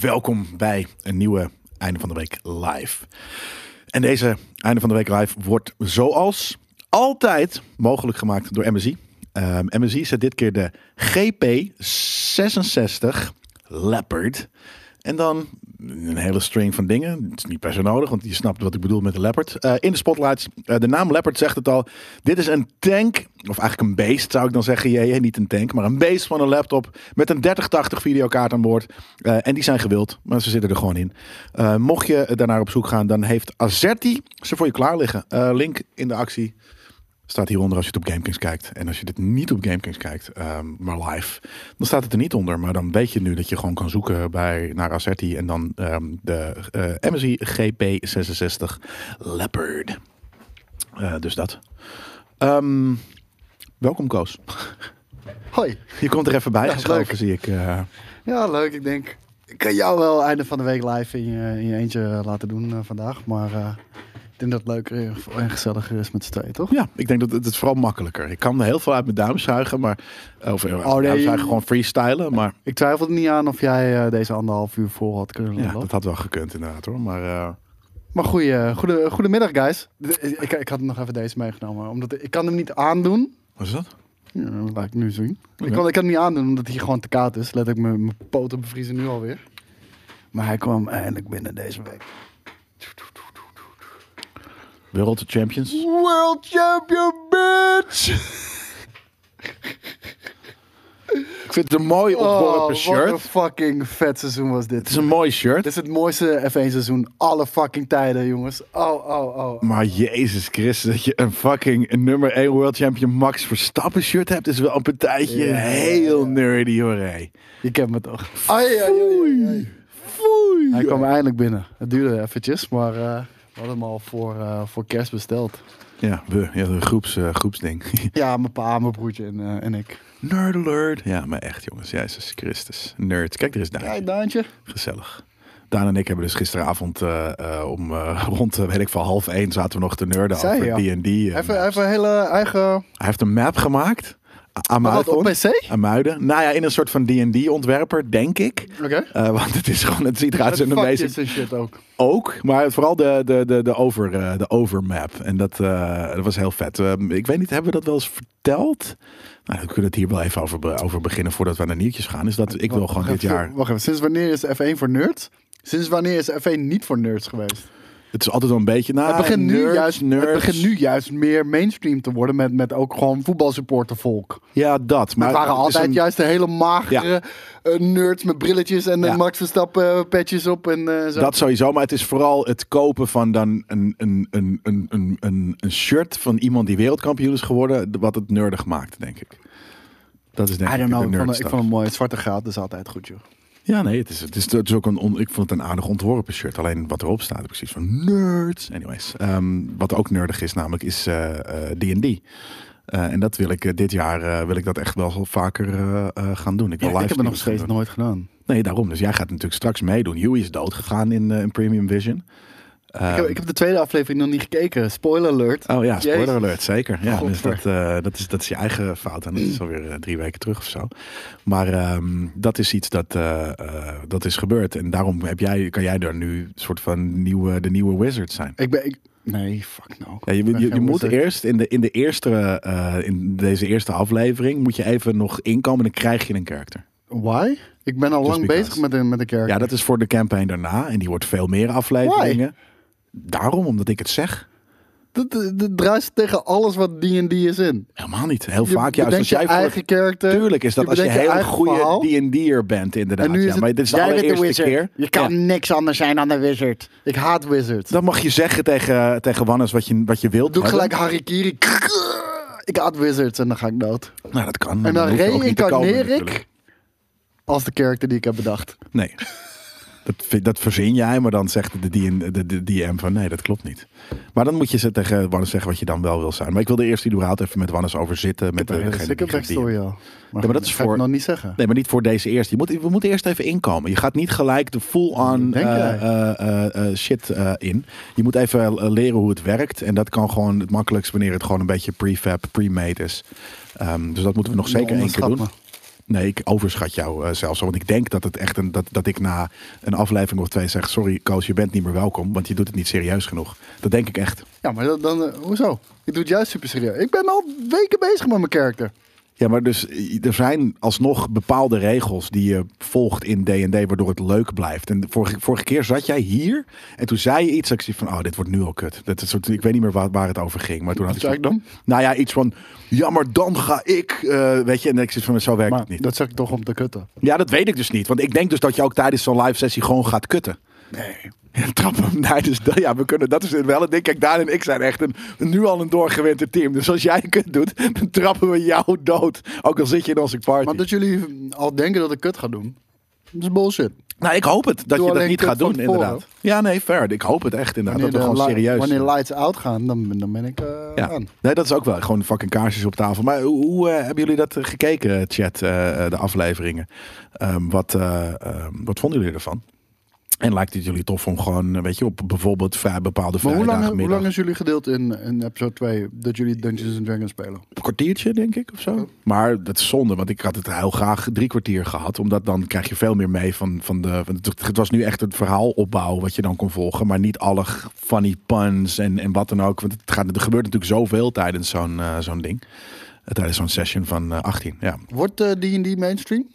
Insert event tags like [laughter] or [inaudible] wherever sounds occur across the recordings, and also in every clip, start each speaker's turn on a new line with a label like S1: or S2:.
S1: Welkom bij een nieuwe Einde van de Week Live. En deze Einde van de Week Live wordt zoals altijd mogelijk gemaakt door MSI. Ehm MSI zet dit keer de GP66 Leopard. En dan een hele string van dingen. Het is niet per se nodig, want je snapt wat ik bedoel met de Leopard. Eh, in de spotlights. Eh, de naam Leopard zegt het al. Dit is een tank, of eigenlijk een beest zou ik dan zeggen. Jee, jee, niet een tank, maar een beest van een laptop. Met een 3080 videokaart aan boord. Eh, en die zijn gewild, maar ze zitten er gewoon in. Eh, mocht je daarnaar op zoek gaan, dan heeft Azerti ze voor je klaar liggen. Eh, link in de actie. Staat hieronder als je het op GameKings kijkt. En als je dit niet op GameKings kijkt, ehm, maar live, dan staat het er niet onder. Maar dan weet je nu dat je gewoon kan zoeken bij, naar Asserti en dan ehm, de eh MSI GP66 Leopard. Eh, dus dat. Ehm, welkom Koos. [laughs]
S2: Hoi.
S1: Je komt er even bij
S2: Ja,
S1: geschoven,
S2: leuk.
S1: zie ik. eh.
S2: Ja, leuk. Ik denk, ik kan jou wel einde van de week live in je, in je eentje eh, laten doen eh, vandaag. Maar eh, ik denk dat het leuker en gezelliger is met z'n tweeën, toch?
S1: ja, ik denk dat het, het is vooral makkelijker. Ik kan heel veel uit mijn duim zuigen, maar... Of eh, uit mijn
S2: Oh, nee.
S1: duim zuigen, gewoon freestylen, maar...
S2: Ik twijfel er niet aan of jij eh, deze anderhalf uur vol had kunnen
S1: Ja,
S2: lullen.
S1: dat had wel gekund inderdaad hoor, maar... eh,
S2: Maar goeie, eh, goede, goedemiddag, guys. De- eh, Ik, ik had nog even deze meegenomen, omdat ik, ik kan hem niet aandoen.
S1: wat is dat?
S2: Ja, dat laat ik nu zien.
S1: Oké.
S2: Ik, kan, ik kan hem niet aandoen, omdat hij gewoon te koud is. Let ik mijn mijn poten bevriezen nu alweer. Maar hij kwam eindelijk binnen deze week.
S1: World Champions.
S2: World champion, bitch!
S1: Ik vind het een mooi
S2: Oh,
S1: ontworpen
S2: wat een
S1: shirt.
S2: fucking vet seizoen was dit.
S1: Het is een mooi shirt.
S2: Dit is het mooiste F1 seizoen alle fucking tijden, jongens. Oh, oh, oh.
S1: Maar jezus Christus, dat je een fucking nummer 1 world champion Max Verstappen shirt hebt, is wel een partijtje
S2: Ja.
S1: heel nerdy hoor. hé.
S2: Je kent me toch. Ai, ai, ai, ai, ai.
S1: Foei.
S2: Hij kwam eindelijk binnen. Het duurde eventjes, maar eh, we hadden hem al voor, eh, voor kerst besteld.
S1: Ja, we, ja de groeps, eh, groepsding. [laughs]
S2: Ja, mijn pa, mijn broertje en, eh, en ik.
S1: Nerd alert. Ja, maar echt jongens, jezus Christus. Nerds. Kijk, er is Daan.
S2: Kijk, Daantje.
S1: Gezellig. Daan en ik hebben dus gisteravond eh, eh, om eh, [laughs] rond, eh, weet ik van half één, zaten we nog te nerden
S2: Zij,
S1: over
S2: ja.
S1: D&D. en, eh,
S2: Even, even een hele eigen...
S1: Hij heeft een map gemaakt. a- Aan mijn
S2: Wat, op
S1: iPhone.
S2: PC?
S1: Aan mijn huiden. Nou ja, in een soort van D&D-ontwerper, denk ik.
S2: Oké.
S1: Eh, want het is gewoon, het ziet eruit als
S2: Met
S1: een amazing
S2: vakjes en shit ook.
S1: ook, maar vooral de, de, de, de, over, eh, de overmap. En dat, eh, dat was heel vet. Eh, ik weet niet, hebben we dat wel eens verteld? Nou, we kunnen het hier wel even over, be- over beginnen voordat we naar nieuwtjes gaan. Is dat ik wil gewoon
S2: Wacht
S1: dit
S2: even,
S1: jaar.
S2: Wacht even, sinds wanneer is F1 voor nerds? Sinds wanneer is F1 niet voor nerds geweest?
S1: Het is altijd wel een beetje. Nou,
S2: het, begint nu
S1: nerds,
S2: juist,
S1: nerds.
S2: het begint nu juist meer mainstream te worden met, met ook gewoon voetbalsupportervolk.
S1: Ja, dat. Maar
S2: Maar het waren
S1: is
S2: altijd
S1: een-
S2: juist de hele magere
S1: Ja.
S2: eh, nerds met brilletjes en
S1: Ja.
S2: een Max Verstappen eh, petjes op en eh, zo.
S1: Dat sowieso, maar het is vooral het kopen van dan een, een, een, een, een, een, een shirt van iemand die wereldkampioen is geworden, wat het nerdig maakt, denk ik. Dat is denk
S2: I
S1: ik
S2: don't know,
S1: de
S2: ik vond, het-
S1: nerdstuff.
S2: ik vond het mooi. Het zwarte graad is altijd goed, joh.
S1: Ja, nee, het is, het is, het is ook een. On, ik vond het een aardig ontworpen shirt. Alleen wat erop staat, heb ik zoiets van nerds. Anyways, ehm, wat ook nerdig is, namelijk is eh, eh, D&D. Eh, en dat wil ik eh, dit jaar eh, wil ik dat echt wel zo vaker eh, eh, gaan doen. Ik wil
S2: Ja, ik heb het nog
S1: livestreams gaan
S2: steeds
S1: doen.
S2: nooit gedaan.
S1: Nee, daarom. Dus jij gaat natuurlijk straks meedoen. Huey is doodgegaan in, eh, in Premium Vision.
S2: ik, heb, ik heb de tweede aflevering nog niet gekeken. Spoiler alert.
S1: Ehm. Oh ja, spoiler
S2: Jezus.
S1: alert, zeker. Ja, dus
S2: Godver.
S1: dat, eh, dat, is, dat is je eigen fout. En dat is alweer eh, drie weken terug of zo. Maar ehm, dat is iets dat, eh, eh, dat is gebeurd. En daarom heb jij, kan jij daar nu soort van nieuwe, de nieuwe wizard zijn.
S2: Ik ben... Ik, nee, fuck nou.
S1: Ja, je
S2: Ik ben
S1: je, je
S2: geen
S1: moet
S2: wizard.
S1: eerst in, de, in, de eerste, eh, in deze eerste aflevering moet je even nog inkomen en dan krijg je een karakter.
S2: Why? Ik ben al
S1: Just
S2: lang
S1: because.
S2: bezig met een, met een character.
S1: Ja, dat is voor de campaign daarna. En die wordt veel meer afleveringen. Daarom, omdat ik het zeg.
S2: Dat, dat, dat druist tegen alles wat D&D is in.
S1: Helemaal niet. Heel
S2: Je
S1: vaak juist.
S2: bedenkt
S1: Als jij
S2: je
S1: voor-
S2: eigen karakter.
S1: Tuurlijk is dat als je
S2: bedenkt
S1: heel
S2: eigen verhaal.
S1: goede D&D'er bent inderdaad.
S2: En nu is
S1: ja,
S2: het,
S1: maar dit is de
S2: jij bent de
S1: allereerste
S2: wizard.
S1: keer.
S2: Je kan
S1: Ja.
S2: niks anders zijn dan een wizard. Ik haat wizards.
S1: Dan mag je zeggen tegen, tegen Wannes wat je, wat je wilt.
S2: Doe ik
S1: hebben.
S2: gelijk Harikiri. Ik haat wizards en dan ga ik dood.
S1: Nou, dat kan.
S2: En dan
S1: hoef je ook niet te komen,
S2: reïncarneer
S1: natuurlijk.
S2: ik als de character die ik heb bedacht.
S1: Nee. [laughs] Dat, vi- dat verzin jij, maar dan zegt de, DN de, de DM van nee, dat klopt niet. Maar dan moet je ze tegen Wannes zeggen wat je dan wel wil zijn. Maar ik wilde eerst überhaupt even met Wannes over zitten. Met
S2: dus Ik heb
S1: eh,
S2: een
S1: degene die
S2: stukje
S1: gaat
S2: backstory al. Maar,
S1: dat
S2: goed,
S1: is
S2: ga ik
S1: voor-
S2: nog niet zeggen.
S1: Nee, maar niet voor deze eerst. Je moet, we moeten eerst even inkomen. Je gaat niet gelijk de full-on
S2: Denk
S1: eh,
S2: jij?
S1: eh, eh, eh, shit eh, in. Je moet even eh, leren hoe het werkt. En dat kan gewoon het makkelijkst wanneer het gewoon een beetje prefab, pre-made is. Ehm, dus dat moeten we nog
S2: Je
S1: zeker één keer
S2: onderschat
S1: doen.
S2: me.
S1: Nee, ik overschat jou eh, zelfs. al, Want ik denk dat, het echt een, dat, dat ik na een aflevering of twee zeg... Sorry, Koos, je bent niet meer welkom. Want je doet het niet serieus genoeg. Dat denk ik echt.
S2: Ja, maar dat- dan, eh, hoezo? Ik doe het juist super serieus. Ik ben al weken bezig met mijn karakter.
S1: Ja, maar dus i- er zijn alsnog bepaalde regels die je volgt in D&D... waardoor het leuk blijft. En de vorige, vorige keer zat jij hier en toen zei je iets... dat ik zie van, oh, dit wordt nu al kut. Dat is soort, ik weet niet meer waar, waar het over ging. Maar toen had
S2: Wat
S1: ik
S2: zei
S1: zo-
S2: ik dan?
S1: Nou ja, iets van, ja, maar dan ga ik... eh, weet je, en ik zit van, zo werkt
S2: Maar
S1: het niet.
S2: dat zeg ik toch om te kutten.
S1: Ja, dat weet ik dus niet. Want ik denk dus dat je ook tijdens zo'n live sessie gewoon gaat kutten.
S2: Nee.
S1: Ja, [laughs] Trap hem. Nee, dus [laughs] dat- ja, we kunnen, dat is wel het ding. Kijk, Daan en ik zijn echt een, nu al een doorgewinterd team. Dus als jij kut doet, [laughs] dan trappen we jou dood. Ook al zit je in onze party.
S2: Maar dus- dat jullie al denken dat ik kut ga doen, dat is bullshit.
S1: nou, ik hoop het dat
S2: Doe
S1: je dat
S2: alleen
S1: niet
S2: kut
S1: gaat
S2: van
S1: doen,
S2: tevoren.
S1: inderdaad. Ja, nee, fair. Ik hoop het echt, inderdaad. dat
S2: de
S1: we gewoon
S2: li-
S1: serieus
S2: wanneer
S1: zijn.
S2: lights out gaan, dan, dan ben ik eh,
S1: Ja.
S2: aan.
S1: Nee, dat is ook wel gewoon fucking kaarsjes op tafel. Maar hoe, hoe, eh, hebben jullie dat eh, gekeken, chat, eh, eh, de afleveringen? Ehm, wat, eh, ehm, wat vonden jullie ervan? En lijkt het jullie tof om gewoon, eh, weet je, op bijvoorbeeld vrij bepaalde
S2: Maar hoe lang, hoe
S1: vrijdagmiddag-
S2: lang is jullie gedeeld in, in episode 2 dat jullie Dungeons and Dragons spelen?
S1: Een kwartiertje, denk ik, of zo. Maar dat is zonde, want ik had het heel graag drie kwartier gehad. Omdat dan krijg je veel meer mee van, van de... van het- het was nu echt het verhaal opbouw wat je dan kon volgen. Maar niet alle g- funny puns en, en wat dan ook. Want het gaat, er gebeurt natuurlijk zoveel tijdens zo'n eh, zo'n ding. Eh, Tijdens zo'n session van eh, 18, ja.
S2: Wordt eh, D&D mainstream?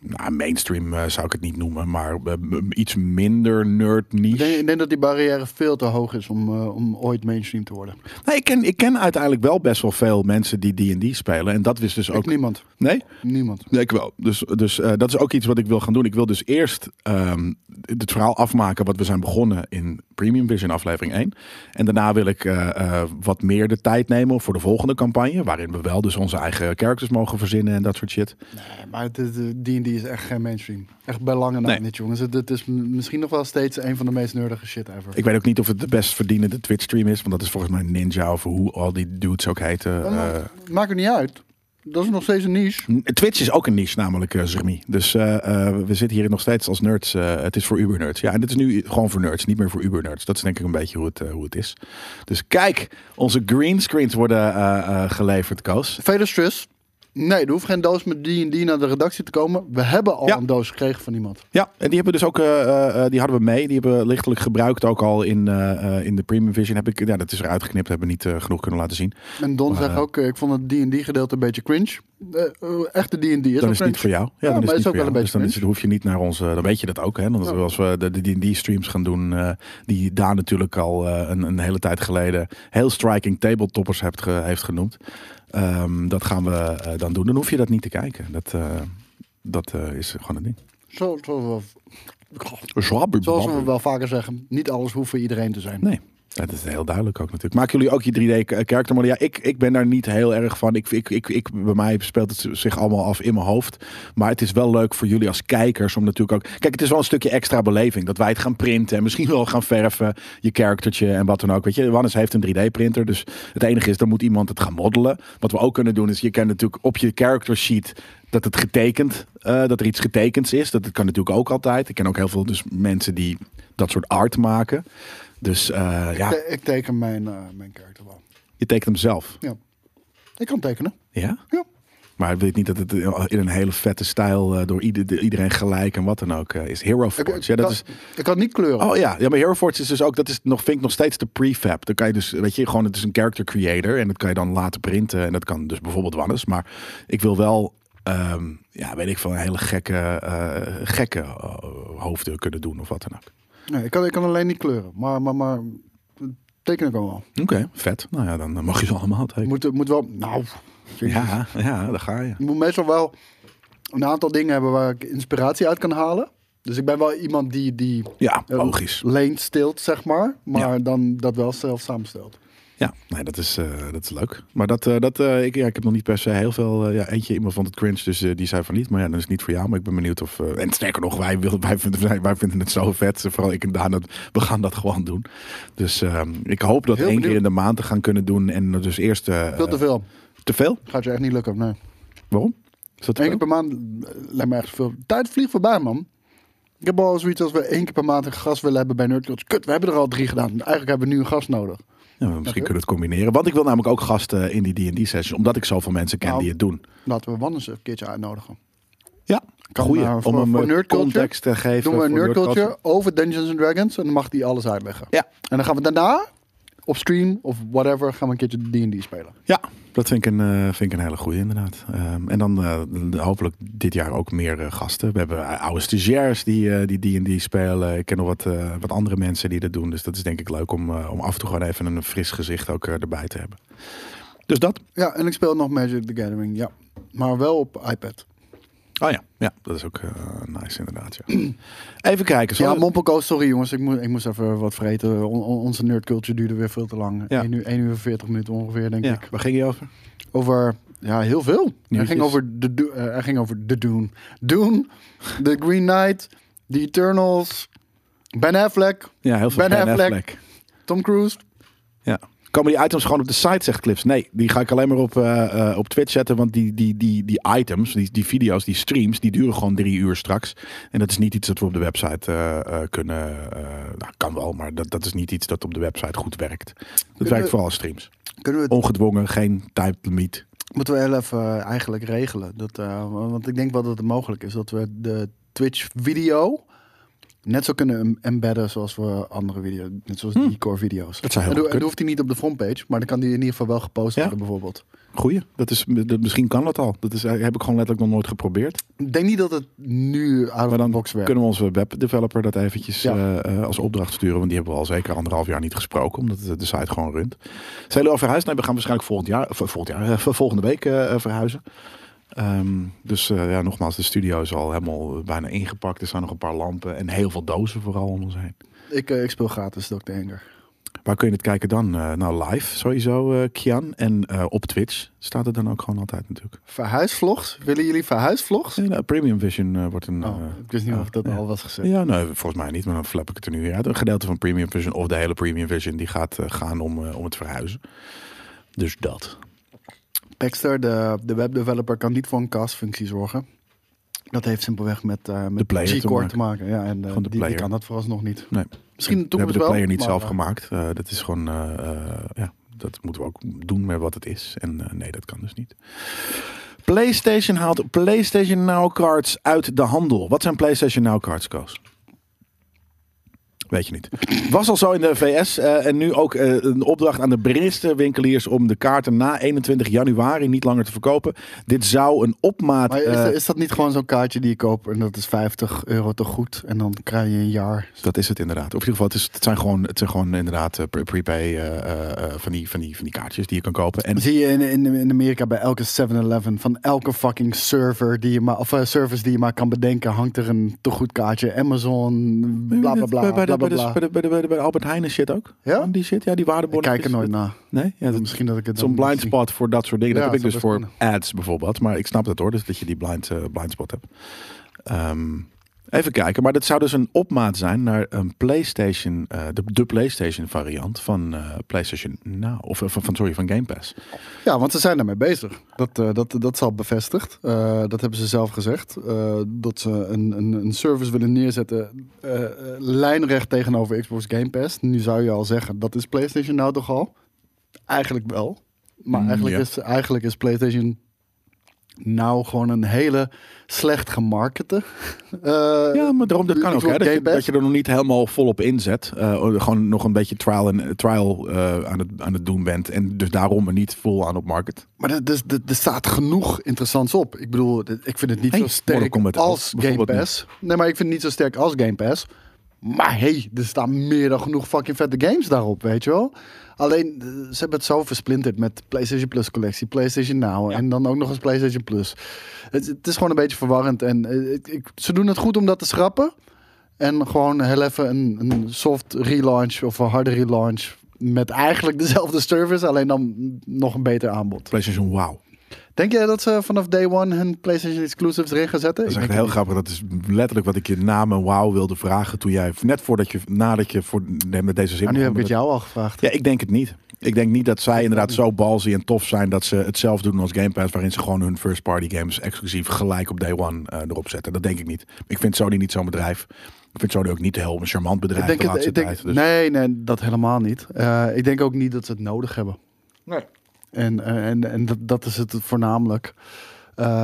S1: Nou, mainstream eh, zou ik het niet noemen, maar eh, m- iets minder nerd
S2: Ik
S1: niche.
S2: denk, ik denk dat die barrière veel te hoog is om, eh, om ooit mainstream te worden.
S1: Nee, ik, ken, ik ken uiteindelijk wel best wel veel mensen die D&D spelen. En dat is dus ook...
S2: Ik niemand.
S1: Nee?
S2: Niemand.
S1: Nee, ik wel. Dus, dus eh, dat is ook iets wat ik wil gaan doen. Ik wil dus eerst ehm, het verhaal afmaken wat we zijn begonnen in Premium Vision aflevering 1. En daarna wil ik eh, eh, wat meer de tijd nemen voor de volgende campagne. Waarin we wel dus onze eigen characters mogen verzinnen en dat soort shit.
S2: Nee, maar het- het- eh, D&D is echt geen mainstream. Echt bij lange na
S1: Nee.
S2: niet, jongens. Het, het is m- misschien nog wel steeds een van de meest nerdige shit ever.
S1: Ik weet ook niet of het de best verdienende Twitch stream is. Want dat is volgens mij Ninja of hoe al die dudes ook heten.
S2: Maar nou,
S1: Eh,
S2: Maakt het niet uit. Dat is nog steeds een niche.
S1: N- Twitch is ook een niche, namelijk eh Zermie. Dus eh, eh, we zitten hier nog steeds als nerds. eh, het is voor uber-nerds. Ja, en dit is nu gewoon voor nerds, niet meer voor uber-nerds. Dat is denk ik een beetje hoe het, eh, hoe het is. Dus kijk, onze greenscreens worden eh, eh, geleverd, Koos.
S2: Velustress. Nee, er hoeft geen doos met D&D naar de redactie te komen. We hebben al
S1: Ja.
S2: een doos gekregen van iemand.
S1: Ja, en die hebben we dus ook, eh, eh, eh, die hadden we mee. Die hebben we lichtelijk gebruikt ook al in, eh, eh, in de Premium Vision. Heb ik, ja, dat is eruit geknipt, hebben we niet eh, genoeg kunnen laten zien.
S2: En Don
S1: Maar,
S2: zegt
S1: eh,
S2: ook, eh, ik vond het D&D gedeelte een beetje cringe. Eh, eh, echte D&D is wel
S1: dan is het
S2: cringe.
S1: niet voor jou. Ja,
S2: Ja,
S1: dan is
S2: maar
S1: het
S2: is
S1: niet
S2: ook
S1: voor
S2: wel
S1: jou.
S2: een
S1: Dus dan is
S2: beetje
S1: het, hoef je niet naar onze. Dan weet je dat ook. Hè? Want
S2: Ja.
S1: als we de, de, die streams gaan doen, eh, die Daan natuurlijk al eh, een, een hele tijd geleden heel striking tabletoppers hebt ge- heeft genoemd. Ehm, dat gaan we eh, dan doen. Dan hoef je dat niet te kijken. Dat, eh, dat eh, is gewoon een ding.
S2: Zo, zoals, we, zoals we wel vaker zeggen, niet alles hoeft voor iedereen te zijn.
S1: Nee. Dat is heel duidelijk ook natuurlijk. Maken jullie ook je 3D-charactermodel? Ja, ik, ik ben daar niet heel erg van. Ik, ik, ik, ik, bij mij speelt het zich allemaal af in mijn hoofd. Maar het is wel leuk voor jullie als kijkers om natuurlijk ook... Kijk, het is wel een stukje extra beleving. Dat wij het gaan printen en misschien wel gaan verven. Je charactertje en wat dan ook. Weet je, Wannes heeft een 3D-printer. Dus het enige is, dan moet iemand het gaan modellen. Wat we ook kunnen doen is, je kan natuurlijk op je character sheet dat het getekend, eh, dat er iets getekends is. Dat, dat kan natuurlijk ook altijd. Ik ken ook heel veel dus mensen die dat soort art maken. Dus eh, ja,
S2: Te- Ik teken mijn, eh, mijn karakter wel.
S1: je tekent hem zelf.
S2: Ja. Ik kan tekenen.
S1: Ja?
S2: Ja.
S1: Maar ik weet niet dat het in een hele vette stijl eh, door ieder, de- iedereen gelijk en wat dan ook eh, is. Hero
S2: Ik, ik
S1: Forge. Ja, dat
S2: kan,
S1: is,
S2: ik kan niet kleuren.
S1: oh ja. ja, maar Hero Forge is dus ook, dat is nog, vind ik nog steeds de prefab. Dan kan je dus, weet je, gewoon het is een character creator en dat kan je dan laten printen. En dat kan dus bijvoorbeeld Wannes. Maar ik wil wel, ehm, ja, weet ik veel, een hele gekke, eh, gekke eh, hoofden kunnen doen of wat dan ook.
S2: Nee, ik, kan, ik kan alleen niet kleuren. Maar, maar, maar tekenen kan wel.
S1: Oké, vet. Nou ja, dan eh, mag je ze allemaal tekenen.
S2: Moet, moet wel. Nou,
S1: Ja, ja, daar ga je.
S2: je moet meestal wel een aantal dingen hebben waar ik inspiratie uit kan halen. Dus ik ben wel iemand die, die
S1: Ja,
S2: eh,
S1: logisch.
S2: leent stilt, zeg maar. Maar dan dat wel zelf samenstelt.
S1: Ja, nee, dat is, eh, dat is leuk. Maar dat, eh, dat, eh, ik, ja, ik heb nog niet per se heel veel. eh, ja, eentje iemand vond het cringe, dus eh, die zei van niet. Maar ja, dan is het niet voor jou. Maar ik ben benieuwd of. eh, en sterker nog, wij, wil, wij, vinden, wij, wij vinden het zo vet. Vooral ik en Daan, dat, we gaan dat gewoon doen. Dus ehm, ik hoop dat
S2: Heel
S1: één keer
S2: benieuwd.
S1: in de maand te gaan kunnen doen. En dus eerst. eh,
S2: Veel te veel.
S1: te veel?
S2: Gaat je echt niet lukken. Nee.
S1: Waarom? Is dat te
S2: Eén keer
S1: veel?
S2: per maand eh, lijkt me echt veel. Tijd vliegt voorbij, man. Ik heb al zoiets als we één keer per maand een gast willen hebben bij Nerdcoach. Kut, we hebben er al drie gedaan. Eigenlijk hebben we nu een gast nodig.
S1: Ja, maar misschien kunnen we het combineren. Want ik wil namelijk ook gasten in die DD-sessies. Omdat ik zoveel mensen ken
S2: Nou.
S1: die het doen.
S2: Laten we Wannes een keertje uitnodigen. Kan,
S1: Goeie,
S2: maar voor-
S1: om hem
S2: voor
S1: eh,
S2: nerd culture
S1: context te geven.
S2: Doen we een
S1: voor
S2: nerd culture
S1: nerdculture.
S2: over Dungeons and Dragons en dan mag die alles uitleggen.
S1: Ja.
S2: En dan gaan we daarna op stream of whatever gaan we een keertje D&D spelen.
S1: Ja, dat vind ik een, eh, vind ik een hele goede inderdaad. Ehm, en dan eh, de- hopelijk dit jaar ook meer eh, gasten. We hebben eh, oude stagiairs die eh, die D&D spelen. Ik ken nog wat, eh, wat andere mensen die dat doen. Dus dat is denk ik leuk om, eh, om af en toe gewoon even een fris gezicht ook eh, erbij te hebben. Dus dat.
S2: Ja, en ik speel nog Magic the Gathering, ja. Maar wel op iPad.
S1: Oh ja, ja dat is ook eh, nice inderdaad. Ja. [clears throat] Even kijken.
S2: Ja,
S1: zullen we-
S2: Mompelco, sorry jongens, ik moest, ik moest even wat vreten. On- on- onze nerdculture duurde weer veel te lang.
S1: Ja.
S2: 1 uur, 1 uur 40 minuten ongeveer, denk
S1: ja,
S2: ik.
S1: waar ging je over?
S2: Over, ja, heel veel. Hij
S1: Nieuwtjes.
S2: ging, over de, Do- eh, hij ging over de Dune. Dune, The Green Knight, The Eternals, Ben Affleck,
S1: Ja, heel veel
S2: Ben
S1: Ben
S2: Affleck.
S1: Affleck.
S2: Tom Cruise.
S1: Ja. Komen die items gewoon op de site, zegt Clips? Nee, die ga ik alleen maar op, eh, eh, op Twitch zetten. Want die, die, die, die items, die, die video's, die streams, die duren gewoon drie uur straks. En dat is niet iets dat we op de website eh, eh, kunnen. eh, nou, kan wel, maar dat, dat is niet iets dat op de website goed werkt. Dat
S2: we-
S1: werkt vooral als streams.
S2: Kunnen we het
S1: Ongedwongen, geen tijdlimiet.
S2: Moeten we heel even eh, eigenlijk regelen. Dat, eh, want ik denk wel dat het mogelijk is dat we de Twitch-video net zo kunnen em- embedden zoals we andere video's, net zoals die core video's.
S1: Hm. Dat zou heel
S2: en, dan
S1: goed
S2: en dan hoeft die niet op de frontpage, maar dan kan die in ieder geval wel gepost
S1: Ja.
S2: worden bijvoorbeeld.
S1: Goeie, dat is, dat, misschien kan dat al. Dat is, eh, heb ik gewoon letterlijk nog nooit geprobeerd.
S2: Ik denk niet dat het nu out of
S1: Maar
S2: the
S1: dan
S2: box werkt.
S1: Kunnen we onze webdeveloper dat eventjes
S2: Ja.
S1: eh, eh, als opdracht sturen? Want die hebben we al zeker anderhalf jaar niet gesproken, omdat eh, de, de site gewoon runt. Zijn jullie al verhuisd? Nee, we gaan waarschijnlijk volgend jaar, of, eh, volgend jaar, eh, volgende week eh, eh, verhuizen. Ehm, dus eh, ja, nogmaals, de studio is al helemaal eh, bijna ingepakt. Er staan nog een paar lampen en heel veel dozen vooral om ons heen.
S2: Ik, eh, ik speel gratis Dr. Enger.
S1: Waar kun je het kijken dan? Eh, nou, live sowieso, eh, Kian. En eh, op Twitch staat het dan ook gewoon altijd natuurlijk.
S2: Verhuisvlogs? Willen jullie verhuisvlogs?
S1: Eh, nou, Premium Vision eh, wordt een...
S2: Oh,
S1: eh,
S2: ik wist niet
S1: ja,
S2: of dat
S1: ja.
S2: al was gezegd.
S1: Ja, nee, volgens mij niet, maar dan flap ik het er nu weer uit. Een gedeelte van Premium Vision of de hele Premium Vision die gaat eh, gaan om, eh, om het verhuizen. Dus dat.
S2: Baxter, de, de webdeveloper, kan niet voor een castfunctie zorgen. Dat heeft simpelweg met, eh
S1: De
S2: met
S1: player te
S2: G-Core te maken. Ja, en eh,
S1: Gewoon de
S2: die, die
S1: player.
S2: kan dat vooralsnog niet.
S1: Nee.
S2: Misschien in de
S1: we hebben
S2: toekomst
S1: de
S2: wel.
S1: player niet
S2: maar,
S1: zelf
S2: eh,
S1: gemaakt. Eh, dat is gewoon, eh, eh, ja, dat moeten we ook doen met wat het is. En eh, nee, dat kan dus niet. PlayStation haalt PlayStation Now cards uit de handel. Wat zijn PlayStation Now cards, Koos? Weet je niet. Was al zo in de VS eh, en nu ook eh, een opdracht aan de Britse winkeliers om de kaarten na 21 januari niet langer te verkopen. Dit zou een opmaat.
S2: Maar is,
S1: eh,
S2: dat- is dat niet gewoon zo'n kaartje die je koopt en dat is 50 euro te goed en dan krijg je een jaar?
S1: Dat is het inderdaad. Of in ieder geval, het, is, het, zijn, gewoon, het zijn gewoon inderdaad eh, pre- prepay eh, eh, eh, van, die, van, die, van die kaartjes die je kan kopen. En
S2: Dat zie je in, in, in Amerika bij elke 7-Eleven. Van elke fucking server die je maar, of eh, service die je maar kan bedenken, hangt er een te goed kaartje. Amazon, bla bla bla.
S1: Bij, bij, de-
S2: bla, bla,
S1: bij de-
S2: bla.
S1: bij de- bij de- bij de- bij de Albert Heijn en shit ook.
S2: Ja?
S1: Die shit, ja, die
S2: Ik
S1: waardeborden.
S2: kijk er nooit naar.
S1: Nee, ja, dat,
S2: Misschien dat ik het
S1: zo'n
S2: dan
S1: blind
S2: zie.
S1: spot voor dat soort dingen.
S2: Ja,
S1: dat heb ik
S2: zou
S1: dus
S2: best
S1: voor ads bijvoorbeeld. Maar ik snap dat hoor, dus dat je die blind, eh, blind spot hebt. Ehm, even kijken, maar dat zou dus een opmaat zijn naar een PlayStation, eh, de, de PlayStation variant van eh, PlayStation Now. Of eh, van, van, sorry, van Game Pass.
S2: Ja, want ze zijn daarmee bezig. Dat, eh, dat, dat is al bevestigd. Eh, dat hebben ze zelf gezegd. Eh, dat ze een, een, een service willen neerzetten. eh, eh, lijnrecht tegenover Xbox Game Pass. Nu zou je al zeggen, dat is PlayStation nou toch al? Eigenlijk wel. Maar
S1: Mm,
S2: eigenlijk,
S1: ja.
S2: is, eigenlijk is PlayStation nou gewoon een hele slecht gemarkete. [laughs] eh,
S1: Ja, maar daarom, dat kan ook.
S2: Xbox
S1: Hè? Dat,
S2: Game
S1: je,
S2: Pass.
S1: dat je er nog niet helemaal volop inzet. Eh, gewoon nog een beetje trial, en, trial eh, aan, het, aan het doen bent. En dus daarom er niet vol aan op market.
S2: Maar er, er, er- er staat genoeg interessants op. Ik bedoel, dit- ik vind het niet
S1: Hey,
S2: zo
S1: Mortal
S2: sterk
S1: Kombat
S2: als
S1: elf,
S2: Game
S1: bijvoorbeeld
S2: Pass. Nee, maar ik vind het niet zo sterk als Game Pass. Maar hey, er staan meer dan genoeg fucking vette games daarop, weet je wel? Alleen, eh, ze hebben het zo versplinterd met PlayStation Plus collectie, PlayStation Now en dan ook nog eens PlayStation Plus. Het, het is gewoon een beetje verwarrend en eh, ik, ik- ze doen het goed om dat te schrappen. En gewoon heel even een, een soft relaunch of een harde relaunch met eigenlijk dezelfde service, alleen dan nog een beter aanbod.
S1: PlayStation Wow.
S2: Denk jij dat ze vanaf day one hun PlayStation exclusives erin gaan zetten?
S1: Dat is
S2: Ik
S1: echt
S2: denk
S1: heel
S2: het
S1: grappig. Dat is letterlijk wat ik je na mijn Wow wilde vragen. Toen jij, net voordat je, nadat je voor, nee, met deze zin.
S2: niet. Maar Ah, nu heb
S1: begon
S2: ik het
S1: met-
S2: jou al gevraagd.
S1: Ja, ik denk het niet. Ik denk niet dat zij inderdaad zo balzy en tof zijn dat ze het zelf doen als Game Pass, waarin ze gewoon hun first party games exclusief gelijk op day one eh, erop zetten. Dat denk ik niet. Ik vind Sony niet zo'n bedrijf. Ik vind Sony ook niet heel een charmant bedrijf
S2: Ik denk
S1: de
S2: het,
S1: laatste
S2: ik denk-
S1: tijd. Dus-
S2: Nee, nee, dat helemaal niet. Eh, ik denk ook niet dat ze het nodig hebben. En, eh, en, en dat, dat is het voornamelijk. Eh,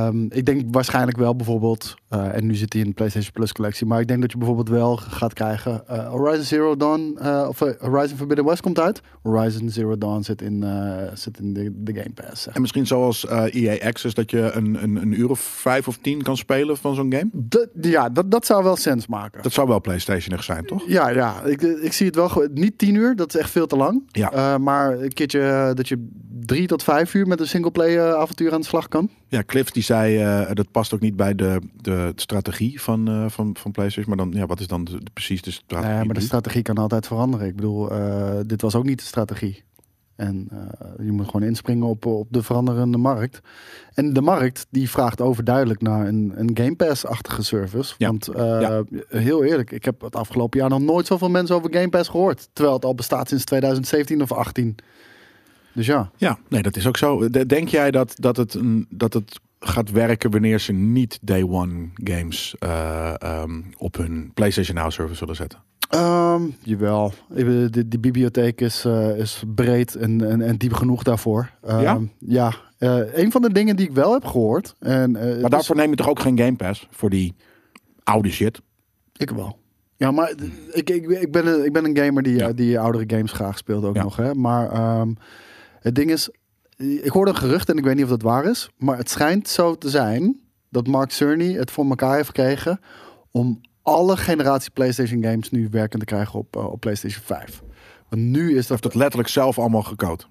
S2: Ehm, ik denk waarschijnlijk wel bijvoorbeeld, eh, en nu zit hij in de PlayStation Plus collectie, maar ik denk dat je bijvoorbeeld wel gaat krijgen eh, Horizon Zero Dawn, eh, of eh, Horizon Forbidden West komt uit. Horizon Zero Dawn zit in, eh, zit in de, de Game Pass. zeg.
S1: En misschien zoals eh EA Access, dat je een, een, een uur of vijf of tien kan spelen van zo'n game.
S2: Dat- ja, dat, dat zou wel sens maken.
S1: Dat zou wel PlayStation zijn, toch?
S2: Ja, ja. Ik, ik zie het wel. ge- Niet tien uur, dat is echt veel te lang.
S1: Ja.
S2: Eh, maar een keertje eh, dat je drie tot vijf uur met een singleplayer eh, avontuur aan de slag kan.
S1: Ja, Cliff die zei eh, dat past ook niet bij de, de strategie van, eh, van, van PlayStation. Maar dan, ja, wat is dan de- de- precies de strategie?
S2: Nee, maar de
S1: nu?
S2: strategie kan altijd veranderen. Ik bedoel, eh, dit was ook niet de strategie. En eh, je moet gewoon inspringen op, op de veranderende markt. En de markt die vraagt overduidelijk naar een, een Game Pass-achtige service.
S1: Ja.
S2: Want eh,
S1: Ja.
S2: heel eerlijk, ik heb het afgelopen jaar nog nooit zoveel mensen over Game Pass gehoord. Terwijl het al bestaat sinds 2017 of 18. Dus ja.
S1: Ja, nee, dat is ook zo. De- Denk jij dat, dat, het, een- dat het gaat werken wanneer ze niet day one games eh, ehm, op hun PlayStation Now server zullen zetten?
S2: Ehm, jawel. Ik bedoel, Die, die bibliotheek is, eh, is breed en, en, en diep genoeg daarvoor. Ehm,
S1: Ja?
S2: Ja. Eh, een van de dingen die ik wel heb gehoord. En, eh, het
S1: Maar
S2: is-
S1: daarvoor neem je toch ook geen Game Pass voor die oude shit?
S2: Ik wel. Ja, maar d- ik, ik, ik, ben, een, ik ben een gamer die,
S1: Ja.
S2: eh, die oudere games graag speelt ook
S1: Ja.
S2: nog. Hè? Maar ehm, het ding is, ik hoorde een gerucht en ik weet niet of dat waar is. Maar het schijnt zo te zijn dat Mark Cerny het voor elkaar heeft gekregen... om alle generatie PlayStation games nu werkend te krijgen op, eh, op PlayStation 5. Want nu is dat...
S1: Of dat letterlijk zelf allemaal gekoud?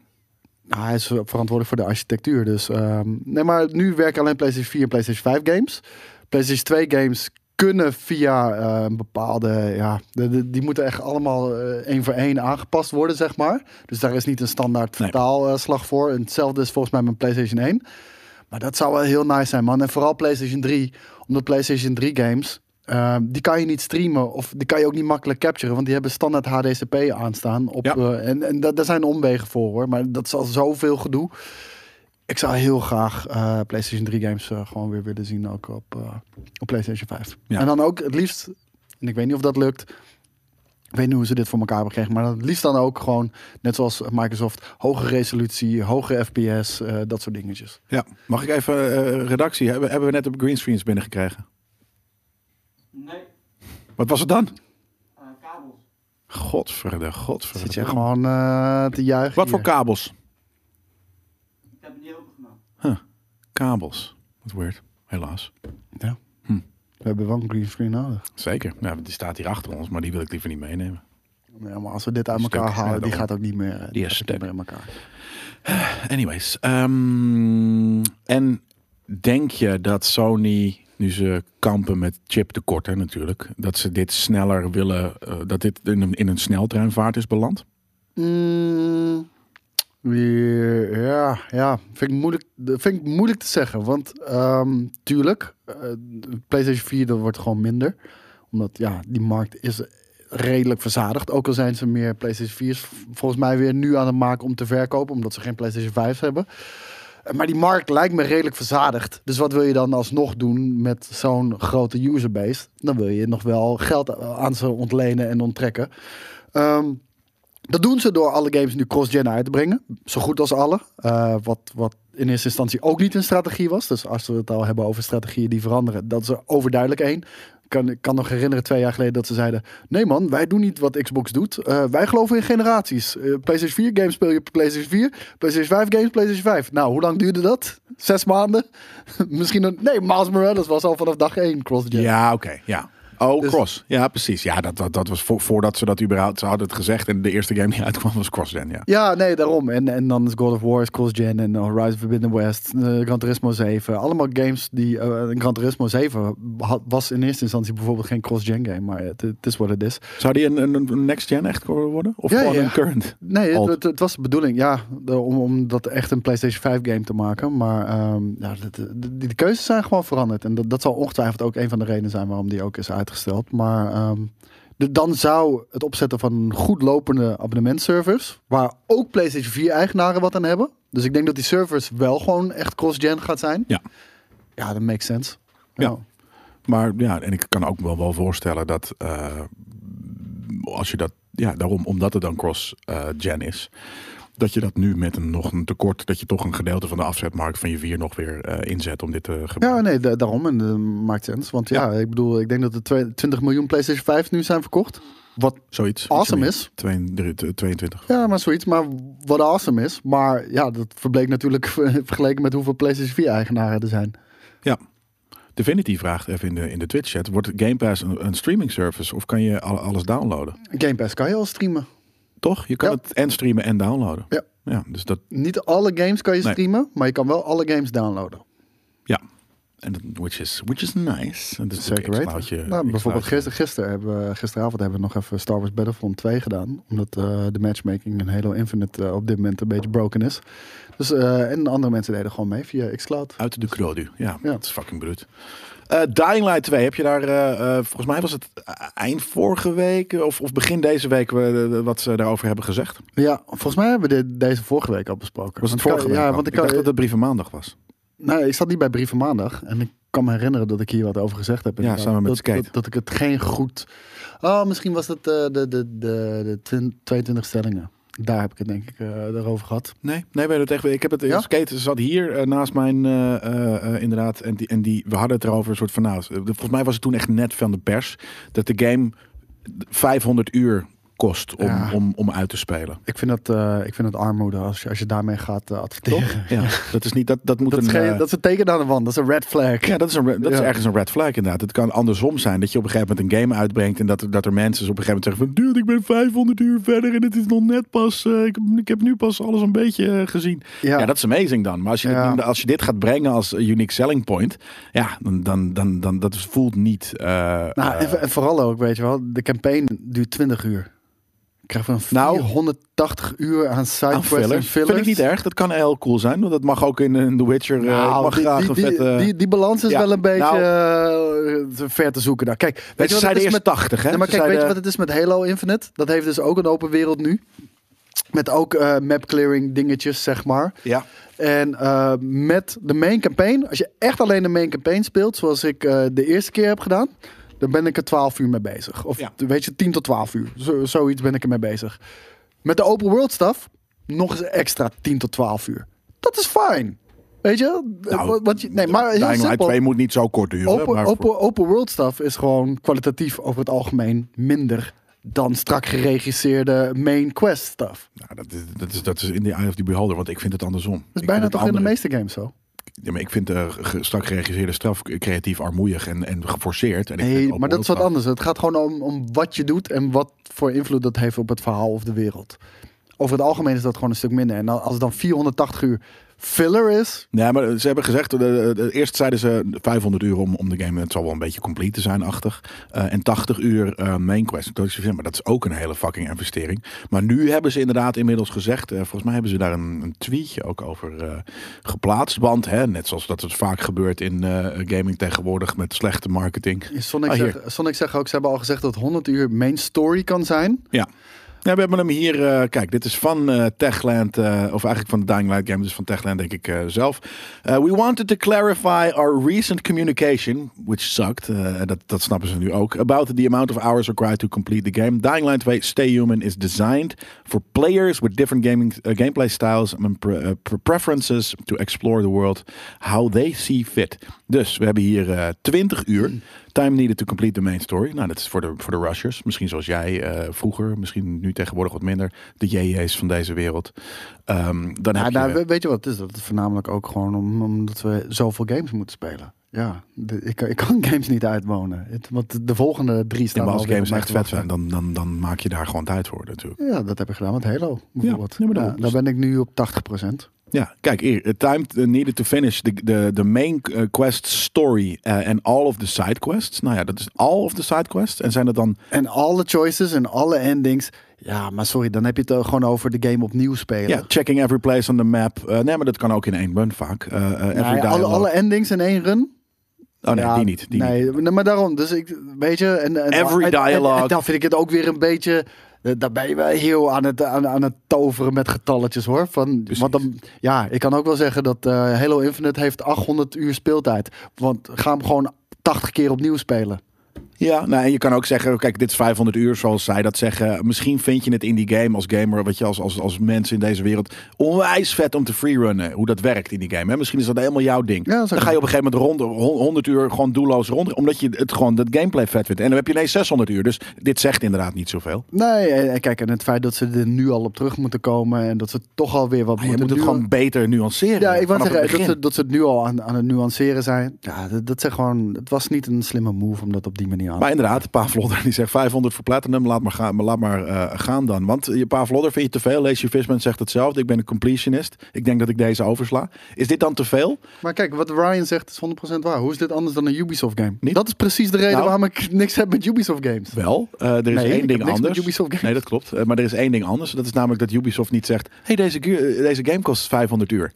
S2: Nou, hij is verantwoordelijk voor de architectuur. Dus, ehm, nee, maar nu werken alleen PlayStation 4 en PlayStation 5 games. PlayStation 2 games kunnen via eh, een bepaalde... Ja, de- de- die moeten echt allemaal eh, één voor één aangepast worden, zeg maar. Dus daar is niet een standaard
S1: Nee.
S2: vertaalslag voor. En hetzelfde is volgens mij met PlayStation 1. Maar dat zou wel heel nice zijn, man. En vooral PlayStation 3. Omdat PlayStation 3 games... ehm, die kan je niet streamen of die kan je ook niet makkelijk capturen. Want die hebben standaard HDCP aanstaan. Op,
S1: Ja.
S2: eh, en en da- daar zijn omwegen voor hoor. Maar dat is al zoveel gedoe. Ik zou heel graag eh, PlayStation 3 games eh, gewoon weer willen zien. Ook op, eh, op PlayStation 5.
S1: Ja.
S2: En dan ook het liefst... En ik weet niet of dat lukt. Ik weet niet hoe ze dit voor elkaar hebben gekregen. Maar het liefst dan ook gewoon, net zoals Microsoft, hoge resolutie, hoge FPS, eh, dat soort dingetjes.
S1: Ja. Mag ik even eh, redactie? Hebben, hebben we net op greenscreens binnengekregen?
S3: Nee,
S1: Wat was het dan?
S3: eh, kabels.
S1: Godverde, godverde.
S2: Zit je gewoon eh, te juichen?
S1: Wat voor
S2: hier?
S1: kabels?
S3: Ik heb het niet opengemaakt.
S1: Kabels. Wat weird. Helaas.
S2: We hebben wel een green screen nodig.
S1: Zeker. Ja, die staat hier achter ons, maar die wil ik liever niet meenemen.
S2: Ja, maar als we dit uit
S1: Die is
S2: elkaar
S1: stuk. Ja,
S2: halen, die
S1: daarom.
S2: gaat ook niet meer, eh,
S1: Die is
S2: gaat ook niet
S1: stuk.
S2: meer in elkaar.
S1: Anyways, ehm, en denk je dat Sony, nu ze kampen met chiptekorten natuurlijk, dat ze dit sneller willen, eh, dat dit in een, in een sneltreinvaart is beland?
S2: Mm, weer- ja, ja. Vind, ik moeilijk, vind ik moeilijk te zeggen. Want ehm, tuurlijk, eh, de PlayStation 4 dat wordt gewoon minder. Omdat ja, die markt is redelijk verzadigd. Ook al zijn ze meer PlayStation 4's volgens mij weer nu aan het maken om te verkopen. Omdat ze geen PlayStation 5's hebben. Eh, Maar die markt lijkt me redelijk verzadigd. Dus wat wil je dan alsnog doen met zo'n grote userbase? Dan wil je nog wel geld eh, aan ze ontlenen en onttrekken. Ehm, dat doen ze door alle games nu cross-gen uit te brengen. Zo goed als alle. Eh, wat, wat in eerste instantie ook niet een strategie was. Dus als we het al hebben over strategieën die veranderen, dat is er overduidelijk één. Ik kan, ik kan nog herinneren twee jaar geleden dat ze zeiden: Nee, man, wij doen niet wat Xbox doet. Eh, wij geloven in generaties. Eh, PlayStation 4 games speel je op PlayStation 4. PlayStation 5 games, PlayStation 5. Nou, hoe lang duurde dat? Zes maanden? [laughs] Misschien een. Nee, Miles Morales was al vanaf dag één cross-gen.
S1: Ja, oké. ja. Oh,
S2: Dus-
S1: Cross. Ja, precies. Ja, dat, dat, dat was vo- voordat ze dat überhaupt, ze hadden het gezegd en de eerste game die uitkwam was Cross-gen, ja.
S2: Ja, nee, daarom. En, en dan is God of War, is cross-gen en Horizon Forbidden West, eh, Gran Turismo 7. Allemaal games die... eh Gran Turismo 7 had- was in eerste instantie bijvoorbeeld geen cross-gen game, maar het, het is wat het is.
S1: Zou die een, een, een next-gen echt worden? Of
S2: Ja,
S1: gewoon
S2: ja.
S1: een current?
S2: Nee, het,
S1: Alt.
S2: het- het was de bedoeling, ja, de- om, om dat echt een PlayStation 5 game te maken. Maar ehm, ja, de, de, de- die keuzes zijn gewoon veranderd. En dat, dat zal ongetwijfeld ook een van de redenen zijn waarom die ook is uitgesteld. Maar ehm, de- dan zou het opzetten van een goed lopende abonnementservice, waar ook PlayStation 4 eigenaren wat aan hebben. Dus ik denk dat die service wel gewoon echt cross-gen gaat zijn.
S1: Ja.
S2: Ja, dat makes sense.
S1: Ja. Maar ja, en ik kan ook wel, wel voorstellen dat eh, als je dat, ja, daarom, omdat het dan cross-gen eh, is, Dat je dat nu met een, nog een tekort, dat je toch een gedeelte van de afzetmarkt van je vier nog weer eh, inzet om dit te gebruiken.
S2: Nou, Ja, nee, da- daarom. En dat maakt sens. Want ja, ik bedoel, ik denk dat er twee- 20 miljoen PlayStation 5 nu zijn verkocht. Wat
S1: Zoiets.
S2: awesome is.
S1: Twee- drie- tw- 22.
S2: Ja, maar zoiets. Maar wat awesome is. Maar ja, dat verbleek natuurlijk [laughs] vergeleken met hoeveel PlayStation 4-eigenaren er zijn.
S1: Ja. Divinity vraagt even in de, in de Twitch-chat: wordt Game Pass een, een streaming service of kan je al- alles downloaden?
S2: Game Pass kan je al streamen.
S1: Toch? Je kan
S2: Ja.
S1: het en streamen en downloaden.
S2: Ja.
S1: ja dus dat,
S2: Niet alle games kan je
S1: Nee.
S2: streamen, maar je kan wel alle games downloaden.
S1: ja. En dat- which is, which is nice. En dat is
S2: Zeker
S1: ook
S2: weten.
S1: Xcloudje-
S2: nou, bijvoorbeeld
S1: Xcloudje.
S2: gister, gisteren hebben, we- gisteravond hebben we nog even Star Wars Battlefront 2 gedaan. Omdat eh, de matchmaking in Halo Infinite eh, op dit moment een beetje broken is. Dus, eh, en andere mensen deden gewoon mee via xCloud.
S1: Uit de Krodu. Ja,
S2: Ja.
S1: dat is fucking bruut. Eh, Dying Light 2, heb je daar, eh, eh, volgens mij was het eh, eind vorige week eh, of, of begin deze week eh, eh, wat ze daarover hebben gezegd.
S2: Ja, volgens mij hebben we dit, deze vorige week al besproken.
S1: Was het
S2: Want ik kan-
S1: vorige week?
S2: Ja,
S1: dan?
S2: want ik,
S1: ik dacht
S2: kan-
S1: dat het brieven maandag was.
S2: Nou, ik zat niet bij Brieven Maandag. En ik kan me herinneren dat ik hier wat over gezegd heb. inderdaad.
S1: samen met
S2: dat,
S1: Skate.
S2: Dat, dat ik het geen goed... Oh, misschien was het eh, de, de, de, de twin- 22 stellingen. Daar heb ik het denk ik eh over gehad.
S1: Nee, nee, ben je er tegen. Ik heb het.
S2: Ja?
S1: Skate zat hier eh, naast mijn, eh, eh, eh, inderdaad. En die, en die, we hadden het erover een soort van. Nou, eh, volgens mij was het toen echt net van de pers dat de game 500 uur kost om,
S2: Ja.
S1: om, om uit te spelen.
S2: Ik vind dat, eh, ik vind dat armoede als je, als je daarmee gaat eh, adverteren. [laughs]
S1: Toch? Ja, dat is niet. Dat, dat moet
S2: Dat is,
S1: een.
S2: geen,
S1: eh,
S2: dat is een teken aan de wand. Dat is een red flag.
S1: Ja, dat, is, een, re- dat is
S2: Ja.
S1: ergens een red flag inderdaad. Het kan andersom zijn dat je op een gegeven moment een game uitbrengt en dat, er- dat er mensen dus op een gegeven moment zeggen van dude, ik ben 500 uur verder en het is nog net pas, eh, ik, heb- ik heb nu pas alles een beetje eh, gezien. Ja.
S2: Ja.
S1: dat is amazing dan. Maar als je, dit
S2: Ja.
S1: noemde- als je dit gaat brengen als unique selling point, ja, dan, dan, dan, dan dat voelt niet... eh,
S2: Nou,
S1: eh,
S2: en, en vooral ook, weet je wel, de campaign duurt 20 uur. Ik krijg van
S1: Nou.
S2: 480 uur aan side
S1: aan
S2: quests en
S1: fillers.
S2: fillers.
S1: Vind ik niet erg. Dat kan heel cool zijn. Want dat mag ook in, eh, The Witcher. eh, ik
S2: Nou,
S1: mag
S2: die,
S1: graag
S2: die,
S1: een
S2: die,
S1: vette...
S2: die, die balans is
S1: Ja,
S2: wel een beetje
S1: nou.
S2: eh, te ver te zoeken. daar. Kijk, weet
S1: weet
S2: je
S1: je, ze
S2: wat het
S1: zeiden
S2: is
S1: eerst
S2: met...
S1: 80, hè?
S2: Nee, maar
S1: Ze
S2: kijk, weet je
S1: zeiden-
S2: wat het is met Halo Infinite? Dat heeft dus ook een open wereld nu. Met ook eh, map clearing dingetjes, zeg maar.
S1: Ja.
S2: En eh, met de main campaign, als je echt alleen de main campaign speelt, zoals ik eh, de eerste keer heb gedaan, dan ben ik er 12 uur mee bezig. Of
S1: Ja.
S2: weet je, 10 tot 12 uur. Zo, zoiets ben ik ermee bezig. Met de open world stuff, nog eens extra 10 tot 12 uur. Dat is fijn. Weet je?
S1: Nou,
S2: Want je nee, maar heel
S1: Dying Light
S2: simpel.
S1: 2 moet niet zo kort duren.
S2: Open,
S1: maar
S2: open, open world stuff is gewoon kwalitatief over het algemeen minder dan strak geregisseerde main quest stuff. Dat
S1: Nou, dat, is, dat, is, dat is in the eye of the beholder, want ik vind het andersom. Dat
S2: is bijna toch in de meeste games zo.
S1: Ja, maar ik vind eh, ge- strak geregisseerde straf creatief armoeig en, en geforceerd. En ik vind
S2: Nee,
S1: open
S2: maar dat is wat
S1: world
S2: anders. Het gaat gewoon om, om wat je doet en wat voor invloed dat heeft op het verhaal of de wereld. Over het algemeen is dat gewoon een stuk minder. En dan- als het dan 480 uur filler is,
S1: Nee, maar ze hebben gezegd, eh, eh, eh, eerst zeiden ze 500 uur om, om de game, het zal wel een beetje complete te zijn, achtig. Eh, en 80 uur eh, main quest. Dat is, ja, maar dat is ook een hele fucking investering. Maar nu hebben ze inderdaad inmiddels gezegd, eh, volgens mij hebben ze daar een, een tweetje ook over eh, geplaatst. Want hè, net zoals dat het vaak gebeurt in eh, gaming tegenwoordig met slechte marketing.
S2: Sonic,
S1: Ah, hier.
S2: zegt, Sonic zegt ook, ze hebben al gezegd dat 100 uur main story kan zijn.
S1: Ja. Ja, we hebben hem hier. eh, kijk, dit is van eh, Techland, eh, of eigenlijk van de Dying Light Game, dus van Techland denk ik eh, zelf. Eh, we wanted to clarify our recent communication, which sucked, eh, dat, dat snappen ze nu ook, about the amount of hours required to complete the game. Dying Light 2 Stay Human is designed for players with different gaming, eh, gameplay styles and pre- eh, pre- preferences to explore the world how they see fit. Dus we hebben hier eh 20 uur.
S2: Hmm.
S1: Time needed to complete the main story. Nou, dat is voor de, voor de rushers. Misschien zoals jij eh, vroeger, misschien nu tegenwoordig wat minder. De JJ's van deze wereld. Ehm, dan
S2: Ja,
S1: heb
S2: nou,
S1: je...
S2: we- weet je wat het is? Dat is voornamelijk ook gewoon om, omdat we zoveel games moeten spelen. Ja, de- ik, kan- ik kan [laughs] games niet uitwonen. Het- want de volgende drie
S1: Ja,
S2: staan
S1: maar als
S2: alweer
S1: games
S2: op mij
S1: echt
S2: te
S1: vet
S2: wachten.
S1: zijn, dan, dan, dan maak je daar gewoon tijd voor natuurlijk.
S2: Ja, dat heb ik gedaan met Halo bijvoorbeeld.
S1: nee,
S2: Ja,
S1: maar daarom.
S2: daar ben ik nu op 80%.
S1: Ja, kijk hier. eh, Time eh, needed to finish the, the, the main eh, quest story eh, and all of the side quests. Nou ja, dat is all of the side quests. En zijn dat dan...
S2: En alle choices en alle endings. Ja, maar sorry, dan heb je het eh, gewoon over de game opnieuw spelen.
S1: Ja, checking every place on the map. Eh, nee, maar dat kan ook in één run vaak. Eh, eh, every
S2: Nee, Nou alle,
S1: dialogue.
S2: alle endings in één run.
S1: Oh nee,
S2: Ja,
S1: die niet. Die niet.
S2: nee, nee, maar daarom. Dus ik, weet je, en, en,
S1: Every
S2: en- en-
S1: dialogue.
S2: en dan vind ik het ook weer een beetje. eh, Daar ben je wel heel aan het, aan, aan het toveren met getalletjes hoor. Van,
S1: Precies.
S2: want dan, ja, ik kan ook wel zeggen dat eh, Halo Infinite heeft 800 uur speeltijd. Want ga hem gewoon 80 keer opnieuw spelen.
S1: Ja, nou, en je kan ook zeggen, kijk, dit is 500 uur zoals zij dat zeggen. Misschien vind je het in die game als gamer, wat je als, als, als mens in deze wereld, onwijs vet om te freerunnen. Hoe dat werkt in die game. Hè? Misschien is dat helemaal jouw ding.
S2: Ja, dat is ook
S1: dan ga je op een gegeven moment rond, hon- 100 uur gewoon doelloos rond, omdat je het gewoon, dat gameplay vet vindt. En dan heb je ineens 600 uur. Dus dit zegt inderdaad niet zoveel.
S2: Nee, eh, kijk, en het feit dat ze er nu al op terug moeten komen en dat ze toch alweer wat
S1: Maar je
S2: moeten
S1: moet het
S2: nu-
S1: gewoon beter nuanceren.
S2: Ja, ik wou
S1: vanaf het
S2: zeggen dat
S1: begin.
S2: ze, dat ze het nu al aan, aan het nuanceren zijn. Ja, dat, dat zijn gewoon... Het was niet een slimme move om dat op die manier aan te
S1: Maar inderdaad, Pa Vlodder [laughs] die zegt 500 voor platinum, laat maar gaan, maar laat maar, eh, gaan dan. Want je Pa Vlodder vind je te veel, Leesje Visman zegt hetzelfde. Ik ben een completionist, ik denk dat ik deze oversla. Is dit dan te veel?
S2: Maar kijk, wat Ryan zegt is 100% waar. Hoe is dit anders dan een Ubisoft game?
S1: Niet?
S2: Dat is precies de reden
S1: Nou.
S2: waarom ik [laughs] niks heb met Ubisoft games.
S1: Wel, eh, er is
S2: Nee, ik
S1: één
S2: heb
S1: ding
S2: niks met
S1: anders.
S2: Ubisoft games.
S1: Nee, dat klopt. Eh, maar er is één ding anders. Dat is namelijk dat Ubisoft niet zegt, hey, deze, gu- eh, deze game kost 500 uur.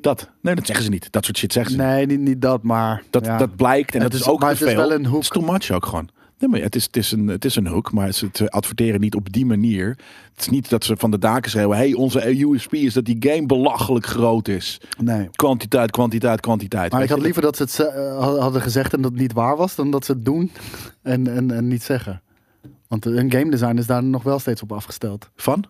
S1: Dat. Nee, dat zeggen ze niet. Dat soort shit zeggen ze. niet.
S2: Nee, niet, niet dat, maar...
S1: Dat,
S2: ja.
S1: dat blijkt en
S2: Het
S1: dat is
S2: is-
S1: ook
S2: maar
S1: te
S2: het is
S1: veel.
S2: wel een hoek.
S1: Het is too much ook gewoon. Nee, maar het, is, het, is een, het is een hoek, maar ze te adverteren niet op die manier. Het is niet dat ze van de daken schreeuwen... hey, onze E USP is dat die game belachelijk groot is.
S2: Nee.
S1: Kwantiteit, kwantiteit, kwantiteit.
S2: Maar
S1: Weet
S2: ik had
S1: je,
S2: liever dat ze het ze- eh, hadden gezegd en dat het niet waar was, dan dat ze het doen [laughs] en, en, en niet zeggen. Want een game design is daar nog wel steeds op afgesteld.
S1: Van?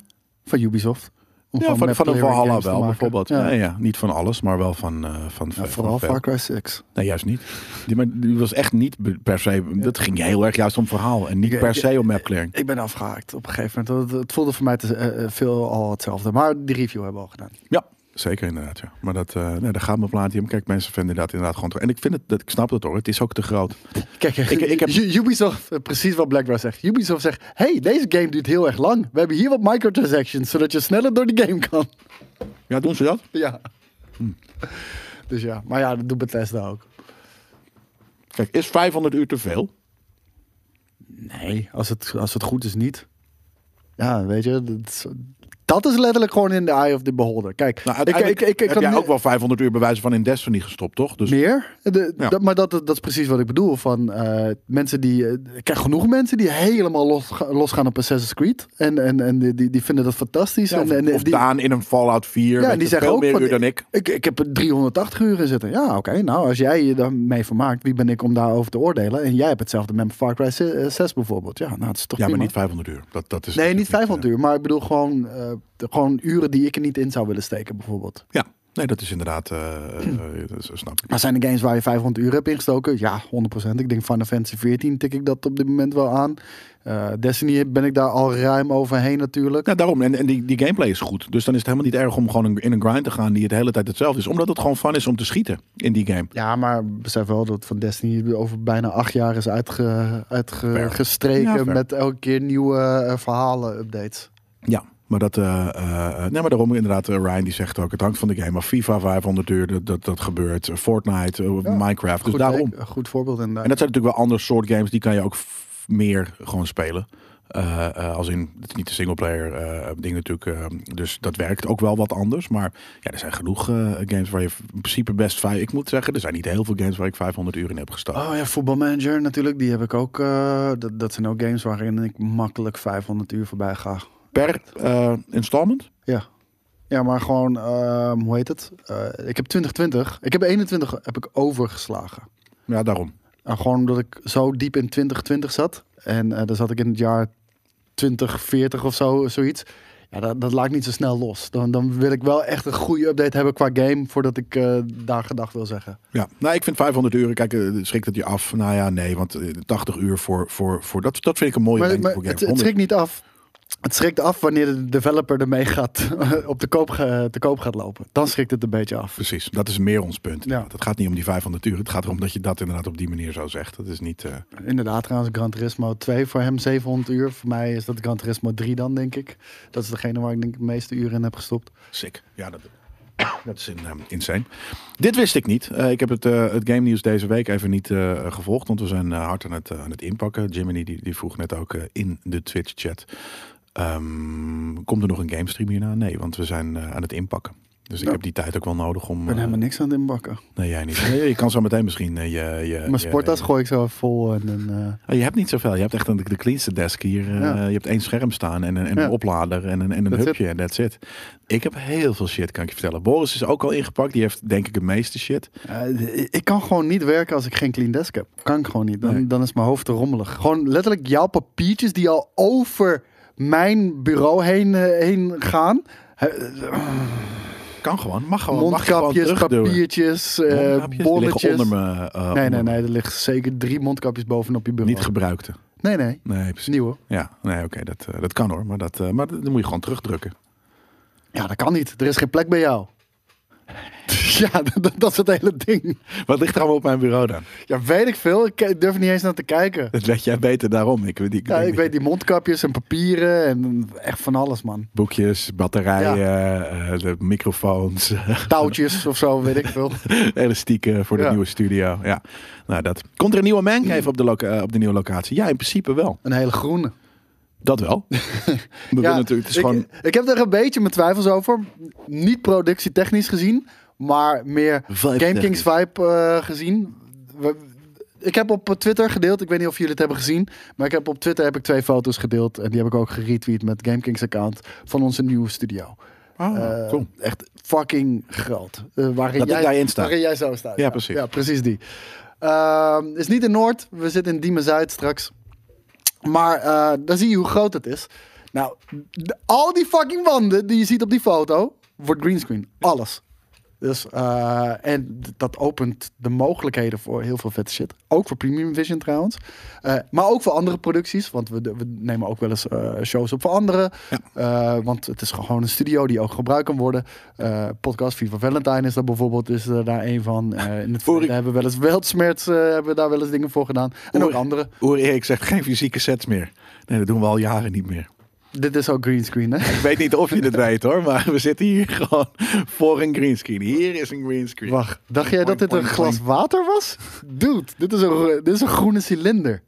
S2: Van Ubisoft. Om
S1: Ja, van,
S2: met
S1: van een
S2: player
S1: Valhalla
S2: games te
S1: wel,
S2: maken.
S1: bijvoorbeeld.
S2: Ja.
S1: Ja. ja, niet van alles, maar wel van, eh, van,
S2: Ja,
S1: van
S2: vooral
S1: veel.
S2: Far Cry 6.
S1: Nee, juist niet. Die, maar die was echt niet be- per se. Dat ging heel erg juist om verhaal en niet
S2: Ik-
S1: per
S2: ik-
S1: se om mapclearing.
S2: Ik ben afgehaakt op een gegeven moment. Het, het voelde voor mij te, eh, eh, veel al hetzelfde. Maar die review hebben we al gedaan.
S1: Ja, zeker inderdaad. Ja. Maar dat, eh nee, daar gaat mijn plaatje om. Kijk, mensen vinden dat inderdaad gewoon. te- En ik vind het, dat, ik snap dat hoor. Het is ook te groot.
S2: Kijk,
S1: Ik- ik heb-
S2: U- Ubisoft, eh, precies wat Blackbird zegt. Ubisoft zegt, hey, deze game duurt heel erg lang. We hebben hier wat microtransactions, zodat je sneller door de game kan. [laughs]
S1: Ja, doen ze dat?
S2: Ja. Hm. Dus ja, maar ja, dat doet Bethesda ook.
S1: Kijk, is 500 uur te veel? Nou,
S2: Nee, als het, als het goed is niet. Ja, weet je, dat is, dat is letterlijk gewoon in de eye of the beholder. Kijk,
S1: Nou, uiteindelijk heb jij ook wel 500 uur bewijzen van in Destiny gestopt, toch? Dus
S2: meer. De-
S1: Ja.
S2: dat, maar dat, dat is precies wat ik bedoel. Van eh, mensen die. eh, ik ken genoeg mensen die helemaal los, losgaan op Assassin's Creed. En, en, en die- die, die vinden dat fantastisch.
S1: Ja, of,
S2: en, en,
S1: of
S2: die,
S1: Daan in een Fallout 4.
S2: Ja,
S1: Ja,
S2: en die
S1: die zeggen
S2: zeggen
S1: veel
S2: ook
S1: meer
S2: van-
S1: uur dan ik.
S2: ik, ik heb er 380 uur in zitten. Ja, oké. nou, als jij je daarmee vermaakt, wie ben ik om daarover te oordelen? En jij hebt hetzelfde met Far Cry 6 bijvoorbeeld. Ja, nou, dat is toch
S1: Ja, maar
S2: prima.
S1: niet 500 uur. Dat, dat is
S2: Nee, niet
S1: natuurlijk eh,
S2: 500 uur, maar ik bedoel gewoon, eh, de- gewoon uren die ik er niet in zou willen steken, bijvoorbeeld.
S1: Ja, nee, dat is inderdaad. eh, eh, dat snap ik.
S2: Maar zijn er games waar je 500 uur hebt ingestoken? Ja, 100%. Ik denk Final Fantasy 14 tik ik dat op dit moment wel aan. Eh, Destiny ben ik daar al ruim overheen natuurlijk.
S1: Ja, daarom. En, en die, die gameplay is goed. Dus dan is het helemaal niet erg om gewoon een- in een grind te gaan die het de hele tijd hetzelfde is. Omdat het gewoon fun is om te schieten in die game.
S2: Ja, maar besef wel dat van Destiny over bijna acht jaar is uitge,
S1: Fair.
S2: uitgestreken
S1: Ja, fair. Dus
S2: met elke keer nieuwe eh, verhalen, updates.
S1: Ja. Maar dat, eh, eh, nee, maar daarom inderdaad, eh, Ryan die zegt ook, het hangt van de game af. FIFA 500 uur, dat, dat, dat gebeurt. Fortnite, eh,
S2: Ja,
S1: Minecraft, dus
S2: Goed,
S1: daarom.
S2: eh, goed voorbeeld inderdaad.
S1: En dat zijn natuurlijk wel andere soort games, die kan je ook f- meer gewoon spelen. Eh, eh, als in, het is niet een singleplayer eh ding natuurlijk, eh, dus dat werkt ook wel wat anders. Maar ja, er zijn genoeg eh, games waar je in principe best vijf... Ik moet zeggen, er zijn niet heel veel games waar ik 500 uur in heb gestoken.
S2: Oh ja, voetbalmanager natuurlijk, die heb ik ook. eh, dat, dat zijn ook games waarin ik makkelijk 500 uur voorbij ga.
S1: per eh, installment.
S2: Ja, ja maar gewoon, ehm, hoe heet het? Eh, ik heb 2020, ik heb 21 heb ik overgeslagen.
S1: Ja, daarom.
S2: En gewoon omdat ik zo diep in 2020 zat. En eh dan zat ik in het jaar 2040 of zo, zoiets. Ja, dat, dat laat ik niet zo snel los. Dan, dan wil ik wel echt een goede update hebben qua game voordat ik eh, daar gedag wil zeggen.
S1: Ja, nou, ik vind 500 euro. Kijk, eh, schrikt het je af? Nou ja, nee, want eh, 80 uur voor, voor, voor dat, dat vind ik een mooie
S2: Maar,
S1: lengte
S2: maar
S1: voor
S2: het,
S1: games.
S2: het
S1: 100
S2: schrikt niet af. Het schrikt af wanneer de developer ermee gaat, [laughs] op de koop, ge- te koop gaat lopen. Dan schrikt het een beetje af.
S1: Precies, dat is meer ons punt.
S2: Ja.
S1: Het gaat niet om die 500 uur. Het gaat erom dat je dat inderdaad op die manier zo zegt. Dat is niet. eh,
S2: Inderdaad, trouwens, Gran Turismo 2 voor hem 700 uur. Voor mij is dat Gran Turismo 3 dan, denk ik. Dat is degene waar ik denk ik de meeste uren in heb gestopt.
S1: Sick. Ja, dat, [coughs] dat is in, ehm, insane. Dit wist ik niet. Eh, ik heb het, eh, het game nieuws deze week even niet eh, gevolgd, want we zijn eh, hard aan het, eh, aan het inpakken. Jiminy die, die vroeg net ook eh, in de Twitch chat. ehm, komt er nog een gamestream hierna? Nee, want we zijn eh, aan het inpakken. Dus ik heb die tijd ook wel nodig om...
S2: Ik ben
S1: eh,
S2: helemaal niks aan het inbakken.
S1: nee, jij niet. Nee, je kan zo meteen misschien eh, je... je
S2: Mijn
S1: je-
S2: sporttas gooi ik zo even vol. En, dan, eh,
S1: Ah, je hebt niet zoveel. Je hebt echt een, de cleanste desk hier. eh,
S2: Ja.
S1: Je hebt één scherm staan en een, en
S2: Ja.
S1: een oplader en een, en een
S2: That's
S1: hubje en that's it. Ik heb heel veel shit, kan ik je vertellen. Boris is ook al ingepakt. Die heeft denk ik het meeste shit.
S2: eh, ik kan gewoon niet werken als ik geen clean desk heb. Kan ik gewoon niet. Dan,
S1: Nee.
S2: dan is mijn hoofd te rommelig. Gewoon letterlijk jouw papiertjes die al over mijn bureau heen, eh, heen gaan. eh,
S1: Kan gewoon. Mag gewoon. mag je
S2: Mondkapjes,
S1: gewoon terugduwen.
S2: papiertjes, eh,
S1: Mondkapjes? Die liggen
S2: bonnetjes.
S1: onder me. eh,
S2: Nee,
S1: onder
S2: nee,
S1: me.
S2: nee. Er liggen zeker drie mondkapjes bovenop je bureau.
S1: Niet gebruikte.
S2: nee, nee.
S1: Nee, precies.
S2: Nieuwe.
S1: Ja, nee, oké, dat, eh, dat kan hoor. Maar dat, eh, maar dat, dat moet je gewoon terugdrukken.
S2: Ja, dat kan niet. Er is geen plek bij jou. [laughs] ja, [laughs] dat, dat is het hele ding.
S1: Wat ligt er allemaal op mijn bureau dan?
S2: Ja, weet ik veel. Ik ke- durf er niet eens naar te kijken.
S1: Dat weet jij beter daarom. Ik, ik,
S2: Ja,
S1: denk
S2: ik
S1: dat-
S2: weet die mondkapjes en papieren en echt van alles, man.
S1: Boekjes, batterijen, eh, de microfoons,
S2: Touwtjes of zo, weet ik veel.
S1: [laughs] elastieken eh, voor de
S2: Ja.
S1: nieuwe studio. Ja, nou dat. Komt er een nieuwe
S2: [clears throat]
S1: mancave op de, loca- eh, op de nieuwe locatie? Ja, in principe wel.
S2: Een hele groene.
S1: Dat wel.
S2: [laughs]
S1: We willen natuurlijk, het is
S2: ik,
S1: gewoon
S2: ik heb er een beetje mijn twijfels over. Niet productietechnisch gezien, maar meer
S1: Vibe-technisch.
S2: GameKings vibe eh, gezien. We- ik heb op eh, Twitter gedeeld, ik weet niet of jullie het hebben gezien, maar ik heb op Twitter heb ik twee foto's gedeeld en die heb ik ook geretweet met GameKings account van onze nieuwe studio.
S1: Ah,
S2: Eh,
S1: cool.
S2: Echt fucking groot. Eh, waarin
S1: Dat ik
S2: jij,
S1: daarin sta.
S2: Waarin jij zo staat.
S1: Ja, precies.
S2: Ja, precies die. Ehm, is niet in Noord. We zitten in Diemen Zuid straks. Maar eh dan zie je hoe groot het is. Nou, d- al die fucking wanden die je ziet op die foto, wordt greenscreen. Alles. Dus, eh, en d- dat opent de mogelijkheden voor heel veel vette shit. Ook voor Premium Vision trouwens. Eh, maar ook voor andere producties. Want we, we nemen ook wel eens eh, shows op voor anderen. Eh, want het is gewoon een studio die ook gebruikt kan worden. Eh, podcast Viva Valentine is daar bijvoorbeeld is er daar een van. Eh, in het verleden hebben we wel eens Weltsmerts, eh, hebben we daar wel eens dingen voor gedaan. En ook
S1: Oer-
S2: andere.
S1: Oer Erik zegt geen fysieke sets meer. Nee, dat doen we al jaren niet meer.
S2: Dit is ook greenscreen, hè?
S1: Ik weet niet of je het weet hoor, maar we zitten hier [laughs] gewoon voor een greenscreen. Hier is een greenscreen.
S2: Wacht, dacht jij dat dit een
S1: Poing, poing,
S2: glas water was? Dude, dit is een, ro- dit is een groene cilinder.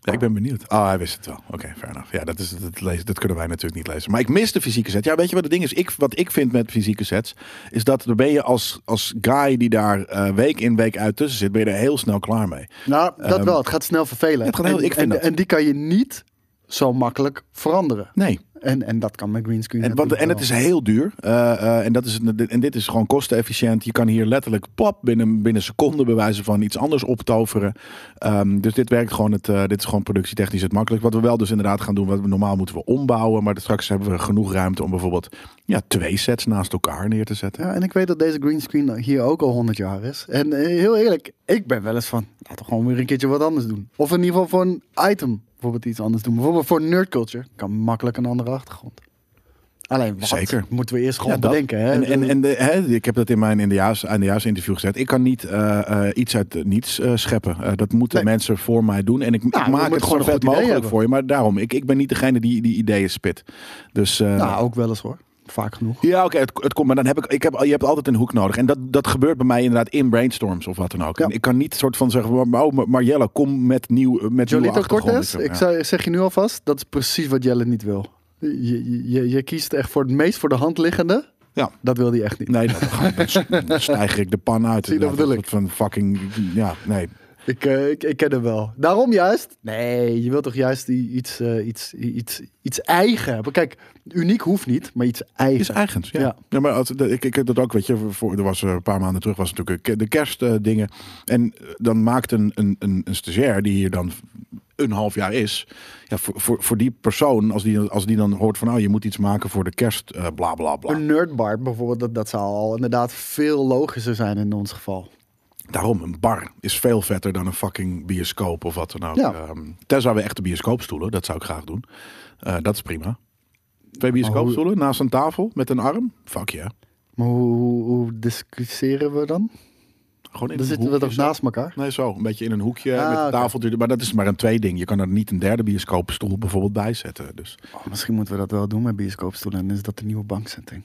S1: Ja, ik ben benieuwd. Ah, hij wist het wel. Oké, fair enough. Ja, dat, is, dat, lezen, dat kunnen wij natuurlijk niet lezen. Maar ik mis de fysieke set. Ja, weet je wat het ding is? Ik, wat ik vind met fysieke sets, is dat dan ben je als, als guy die daar eh, week in week uit tussen zit, ben je er heel snel klaar mee.
S2: Nou, dat
S1: Ehm,
S2: wel. Het gaat snel vervelen.
S1: het gaat heel-
S2: en,
S1: ik vind
S2: en,
S1: dat.
S2: en die kan je niet zo makkelijk veranderen.
S1: Nee.
S2: En, en dat kan met greenscreen.
S1: En, want, en het is heel duur. Eh, eh, en, dat is, en dit is gewoon kostenefficiënt. Je kan hier letterlijk pop binnen, binnen seconden bewijzen van iets anders optoveren. Ehm, dus dit werkt gewoon. Het, eh, dit is gewoon productietechnisch het makkelijk. Wat we wel dus inderdaad gaan doen. Wat we normaal moeten we ombouwen. Maar straks hebben we genoeg ruimte om bijvoorbeeld ja, twee sets naast elkaar neer te zetten.
S2: Ja, en ik weet dat deze greenscreen hier ook al 100 jaar is. En eh, heel eerlijk, ik ben wel eens van, laten we gewoon weer een keertje wat anders doen. Of in ieder geval voor een item bijvoorbeeld iets anders doen. Bijvoorbeeld voor nerd culture kan makkelijk een andere achtergrond. Alleen wat
S1: Zeker.
S2: moeten we eerst gewoon
S1: Ja, dat.
S2: bedenken. Hè?
S1: En, en, en de, hè, ik heb dat in mijn Indiaas, Indiaas interview gezet. Ik kan niet eh, eh, iets uit niets eh, scheppen. Eh, dat moeten
S2: Nee. Nou,
S1: mensen voor mij doen. En ik, ik
S2: je moet
S1: maak het
S2: gewoon
S1: gewoon
S2: een
S1: vet
S2: goed idee
S1: mogelijk
S2: hebben.
S1: voor je. Maar daarom, ik, ik ben niet degene die die ideeën spit. Dus, eh,
S2: Nou, ook wel eens hoor. Vaak genoeg.
S1: Ja, oké, het, het komt. Maar dan heb ik, ik heb, je hebt altijd een hoek nodig. En dat, dat gebeurt bij mij inderdaad in brainstorms of wat dan ook.
S2: Ja.
S1: En ik kan niet soort van zeggen, maar- maar- oh, Marjelle, kom met nieuw eh, met nieuwe
S2: Jolito
S1: achtergrond.
S2: Cortez,
S1: Ja.
S2: ik zou- zeg je nu alvast, dat is precies wat Jelle niet wil. Je, je, je kiest echt voor het meest voor de hand liggende.
S1: Ja.
S2: Dat wil hij echt niet.
S1: Nee, dan, dan stijger ik de pan uit.
S2: [laughs] Zie je, dat
S1: Inderdaad,
S2: bedoel
S1: soort Van fucking, ja, nee.
S2: Ik, eh, ik, ik ken hem wel. Daarom juist. Nee, je wilt toch juist i- iets, eh, iets, i- iets, iets eigen hebben. Kijk, uniek hoeft niet, maar iets eigen.
S1: Is eigens, ja.
S2: Ja.
S1: ja. maar als, de- ik, ik heb dat ook, weet je, voor, er was eh, een paar maanden terug was natuurlijk eh, ke- de kerstdingen. en eh, dan maakt een, een, een, een stagiair die hier dan een half jaar is, ja, voor, voor, voor die persoon, als die, als die dan hoort van, nou, je moet iets maken voor de kerst, eh, bla bla bla.
S2: Een nerdbar bijvoorbeeld, dat, dat zou al inderdaad veel logischer zijn in ons geval.
S1: Daarom, een bar is veel vetter dan een fucking bioscoop of wat dan ook.
S2: Ja.
S1: Ehm, tenzij we echte bioscoopstoelen, dat zou ik graag doen. Eh, dat is prima. Twee bioscoopstoelen naast een tafel met een arm. Fuck ja.
S2: Maar hoe, hoe, hoe discussiëren we dan?
S1: Gewoon in
S2: Dan
S1: een
S2: zitten we
S1: hoekje
S2: toch
S1: zo.
S2: naast elkaar?
S1: Nee, zo. Een beetje in een hoekje
S2: Ah,
S1: met een
S2: oké.
S1: tafeltje. Maar dat is maar een twee ding. Je kan er niet een derde bioscoopstoel bijvoorbeeld bij zetten. Dus.
S2: Oh, misschien moeten we dat wel doen met bioscoopstoelen. En dan is dat de nieuwe bankzetting.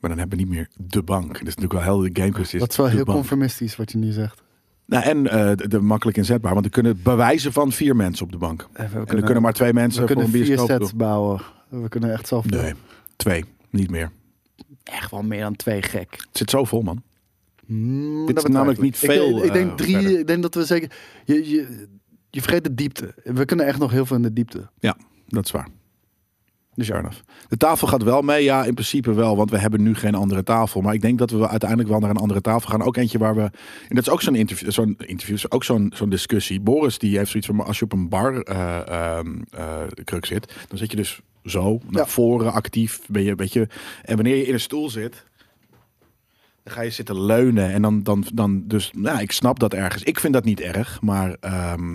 S1: Maar dan hebben we niet meer de bank. Dat is natuurlijk wel heel de Gamecast is.
S2: Dat is wel
S1: de
S2: heel
S1: bank.
S2: conformistisch wat je nu zegt.
S1: Nou, en eh, de, de makkelijk inzetbaar. Want er kunnen bewijzen van vier mensen op de bank.
S2: Eh, We
S1: en er kunnen maar twee mensen
S2: we
S1: voor
S2: kunnen
S1: een
S2: vier
S1: bioscoopstoel.
S2: sets bouwen. We kunnen echt zoveel.
S1: Nee, twee. Niet meer.
S2: echt wel meer dan twee gek.
S1: Het zit zo vol, man.
S2: Hmm,
S1: Dit
S2: dat
S1: is namelijk niet
S2: betwijfel ik.
S1: veel.
S2: Ik, denk- ik denk
S1: eh,
S2: drie,
S1: verder.
S2: ik denk dat we zeker... Je, je, je vergeet de diepte. We kunnen echt nog heel veel in de diepte.
S1: Ja, dat is waar.
S2: Dus
S1: Fair enough. De tafel gaat wel mee, ja, in principe wel, want we hebben nu geen andere tafel. Maar ik denk dat we wel uiteindelijk wel naar een andere tafel gaan. Ook eentje waar we. En dat is ook zo'n interview, zo'n interview, is ook zo'n zo'n discussie. Boris die heeft zoiets van: maar als je op een bar eh, ehm, eh, kruk zit, dan zit je dus zo naar
S2: Ja.
S1: voren actief. Ben je, weet je, en wanneer je in een stoel zit. Dan ga je zitten leunen en dan, dan, dan dus, nou, ik snap dat ergens. Ik vind dat niet erg, maar ehm,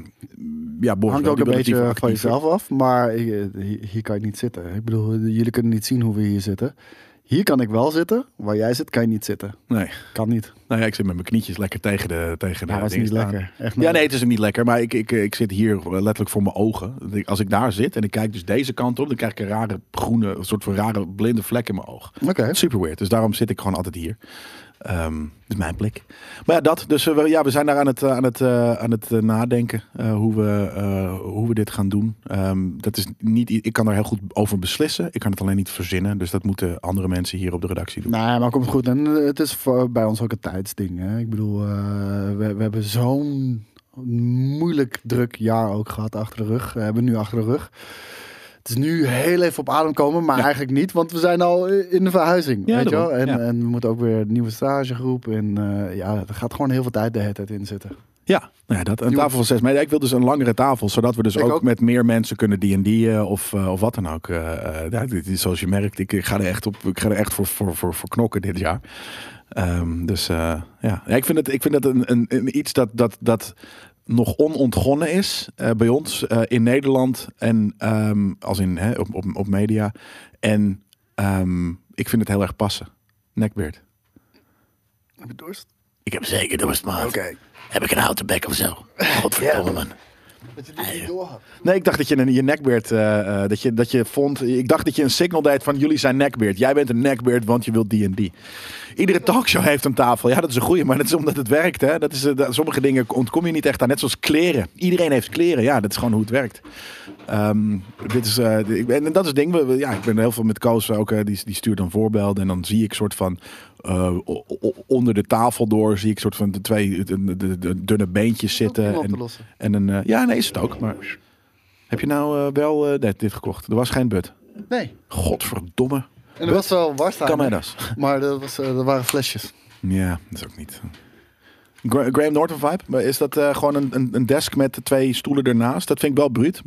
S1: ja, Boris
S2: hangt
S1: wel, die wil
S2: ook een
S1: het liever
S2: beetje van
S1: actiever.
S2: jezelf af, maar eh, hier hier kan je niet zitten. Ik bedoel, jullie kunnen niet zien hoe we hier zitten. Hier kan ik wel zitten, waar jij zit kan je niet zitten.
S1: Nee.
S2: Kan niet.
S1: Nou ja, ik zit met mijn knietjes lekker tegen de tegen
S2: Ja,
S1: de
S2: dat is
S1: dingen
S2: niet
S1: staan.
S2: lekker. Echt
S1: Ja,
S2: niet.
S1: nee, het is hem niet lekker. Maar ik, ik, ik zit hier eh, letterlijk voor mijn ogen. Dat ik- Als ik daar zit en ik kijk dus deze kant op, dan krijg ik een rare groene, een soort van rare blinde vlek in mijn oog.
S2: Oké.
S1: Super weird. Dus daarom zit ik gewoon altijd hier. Ehm dat is mijn plek. Maar ja, dat. Dus eh, we, ja, we zijn daar aan het, eh, aan het, eh, aan het eh, nadenken eh, hoe, we, eh, hoe we dit gaan doen. Ehm, dat is niet, i- ik kan daar heel goed over beslissen. Ik kan het alleen niet verzinnen. Dus dat moeten andere mensen hier op de redactie doen.
S2: Nee, maar komt goed. En eh, het is voor, bij ons ook een tijdsding. Hè? Ik bedoel, eh, we, we hebben zo'n moeilijk druk jaar ook gehad achter de rug. We hebben nu achter de rug. Het is nu heel even op adem komen, maar eigenlijk niet, want we zijn al in de verhuizing.
S1: Ja,
S2: weet je wel?
S1: daarom.
S2: En,
S1: Ja.
S2: en we moeten ook weer een nieuwe stagegroep. En eh, ja, er gaat gewoon heel veel tijd de hele tijd in zitten.
S1: Ja, nou ja dat, een
S2: Je
S1: tafel van zes meter. Ik wil dus een langere tafel, zodat we dus
S2: Ik
S1: ook,
S2: ook.
S1: met meer mensen kunnen D&D'en of, eh, of wat dan ook. Eh, eh, ja, dit is, zoals je merkt, ik, ik ga er echt, op, ik ga er echt voor, voor, voor, voor knokken dit jaar. Ehm, dus eh, ja. ja, ik vind het, ik vind het een, een, een iets dat, dat, dat nog onontgonnen is eh, bij ons eh, in Nederland en ehm, als in hè, op, op, op media. En ehm, ik vind het heel erg passen. Neckbeard.
S2: Heb je dorst?
S1: Ik heb zeker dorst, maar
S2: Oké.
S1: heb ik een houten bek of zo? Godverdomme man.
S2: Dat je dit niet door had.
S1: Nee, ik dacht dat je een, je neckbeard, eh, eh, dat, je, dat je vond, ik dacht dat je een signal deed van jullie zijn neckbeard. Jij bent een neckbeard, want je wilt D&D. Iedere talkshow heeft een tafel. Ja, dat is een goeie, maar dat is omdat het werkt. Hè? Dat is, eh, dat- sommige dingen ontkom je niet echt aan, net zoals kleren. Iedereen heeft kleren, ja, dat is gewoon hoe het werkt. Ehm, dit is, eh, ik ben- en dat is het ding, we, we- ja, ik ben heel veel met Koos ook, eh, die, die stuurt dan voorbeelden en dan zie ik soort van eh, o- o- onder de tafel door, zie ik soort van de twee eh, de- de- de- dunne beentjes zitten.
S2: om op te
S1: en-
S2: lossen.
S1: en een, eh, ja, nee, is het ook. Maar heb je nou eh, wel eh, dit, dit gekocht? Er was geen but.
S2: Nee.
S1: Godverdomme.
S2: En er was wel warst
S1: Kan mij dat?
S2: Maar dat, was, eh, dat waren flesjes.
S1: Ja, dat is ook niet. Gra- Graham Norton vibe? Maar Is dat eh, gewoon een, een, een desk met twee stoelen ernaast? Dat vind ik wel bruut.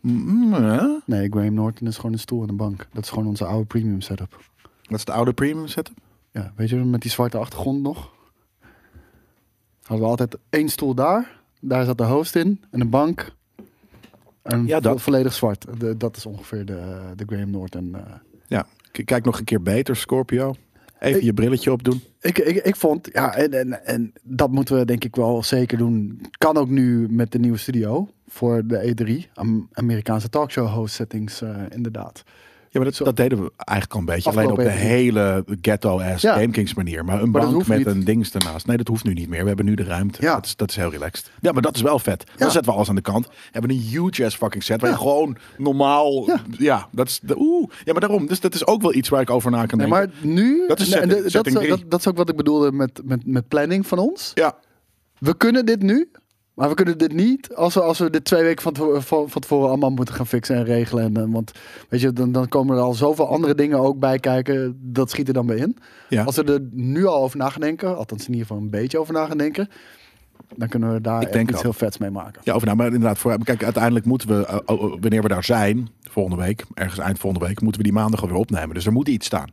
S1: Mm, hè?
S2: Nee, Graham Norton is gewoon een stoel en een bank. Dat is gewoon onze oude premium setup.
S1: Dat is de oude premium setup.
S2: Ja, weet je, met die zwarte achtergrond nog. Hadden we altijd één stoel daar. Daar zat de host in. En een bank. En
S1: Ja,
S2: ja,
S1: dat.
S2: volledig zwart. De- dat is ongeveer de, de Graham Norton. eh.
S1: Ja, K- kijk nog een keer beter, Scorpio. Even
S2: Ik-
S1: je brilletje opdoen.
S2: Ik, ik, ik vond, ja, en, en, en dat moeten we denk ik wel zeker doen. Kan ook nu met de nieuwe studio voor de E3. Am- Amerikaanse talkshow host settings, eh, inderdaad.
S1: Ja, maar dat,
S2: Zo.
S1: dat deden we eigenlijk al een beetje. Alleen op de
S2: Afgelopen even.
S1: hele ghetto-ass
S2: Ja.
S1: GameKings manier. Maar een
S2: Maar dat
S1: bank
S2: hoeft
S1: met
S2: niet.
S1: een ding ernaast. Nee, dat hoeft nu niet meer. We hebben nu de ruimte.
S2: Ja.
S1: Dat, is, dat is heel relaxed. Ja, maar dat is wel vet. Dan
S2: Ja.
S1: zetten we alles aan de kant. Hebben een huge ass fucking set. Waar je
S2: Ja.
S1: gewoon normaal... Ja,
S2: Ja.
S1: dat is... De, oeh. Ja, maar daarom. Dus dat is ook wel iets waar ik over na kan
S2: Nee,
S1: denken.
S2: maar nu.
S1: Dat is
S2: en- en
S1: setting-
S2: dat-
S1: setting
S2: dat,
S1: drie.
S2: dat, dat is ook wat ik bedoelde met, met, met planning van ons.
S1: Ja.
S2: We kunnen dit nu, maar we kunnen dit niet als we, als we dit twee weken van, te- van, van tevoren allemaal moeten gaan fixen en regelen. En, eh, want weet je, dan, dan komen er al zoveel andere dingen ook bij kijken. Dat schiet er dan bij in.
S1: ja.
S2: Als we er nu al over na gaan denken, althans in ieder geval een beetje over na gaan denken, dan kunnen we daar
S1: Ik
S2: echt
S1: denk
S2: iets
S1: dat.
S2: heel vets mee maken.
S1: Ja, of nou, maar inderdaad, voor, kijk, uiteindelijk moeten we, eh, oh, oh, wanneer we daar zijn, volgende week, ergens eind volgende week, moeten we die maandag alweer opnemen. Dus er moet iets staan.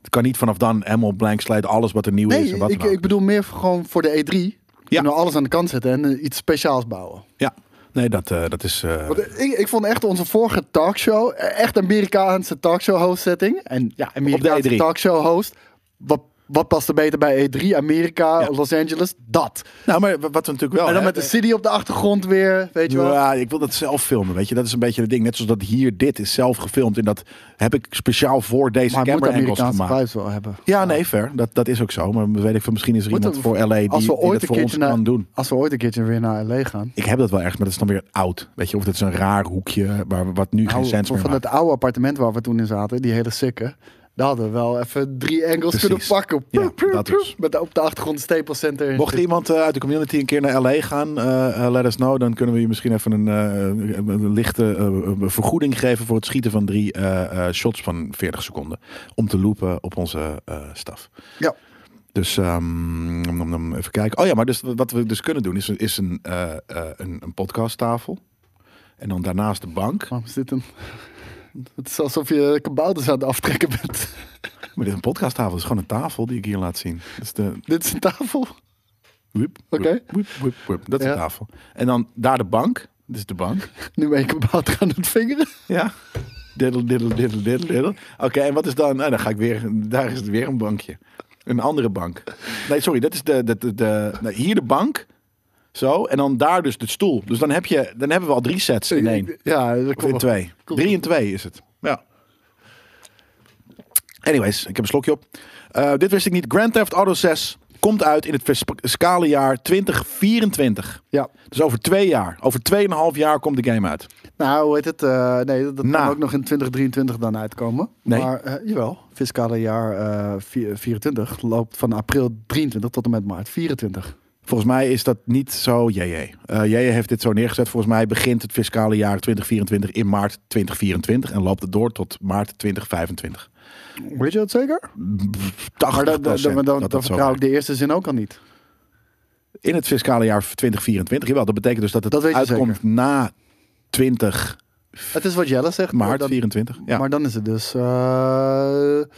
S1: Het kan niet vanaf dan helemaal blank slide alles wat er nieuw is en
S2: Nee,
S1: wat
S2: ik,
S1: dan ook.
S2: ik bedoel meer gewoon voor de E3. Kunnen we alles aan de kant zetten en eh, iets speciaals bouwen.
S1: Ja, nee, dat, eh, dat is... eh,
S2: Want ik, ik vond echt onze vorige talkshow, eh, echt Amerikaanse talkshow host setting. En ja, Amerikaanse
S1: E3.
S2: talkshow host. Wat, wat past er beter bij E3, Amerika,
S1: Ja.
S2: Los Angeles? Dat.
S1: Nou, maar wa- wat we natuurlijk wel.
S2: en dan
S1: hè, eh,
S2: met de city op de achtergrond weer, weet je wel.
S1: ja, ik wil dat zelf filmen, weet je. Dat is een beetje het ding. Net zoals dat hier dit is zelf gefilmd. En dat heb ik speciaal voor deze
S2: maar het moet
S1: camera angles
S2: Amerikaanse
S1: gemaakt.
S2: vibes wel hebben.
S1: Ja, nee, ver. Dat, dat is ook zo. Maar weet ik veel, misschien is er
S2: Moeten
S1: iemand
S2: we-
S1: voor LA die,
S2: Als we,
S1: die
S2: ooit
S1: dat
S2: een
S1: voor ons
S2: keertje naar,
S1: kan doen.
S2: als we ooit een keertje weer naar LA gaan.
S1: Ik heb dat wel ergens, maar dat is dan weer oud. Weet je, of dat is een raar hoekje waar, wat nu geen
S2: Nou,
S1: sens meer
S2: van
S1: maakt.
S2: het oude appartement waar we toen in zaten, die hele sikke. Daar hadden we wel even drie angles
S1: Precies.
S2: kunnen pakken.
S1: Ja, dat dus.
S2: Met de- op de achtergrond Staples Center.
S1: Mocht iemand eh, uit de community een keer naar LA gaan, eh, eh, let us know. Dan kunnen we je misschien even een, eh, een lichte eh, vergoeding geven voor het schieten van drie eh, eh, shots van 40 seconden. Om te loopen op onze eh, staf.
S2: Ja.
S1: Dus ehm, nom, nom, nom, even kijken. Oh ja, maar dus, wat we dus kunnen doen is, is een, eh, eh, een, een podcasttafel. En dan daarnaast de bank.
S2: Waarom is dit een... Het is alsof je kabouters aan het aftrekken bent. [laughs]
S1: Maar dit is een podcasttafel. Het is gewoon een tafel die ik hier laat zien. Dat is de
S2: dit is een tafel.
S1: Wiep,
S2: Oké.
S1: wiep, wiep, wiep, wiep. Dat is
S2: Ja.
S1: de tafel. En dan daar de bank. Dit is de bank.
S2: Nu ben ik kabouter aan het vingeren.
S1: Ja. Diddle, diddle, diddle, diddle, diddle. Oké, en wat is dan? Nou, dan ga ik weer. Daar is het weer een bankje. Een andere bank. Nee, sorry, dat is de. de, de, de nou, hier de bank. Zo. En dan daar dus de stoel. Dus dan, heb je, dan hebben we al drie sets
S2: [laughs]
S1: in één.
S2: Ja, dat
S1: Of
S2: komt
S1: in
S2: wel.
S1: twee.
S2: Cool.
S1: Drie in twee is het. Ja. Anyways, ik heb een slokje op. Eh, dit wist ik niet. Grand Theft Auto 6 komt uit in het fiscale jaar 2024.
S2: Ja.
S1: Dus over twee jaar. Over tweeënhalf jaar komt de game uit.
S2: Nou, hoe heet het? eh, nee, dat, dat
S1: Na.
S2: kan ook nog in 2023 dan uitkomen.
S1: Nee.
S2: Maar eh, jawel, fiscale jaar eh, vier- 24 loopt van april 23 tot en met maart 24.
S1: Volgens mij is dat niet zo JJ. Eh JJ heeft dit zo neergezet. Volgens mij begint het fiscale jaar 2024 in maart 2024 en loopt het door tot maart 2025.
S2: Weet je dat zeker?
S1: 80
S2: Maar dat, dat, dat, dan, dan
S1: zo
S2: vertrouw ik
S1: werkt.
S2: de eerste zin ook al niet.
S1: In het fiscale jaar 2024, jawel. Dat betekent dus dat het
S2: Dat weet je
S1: uitkomt na 20
S2: Het is wat Jelle zegt. maar
S1: maart
S2: dan,
S1: 24. Ja.
S2: Maar dan is het dus... eh,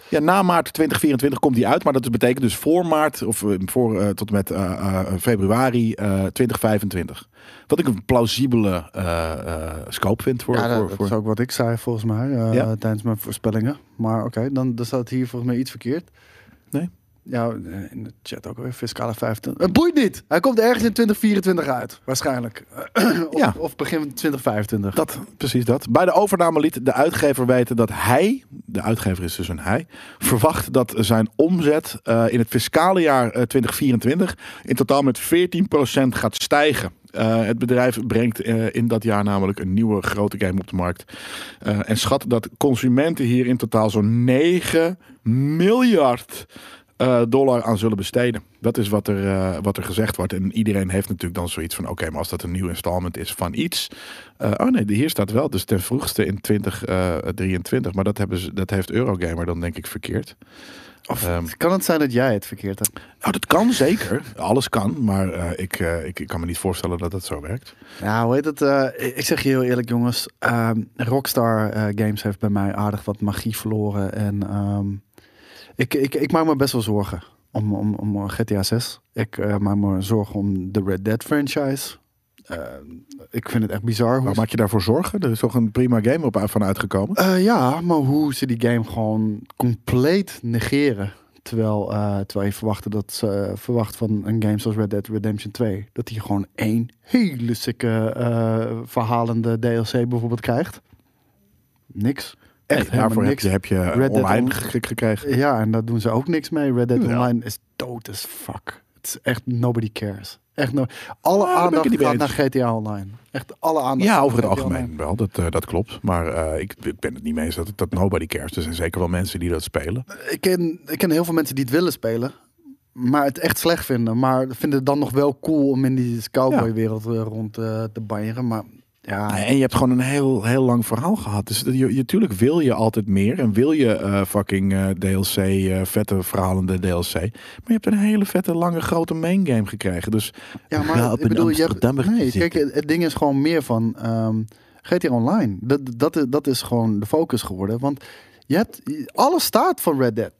S1: ja, na maart 2024 komt die uit. Maar dat dus betekent dus voor maart of eh, voor, eh, tot en met eh, eh, februari eh, 2025. Wat ik een plausibele eh, eh, scope vind voor...
S2: ja, dat,
S1: voor,
S2: dat
S1: voor...
S2: is ook wat ik zei volgens mij eh,
S1: Ja?
S2: tijdens mijn voorspellingen. Maar oké, dan, dan staat hier volgens mij iets verkeerd.
S1: Nee.
S2: Ja, eh, in de chat ook weer fiscale 25. Het boeit niet. Hij komt ergens in 2024 uit, waarschijnlijk. [clears throat] of,
S1: Ja.
S2: of begin 2025.
S1: Dat, precies dat. Bij de overname liet de uitgever weten dat hij, de uitgever is dus een hij, verwacht dat zijn omzet eh, in het fiscale jaar eh, 2024 in totaal met 14% gaat stijgen. Eh, het bedrijf brengt eh, in dat jaar namelijk een nieuwe grote game op de markt. Eh, en schat dat consumenten hier in totaal zo'n 9 miljard eh, dollar aan zullen besteden. Dat is wat er, eh, wat er gezegd wordt. En iedereen heeft natuurlijk dan zoiets van: oké, maar als dat een nieuw installment is van iets. eh, oh nee, hier staat wel. Dus ten vroegste in 2023. maar dat, hebben ze, dat heeft Eurogamer dan denk ik verkeerd. Ehm,
S2: Kan het zijn dat jij het verkeerd hebt?
S1: nou, dat kan zeker. Alles kan. Maar eh, ik, eh, ik, ik kan me niet voorstellen dat dat zo werkt.
S2: Ja, hoe heet het? eh, ik zeg je heel eerlijk, jongens. ehm, Rockstar eh, Games heeft bij mij aardig wat magie verloren. En ehm, ik, ik, ik maak me best wel zorgen om, om, om GTA 6. Ik eh, maak me zorgen om de Red Dead franchise. Eh, ik vind het echt bizar. Hoe
S1: Maar maak je daarvoor zorgen? Er is toch een prima game op, van uitgekomen?
S2: Eh, ja, maar hoe ze die game gewoon compleet negeren. Terwijl, eh, terwijl je verwachtte dat ze eh, verwacht van een game zoals Red Dead Redemption 2. Dat hij gewoon één hele sikke eh, verhalende DLC bijvoorbeeld krijgt. Niks. Echt
S1: Nee, daarvoor
S2: helemaal
S1: heb
S2: niks.
S1: je, heb je
S2: Dead
S1: online
S2: On-
S1: ge- gekregen.
S2: Ja, en daar doen ze ook niks mee. Red Dead
S1: Jawel.
S2: Online is dood as fuck. Het is echt nobody cares. Echt no alle
S1: Ah, daar ben ik het
S2: aandacht
S1: niet mee
S2: gaat naar
S1: eens.
S2: GTA Online. Echt alle aandacht.
S1: Ja,
S2: gaat
S1: over het
S2: naar GTA Online.
S1: algemeen wel. Dat, eh, dat klopt. Maar eh, ik, ik ben het niet mee eens dat, dat nobody cares. Er zijn zeker wel mensen die dat spelen.
S2: ik ken, ik ken heel veel mensen die het willen spelen. Maar het echt slecht vinden. Maar vinden het dan nog wel cool om in die cowboy-wereld eh, rond eh, te banjeren. Maar ja,
S1: Ah, En je hebt gewoon een heel, heel lang verhaal gehad. Dus je, je- tuurlijk wil je altijd meer. En wil je eh, fucking eh, DLC, eh, vette verhalende DLC. Maar je hebt een hele vette, lange, grote main game gekregen. Dus
S2: ja maar
S1: Ja, op een Amsterdammer
S2: nee,
S1: zitten.
S2: kijk, het, het ding is gewoon meer van ehm GTA Online. Dat, dat, is- dat is gewoon de focus geworden. Want je hebt, alles staat van Red Dead.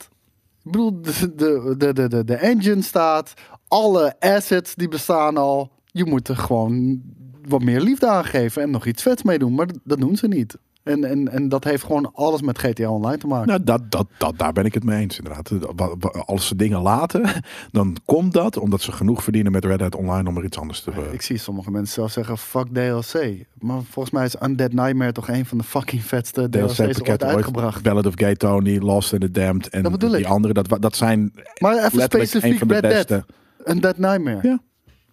S2: Ik bedoel, de, de, de, de, de, de engine staat, alle assets die bestaan al. Je moet er gewoon wat meer liefde aan geven en nog iets vets mee doen. Maar dat- dat doen ze niet. En, en, en dat heeft gewoon alles met GTA Online te maken.
S1: Nou, dat, dat, dat, daar ben ik het mee eens, inderdaad. Wa- wa- Als ze dingen laten, [laughs] dan komt dat omdat ze genoeg verdienen met Red Hat Online om er iets anders te. eh,
S2: Ik zie sommige mensen zelf zeggen, fuck DLC. Maar volgens mij is Undead Nightmare toch een van de fucking vetste DLC's, ooit
S1: DLC-pakketten
S2: uitgebracht.
S1: ooit. Ballad of Gay Tony, Lost in the Damned en
S2: Dat bedoel
S1: die
S2: ik.
S1: andere. Dat, wa- dat zijn
S2: Maar even
S1: letterlijk een
S2: specifiek
S1: van de
S2: Red Dead.
S1: beste.
S2: Undead Nightmare.
S1: Ja.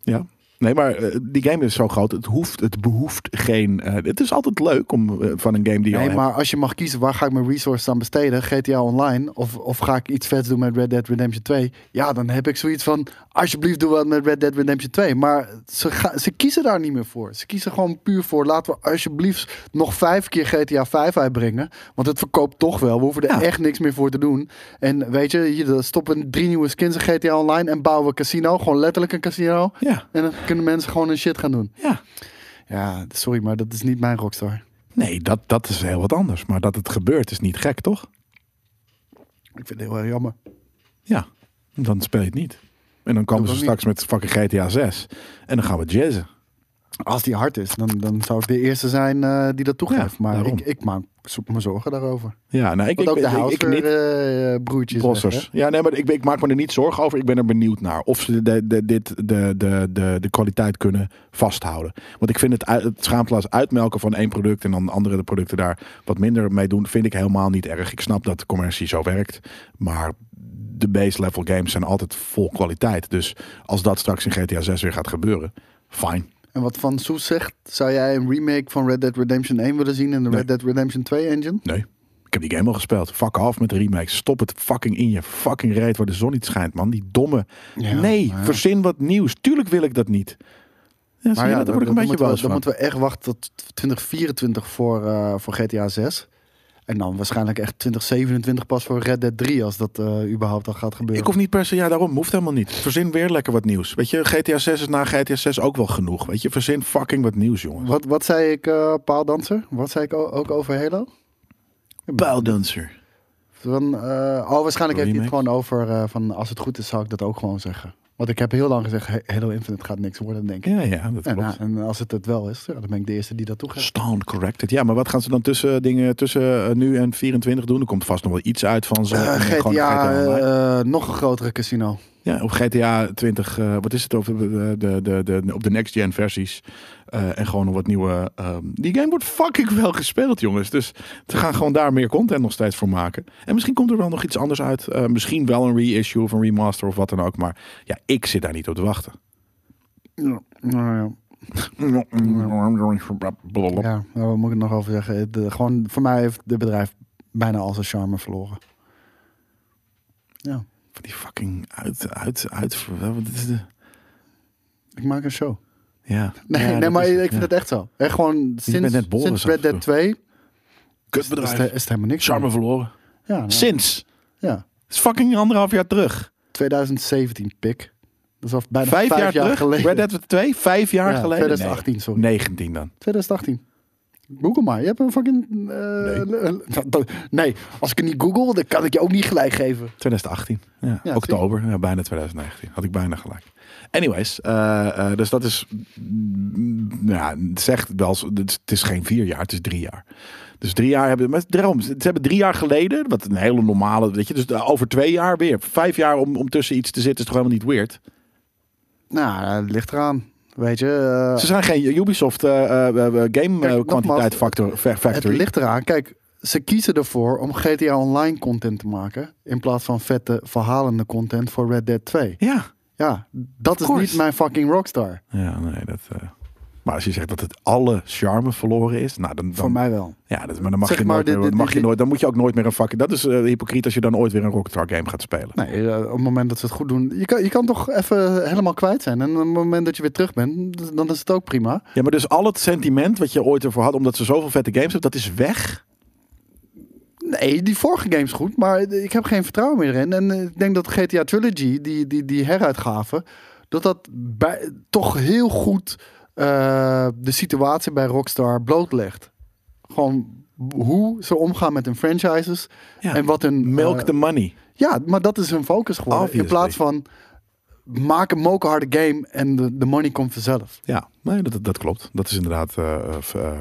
S1: Ja, Nee, maar eh, die game is zo groot. Het, hoeft, het behoeft geen... eh, het is altijd leuk om eh, van een game die je al
S2: Nee,
S1: hebt.
S2: maar als je mag kiezen, waar ga ik mijn resources aan besteden? GTA Online of, of ga ik iets vets doen met Red Dead Redemption 2? Ja, dan heb ik zoiets van, alsjeblieft doe wat met Red Dead Redemption 2. Maar ze, ga- ze kiezen daar niet meer voor. Ze kiezen gewoon puur voor, laten we alsjeblieft nog vijf keer GTA 5 uitbrengen. Want het verkoopt toch wel. We hoeven er
S1: Ja.
S2: echt niks meer voor te doen. En weet je, hier dan stoppen drie nieuwe skins in GTA Online en bouwen we een casino. Gewoon letterlijk een casino.
S1: Ja,
S2: En dan kunnen mensen gewoon hun shit gaan doen.
S1: ja.
S2: Ja, sorry, maar dat is niet mijn rockstar.
S1: Nee, dat, dat is heel wat anders. Maar dat het gebeurt is niet gek, toch?
S2: Ik vind het heel erg jammer.
S1: Ja, dan speel je het niet. En dan komen
S2: Dat
S1: ze
S2: was niet-
S1: straks met fucking GTA 6. En dan gaan we jazzen.
S2: Als die hard is, dan, dan zou ik de eerste zijn eh, die dat toegeeft.
S1: Ja,
S2: maar
S1: daarom.
S2: ik, ik maak zo- me zorgen daarover.
S1: Ja, nou, ik,
S2: Want
S1: ik,
S2: ook de
S1: ik- ik,
S2: Houser
S1: niet.
S2: eh, eh, broertjes. weg,
S1: Bossers. Ja, nee, maar ik, ik maak me er niet zorgen over. Ik ben er benieuwd naar. Of ze de, de, dit, de, de, de, de kwaliteit kunnen vasthouden. Want ik vind het, uit- het schaamteloos uitmelken van één product... en dan andere producten daar wat minder mee doen... vind ik helemaal niet erg. Ik snap dat de commercie zo werkt. Maar de base level games zijn altijd vol kwaliteit. Dus als dat straks in GTA 6 weer gaat gebeuren... fijn.
S2: hè? En wat Van Soes zegt, zou jij een remake van Red Dead Redemption 1 willen zien in de
S1: Nee.
S2: Red Dead Redemption 2 engine?
S1: Nee. Ik heb die game al gespeeld. Fuck af met de remakes. Stop het fucking in je fucking reet waar de zon niet schijnt, man. Die domme.
S2: Ja,
S1: nee,
S2: maar ja.
S1: verzin wat nieuws. Tuurlijk wil ik dat niet. Ja, zie je, daar word ik een beetje
S2: moeten we,
S1: boos van.
S2: dan moeten we echt wachten tot 2024 voor, eh, voor GTA 6. En dan waarschijnlijk echt 2027 pas voor Red Dead 3, als dat eh, überhaupt al gaat gebeuren.
S1: Ik hoef niet per se, ja daarom, hoeft helemaal niet. Verzin weer lekker wat nieuws. Weet je, GTA 6 is na GTA 6 ook wel genoeg. Weet je, verzin fucking wat nieuws, jongen.
S2: Wat, wat zei ik, eh paaldanser? Wat zei ik o- ook over Halo?
S1: Paaldanser.
S2: Van, eh, oh, waarschijnlijk heeft
S1: Remake.
S2: hij het gewoon over eh, van als het goed is, zou ik dat ook gewoon zeggen. Want ik heb heel lang gezegd, He- Halo Infinite gaat niks worden, denk ik.
S1: Ja, ja, dat
S2: En,
S1: klopt.
S2: nou, en als het het wel is, ja, dan ben ik de eerste die dat toegeeft.
S1: Stand corrected. Ja, maar wat gaan ze dan tussen dingen tussen eh, nu en 24 doen? Er komt vast nog wel iets uit van ze.
S2: Eh,
S1: en gewoon
S2: GTA,
S1: Online.
S2: eh, nog een grotere casino.
S1: Ja, op GTA 20, eh, wat is het over de, de, de, de, op de next gen versies. Eh, en gewoon nog wat nieuwe. ehm, die game wordt fucking wel gespeeld, jongens. Dus ze gaan gewoon daar meer content nog steeds voor maken. En misschien komt er wel nog iets anders uit. Eh, misschien wel een reissue of een remaster of wat dan ook. Maar ja, ik zit daar niet op te wachten.
S2: Ja, nou ja. Ja, nou, wat moet ik er nog over zeggen? De- gewoon, voor mij heeft het bedrijf bijna al zijn charme verloren. Ja,
S1: Van die fucking uit, uit, uit. wat is de-
S2: ik maak een show.
S1: Ja.
S2: Nee,
S1: Ja,
S2: nee
S1: dat
S2: maar
S1: is
S2: ik
S1: het,
S2: vind
S1: ja.
S2: het echt zo. Echt gewoon
S1: bent
S2: sinds,
S1: net Boris
S2: sinds
S1: af en
S2: Red Dead
S1: toe.
S2: 2 is
S1: Kutbedrijf.
S2: het, is het helemaal niks.
S1: Charme
S2: meer.
S1: verloren.
S2: Ja, nou,
S1: Sinds.
S2: ja.
S1: is fucking anderhalf jaar terug.
S2: 2017 pik. Dat is al bijna
S1: Ah, Vijf, jaar, terug?
S2: geleden.
S1: Red Dead 2? Vijf jaar
S2: Ja,
S1: geleden?
S2: 2018, sorry.
S1: Nee, 19 dan.
S2: 2018. Google maar. Je hebt een fucking... eh, eh, dat- nee, als ik het niet google, dan kan ik je ook niet gelijk geven.
S1: 2018. Ja,
S2: Ja,
S1: oktober. Ja, bijna 2019. Had ik bijna gelijk. Anyways, eh, eh, dus dat is... mm, nou ja, het zegt wel... zo- Het het is geen vier jaar, het is drie jaar. Dus drie jaar hebben... Maar daarom, ze hebben drie jaar geleden... Wat een hele normale... Weet je, dus over twee jaar weer. Vijf jaar om, om tussen iets te zitten is toch helemaal niet weird?
S2: Nou, dat ligt eraan. Weet je... eh,
S1: Ze zijn geen Ubisoft eh, eh, eh, game eh,
S2: nogmaals,
S1: kwantiteit factor, fa-
S2: het
S1: factory.
S2: ligt eraan. Kijk, ze kiezen ervoor om GTA Online content te maken... in plaats van vette, verhalende content voor Red Dead 2.
S1: Ja.
S2: Ja, dat is
S1: course.
S2: niet mijn fucking rockstar.
S1: Ja, nee, dat. eh, Maar als je zegt dat het alle charme verloren is, nou dan. dan
S2: Voor mij wel.
S1: Ja, dat, maar dan mag
S2: Zeg
S1: je
S2: maar,
S1: nooit.
S2: dit-
S1: meer- dan
S2: dit-
S1: mag je
S2: dit-
S1: nooit. Dan moet je ook nooit meer een fucking. Dat is eh, hypocriet als je dan ooit weer een Rockstar game gaat spelen.
S2: Nee, eh, op het moment dat ze het goed doen. Je kan, je kan toch even helemaal kwijt zijn. En op het moment dat je weer terug bent, d- dan is het ook prima.
S1: Ja, maar dus al het sentiment wat je ooit ervoor had, omdat ze zoveel vette games hebben, dat is weg.
S2: Nee, die vorige game is goed, maar ik heb geen vertrouwen meer in. En eh, ik denk dat GTA Trilogy, die, die, die heruitgave, dat dat bij, toch heel goed eh, de situatie bij Rockstar blootlegt. Gewoon hoe ze omgaan met hun franchises
S1: Ja.
S2: en wat hun...
S1: Milk
S2: eh,
S1: the money.
S2: Ja, maar dat is hun focus geworden.
S1: Obviously.
S2: In plaats van maak een mokerharde game en de, de money komt vanzelf.
S1: Ja, nee, dat, dat- dat klopt. Dat is inderdaad eh eh, eh, eh,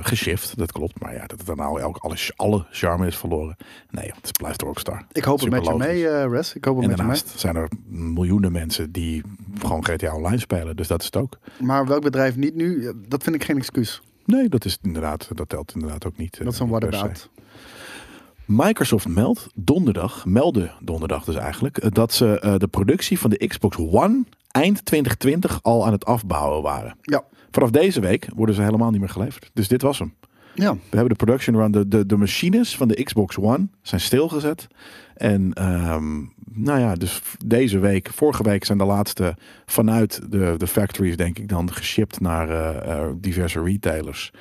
S1: geshift. Dat klopt. Maar ja, dat het dan al elk, alle, alle charme is verloren. Nee, joh, het blijft Rockstar.
S2: Ik hoop het met je
S1: Superlogisch.
S2: mee, eh Res. Ik hoop het
S1: En
S2: met je mee.
S1: daarnaast zijn er miljoenen mensen die gewoon GTA Online spelen. Dus dat is het ook.
S2: Maar welk bedrijf niet nu, eh, dat vind ik geen excuus.
S1: Nee, dat is inderdaad, dat telt inderdaad ook niet. eh,
S2: Dat is een
S1: per se.
S2: what about.
S1: Microsoft meldt donderdag, meldde donderdag dus eigenlijk, eh, dat ze eh, de productie van de Xbox One eind 2020 al aan het afbouwen waren.
S2: Ja.
S1: Vanaf deze week worden ze helemaal niet meer geleverd. Dus dit was hem.
S2: Ja.
S1: We hebben de production run, de, de, de machines van de Xbox One zijn stilgezet. En ehm, nou ja, dus v- deze week, vorige week zijn de laatste vanuit de, de factories denk ik dan geshipped naar eh, eh, diverse retailers.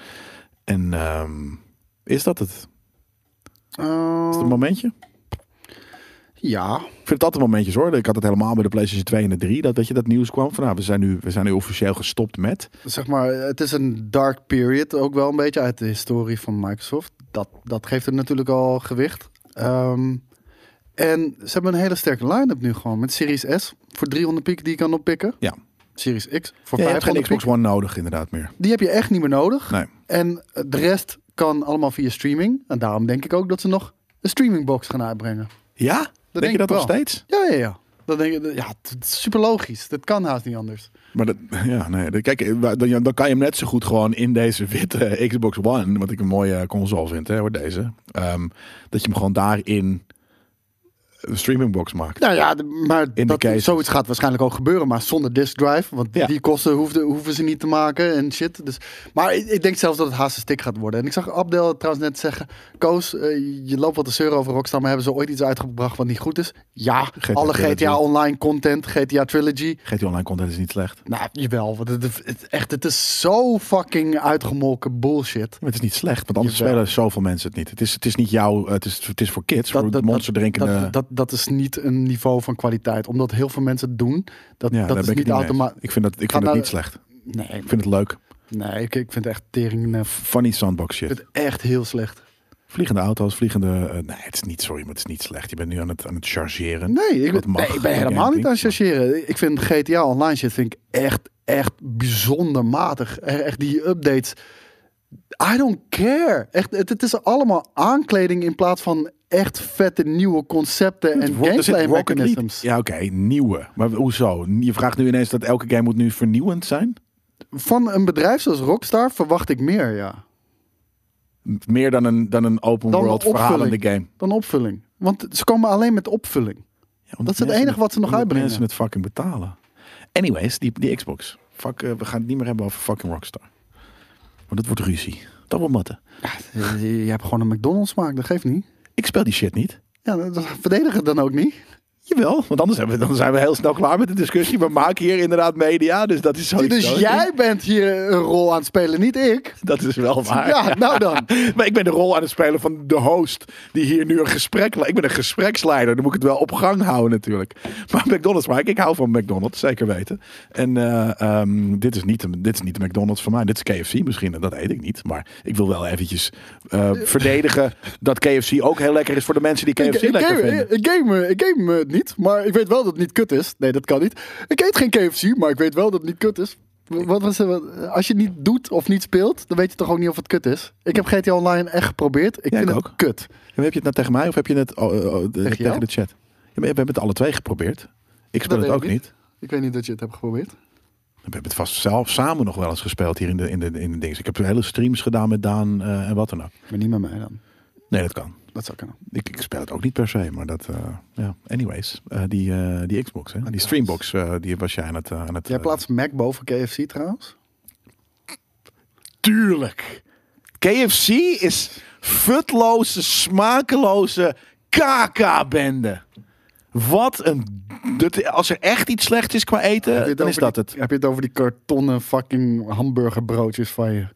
S1: En ehm, is dat het? Is
S2: Eh,
S1: het een momentje?
S2: ja.
S1: Ik vind het altijd momentjes hoor. Ik had het helemaal bij de PlayStation 2 en de 3. Dat, dat je dat nieuws kwam van nou, we zijn nu, we zijn nu officieel gestopt met.
S2: Zeg maar, het is een dark period ook wel een beetje uit de historie van Microsoft. Dat, dat geeft het natuurlijk al gewicht. Ehm, en ze hebben een hele sterke line-up nu gewoon. Met Series S voor 300 piek die je kan oppikken.
S1: Ja.
S2: Series X voor
S1: Ja, je hebt
S2: 500
S1: geen
S2: piek.
S1: Xbox One nodig inderdaad meer.
S2: Die heb je echt niet meer nodig.
S1: Nee.
S2: En eh, de rest kan allemaal via streaming. En daarom denk ik ook dat ze nog een streamingbox gaan uitbrengen.
S1: Ja? denk,
S2: denk
S1: je
S2: ik
S1: dat nog
S2: wel.
S1: steeds?
S2: Ja, ja, ja. Dan denk ik, ja, het is super logisch. Dat kan haast niet anders.
S1: Maar dat, ja, nee. dat- Kijk, eh, dan, dan kan je hem net zo goed gewoon in deze witte [laughs] eh, Xbox One, wat ik een mooie console vind, hè, hoor, deze. ehm, dat je hem gewoon daarin een streamingbox maakt.
S2: Nou ja, de- maar
S1: de
S2: dat,
S1: cases.
S2: zoiets gaat waarschijnlijk ook gebeuren, maar zonder disk drive. Want
S1: Ja.
S2: die kosten hoefden, hoeven ze niet te maken en shit. Dus, maar ik, ik denk zelfs dat het haast een stick gaat worden. En ik zag Abdel trouwens net zeggen... Koos, eh, je loopt wat te zeuren over Rockstar, maar hebben ze ooit iets uitgebracht wat niet goed is? Ja,
S1: GTA
S2: alle GTA
S1: Trilogy.
S2: Online content, GTA Trilogy.
S1: GTA Online content is niet slecht. Ja,
S2: Nou, jawel. Want het, het- echt, het is zo fucking uitgemolken bullshit.
S1: Maar het is niet slecht, want anders
S2: Jawel.
S1: spelen zoveel mensen het niet. Het is, het is niet jouw, eh, het is, het is voor kids, voor monster drinken. eh.
S2: dat, dat, dat is niet een niveau van kwaliteit. Omdat heel veel mensen het doen. Dat,
S1: ja, daar
S2: dat
S1: ben
S2: is
S1: ik
S2: niet
S1: het mee eens.
S2: automatisch.
S1: Ik vind dat, ik
S2: Ga
S1: vind dat
S2: nou-
S1: niet slecht.
S2: Nee,
S1: Ik vind het leuk.
S2: nee ik, ik vind het echt tering. eh, ik
S1: Funny sandbox shit.
S2: vind het echt heel slecht.
S1: Vliegende auto's, vliegende... eh, nee, het is niet, sorry, maar het is niet slecht. Je bent nu aan het, aan het chargeren.
S2: Nee, ik,
S1: Wat
S2: ben-
S1: mag
S2: nee, ik ben
S1: een
S2: helemaal niet
S1: gameping?
S2: aan het chargeren. Ik vind GTA Online shit vind ik echt, echt bijzonder matig. E- Echt die updates. I don't care. Echt, het, het is allemaal aankleding in plaats van echt vette nieuwe concepten en
S1: Ro- er zit
S2: gameplay
S1: Rocket League-
S2: mechanisms.
S1: Ja, oké, nieuwe. Maar hoezo? Je vraagt nu ineens dat elke game moet nu vernieuwend zijn?
S2: Van een bedrijf zoals Rockstar verwacht ik meer, ja.
S1: M- Meer dan een, dan een open
S2: Dan
S1: world
S2: een opvulling.
S1: verhalende game.
S2: Dan opvulling. Want ze komen alleen met opvulling.
S1: Ja,
S2: Dat
S1: omdat
S2: is het
S1: mensen
S2: enige wat ze nog
S1: omdat
S2: uitbrengen.
S1: mensen het fucking betalen. Anyways, die, die Xbox. Fuck, eh, we gaan het niet meer hebben over fucking Rockstar. Want dat wordt ruzie. Dat wordt matten.
S2: Ja, je, je hebt gewoon een McDonald's smaak, dat geeft niet.
S1: Ik speel die shit niet.
S2: Ja, dat, dat verdedigen het dan ook niet.
S1: Jawel, want anders hebben we, dan zijn we heel snel klaar met de discussie. We maken hier inderdaad media, dus dat is zo.
S2: dus jij bent hier een rol aan het spelen, niet ik.
S1: Dat is wel waar. [laughs]
S2: Ja, nou dan.
S1: Maar ik ben de rol aan het spelen van de host die hier nu een gesprek... le- Ik ben een gespreksleider, dan moet ik het wel op gang houden natuurlijk. [laughs] Maar McDonald's, Mike, ik hou van McDonald's, zeker weten. En eh, ehm, dit, is niet, een- dit is niet de McDonald's voor mij, dit is KFC misschien, en dat eet ik niet. Maar ik wil wel eventjes
S2: [laughs]
S1: eh, verdedigen dat KFC ook heel lekker is voor de mensen die
S2: Ik,
S1: KFC
S2: ik,
S1: lekker
S2: game,
S1: vinden.
S2: ik, game, eh, ik game het niet, maar ik weet wel dat het niet kut is. Nee, dat kan niet. Ik eet geen KFC, maar ik weet wel dat het niet kut is. W- Wat was, het- wat- als je het niet doet of niet speelt, dan weet je toch ook niet of het kut is. Ik heb GTA Online echt geprobeerd. Ik
S1: Ja,
S2: vind
S1: ik
S2: het
S1: ook.
S2: kut.
S1: Ja, maar Heb je het nou tegen mij of heb je het oh, oh, oh, de-
S2: Tegen
S1: tegen,
S2: jou?
S1: de chat? Ja, maar we hebben het alle twee geprobeerd. Ik speel
S2: Dat
S1: het
S2: weet
S1: ook
S2: ik
S1: niet.
S2: niet. Ik weet niet dat je het hebt geprobeerd.
S1: We hebben het vast zelf samen nog wel eens gespeeld hier in de, in de, in de dings. Ik heb hele streams gedaan met Daan eh, en wat dan ook.
S2: Maar niet met mij dan.
S1: Nee, dat kan.
S2: Dat zou kunnen.
S1: Ik, ik speel het ook niet per se, maar dat... eh, ja, anyways. eh, die, eh, die Xbox, hè? die Streambox, eh, die was jij aan het... eh, aan het
S2: Jij
S1: eh,
S2: plaatst Mac boven KFC trouwens?
S1: Tuurlijk. KFC is futloze, smakeloze kaka-bende. Wat een... dat- als er echt iets slechts is qua
S2: Heb je
S1: eten,
S2: het
S1: eh, dan is dat
S2: over die-
S1: het.
S2: Heb je het over die kartonnen fucking hamburgerbroodjes van je?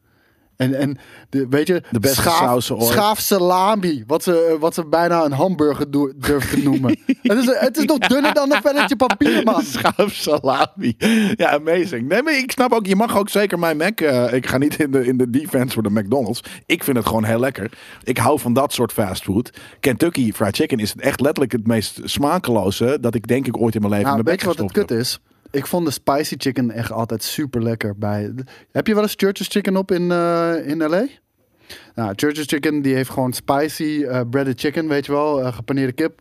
S2: En, en de, weet je,
S1: De beste sausen ooit.
S2: schaaf salami, wat ze, eh, wat ze bijna een hamburger doe- durven te
S1: [laughs]
S2: noemen. het, is, het is nog dunner dan een velletje papier, man.
S1: Schaapsalami. Ja, amazing. Nee, maar ik snap ook, je mag ook zeker mijn Mac. eh, ik ga niet in de, in de defense voor de McDonald's. Ik vind het gewoon heel lekker. Ik hou van dat soort fastfood. Kentucky Fried Chicken is echt letterlijk het meest smakeloze dat ik denk ik ooit in mijn leven
S2: Nou,
S1: in mijn
S2: weet
S1: bek
S2: je wat het
S1: gestopt
S2: kut
S1: heb.
S2: is? Ik vond de spicy chicken echt altijd super lekker. Bij... Heb je wel eens Church's Chicken op in, eh, in L.A.? Nou, Church's Chicken die heeft gewoon spicy eh, breaded chicken, weet je wel, eh, gepaneerde kip.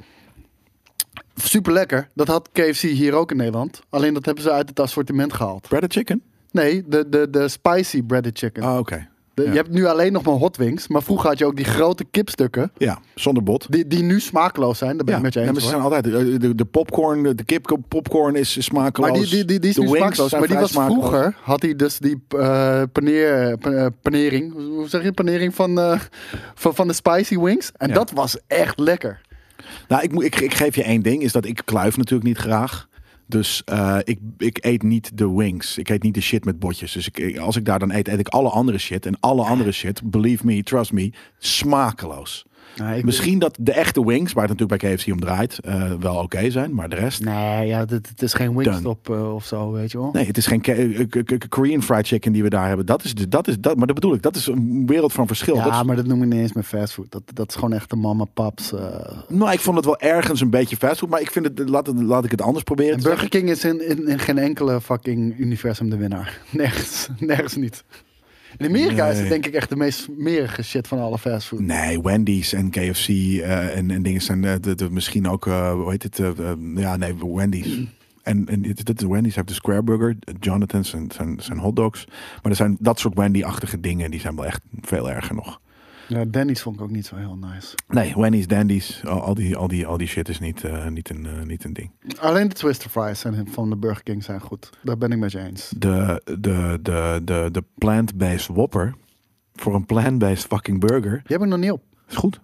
S2: Super lekker. Dat had KFC hier ook in Nederland. Alleen dat hebben ze uit het assortiment gehaald.
S1: Breaded chicken?
S2: Nee, de, de, de spicy breaded chicken.
S1: Ah, oké.
S2: De-
S1: Ja.
S2: Je hebt nu alleen nog maar hot wings. Maar vroeger had je ook die grote kipstukken.
S1: Ja, zonder bot.
S2: Die, die nu smaakloos zijn. Daar ben
S1: Ja,
S2: ik met je
S1: ja,
S2: eens.
S1: maar ze
S2: hoor.
S1: zijn altijd de, de, de popcorn, de, de kip popcorn is is smakeloos.
S2: Maar die, die, die, die is
S1: de
S2: nu
S1: wings
S2: smaakloos.
S1: zijn
S2: Maar die
S1: vrij
S2: was
S1: smakeloos.
S2: vroeger, had hij dus die eh paneer, pa- eh, panering, hoe zeg je, panering van, eh, van, van de spicy wings. En
S1: Ja.
S2: dat was echt lekker.
S1: Nou, ik, moet- ik, ik geef je één ding, is dat ik kluif natuurlijk niet graag. Dus eh, ik, ik eet niet de wings. Ik eet niet de shit met botjes. Dus ik- ik, als ik daar dan eet, eet ik alle andere shit. En alle andere shit, believe me, trust me, smakeloos.
S2: Nou,
S1: Misschien dat de echte wings, waar het natuurlijk bij KFC om draait, eh, wel oké zijn. Maar de rest...
S2: Nee, ja, dit, het is geen Wingstop eh, of zo, weet je wel.
S1: Nee, het is geen K- eh, K- K- Korean fried chicken die we daar hebben. Dat is, de- dat is, dat, maar dat bedoel ik, dat is een wereld van verschil. Dat is-
S2: ja, maar dat noem je niet eens meer fastfood. Dat, dat is gewoon echt de mama paps. eh.
S1: Nou, ik vond het wel ergens een beetje fastfood, maar ik vind het, laat, het- laat ik het anders proberen.
S2: En Burger King is in, in, in geen enkele fucking universum de winnaar. [laughs] Nergens, nergens niet. In Amerika is
S1: Nee.
S2: het denk ik echt de meest smerige shit van alle fastfood.
S1: Nee, Wendy's en KFC eh, en, en dingen zijn eh, de, de- misschien ook, eh, hoe heet het? eh, eh, ja, nee, Wendy's. En, en dit- dit is Wendy's heeft de Square Burger, eh, Jonathan's zijn, zijn, zijn hotdogs. Maar er zijn dat soort Wendy-achtige dingen, die zijn wel echt veel erger nog.
S2: Ja, Denny's vond ik ook niet zo heel nice.
S1: Nee, Wendy's, Dandy's, al, al die, al, die, al die shit is niet, eh, niet, een, eh, niet een ding.
S2: Alleen de Twister Fries zijn, van de Burger King zijn goed. Daar ben ik met je eens.
S1: De, de, de, de, de plant-based Whopper voor een plant-based fucking burger
S2: Die heb ik nog niet op.
S1: is goed.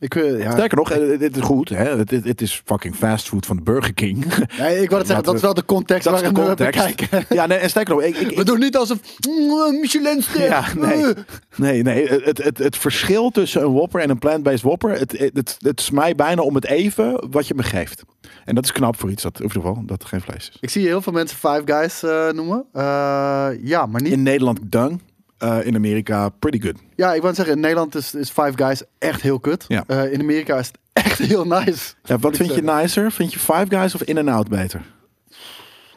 S2: Ik, eh, ja,
S1: Sterker nog, eh, dit is goed. Hè? Het, het, het is fucking fastfood van de Burger King. [laughs]
S2: nee, ik wil het zeggen, dat is wel de context
S1: Dat is de
S2: waarin we
S1: context.
S2: bekijken.
S1: Ja, nee, en sterker nog, ik, ik,
S2: We doen niet alsof mm, Michelinster.
S1: ja, nee,
S2: eh.
S1: nee, nee. Het, het, het verschil tussen een Whopper en een plant-based Whopper, het, het, het, het is mij bijna om het even wat je me geeft. En dat is knap voor iets dat, in ieder geval, dat er geen vlees is.
S2: Ik zie heel veel mensen Five Guys eh, noemen. Eh, ja, maar niet.
S1: In Nederland dung, eh, in Amerika pretty good.
S2: Ja, ik wou zeggen, in Nederland is, is Five Guys echt heel kut.
S1: Ja.
S2: Eh, in Amerika is het echt [laughs] heel nice.
S1: Ja,
S2: moet
S1: wat
S2: ik
S1: vind je
S2: zeggen.
S1: nicer? Vind je Five Guys of In and Out beter?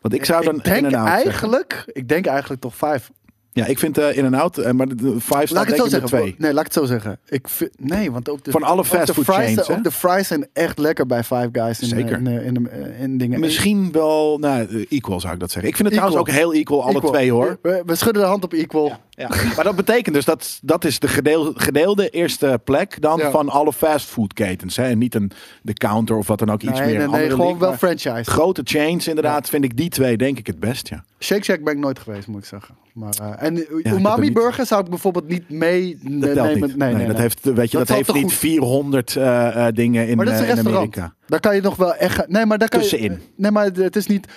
S1: Want ik zou dan
S2: Ik denk
S1: In and Out zeggen.
S2: eigenlijk, ik denk eigenlijk toch vijf.
S1: Ja, ik vind eh, In and Out, eh, maar de- de Five
S2: Laat
S1: staat
S2: ik
S1: denk
S2: het zo
S1: ik
S2: zeggen.
S1: met twee.
S2: Nee, laat ik het zo zeggen. Ik vind, nee, want ook de,
S1: Van alle
S2: ook de
S1: fastfood
S2: fries,
S1: chains, hè?
S2: Ook de fries zijn echt lekker bij Five Guys. In, eh,
S1: Zeker.
S2: In, in, in, in dingen.
S1: Misschien wel, nou, eh, equal zou ik dat zeggen. Ik vind het
S2: Equal.
S1: trouwens ook heel equal, alle
S2: Eh, Equal.
S1: twee hoor.
S2: We, we schudden de hand op equal.
S1: Ja. [laughs] Maar dat betekent dus dat dat is de gedeel- gedeelde eerste plek dan
S2: Ja.
S1: van alle fastfoodketens. hè. En niet een, de counter of wat dan ook, iets
S2: nee,
S1: meer
S2: nee,
S1: een
S2: nee,
S1: andere
S2: gewoon
S1: league,
S2: wel
S1: maar
S2: franchise.
S1: Grote chains inderdaad, vind ik die twee denk ik het best, ja.
S2: Shake Shack ben ik nooit geweest, moet ik zeggen. Maar, eh, en
S1: dat
S2: umami
S1: niet.
S2: burger zou ik bijvoorbeeld niet mee
S1: Dat telt niet.
S2: nemen.
S1: Nee, dat heeft, eh, weet je, dat
S2: Dat telt
S1: heeft
S2: toch
S1: niet
S2: goed?
S1: 400 eh, eh, dingen in,
S2: Maar dat is een
S1: eh, in
S2: restaurant.
S1: Amerika.
S2: Daar kan je nog wel echt. Nee, maar daar kan
S1: Tussenin.
S2: Je, nee, maar het is niet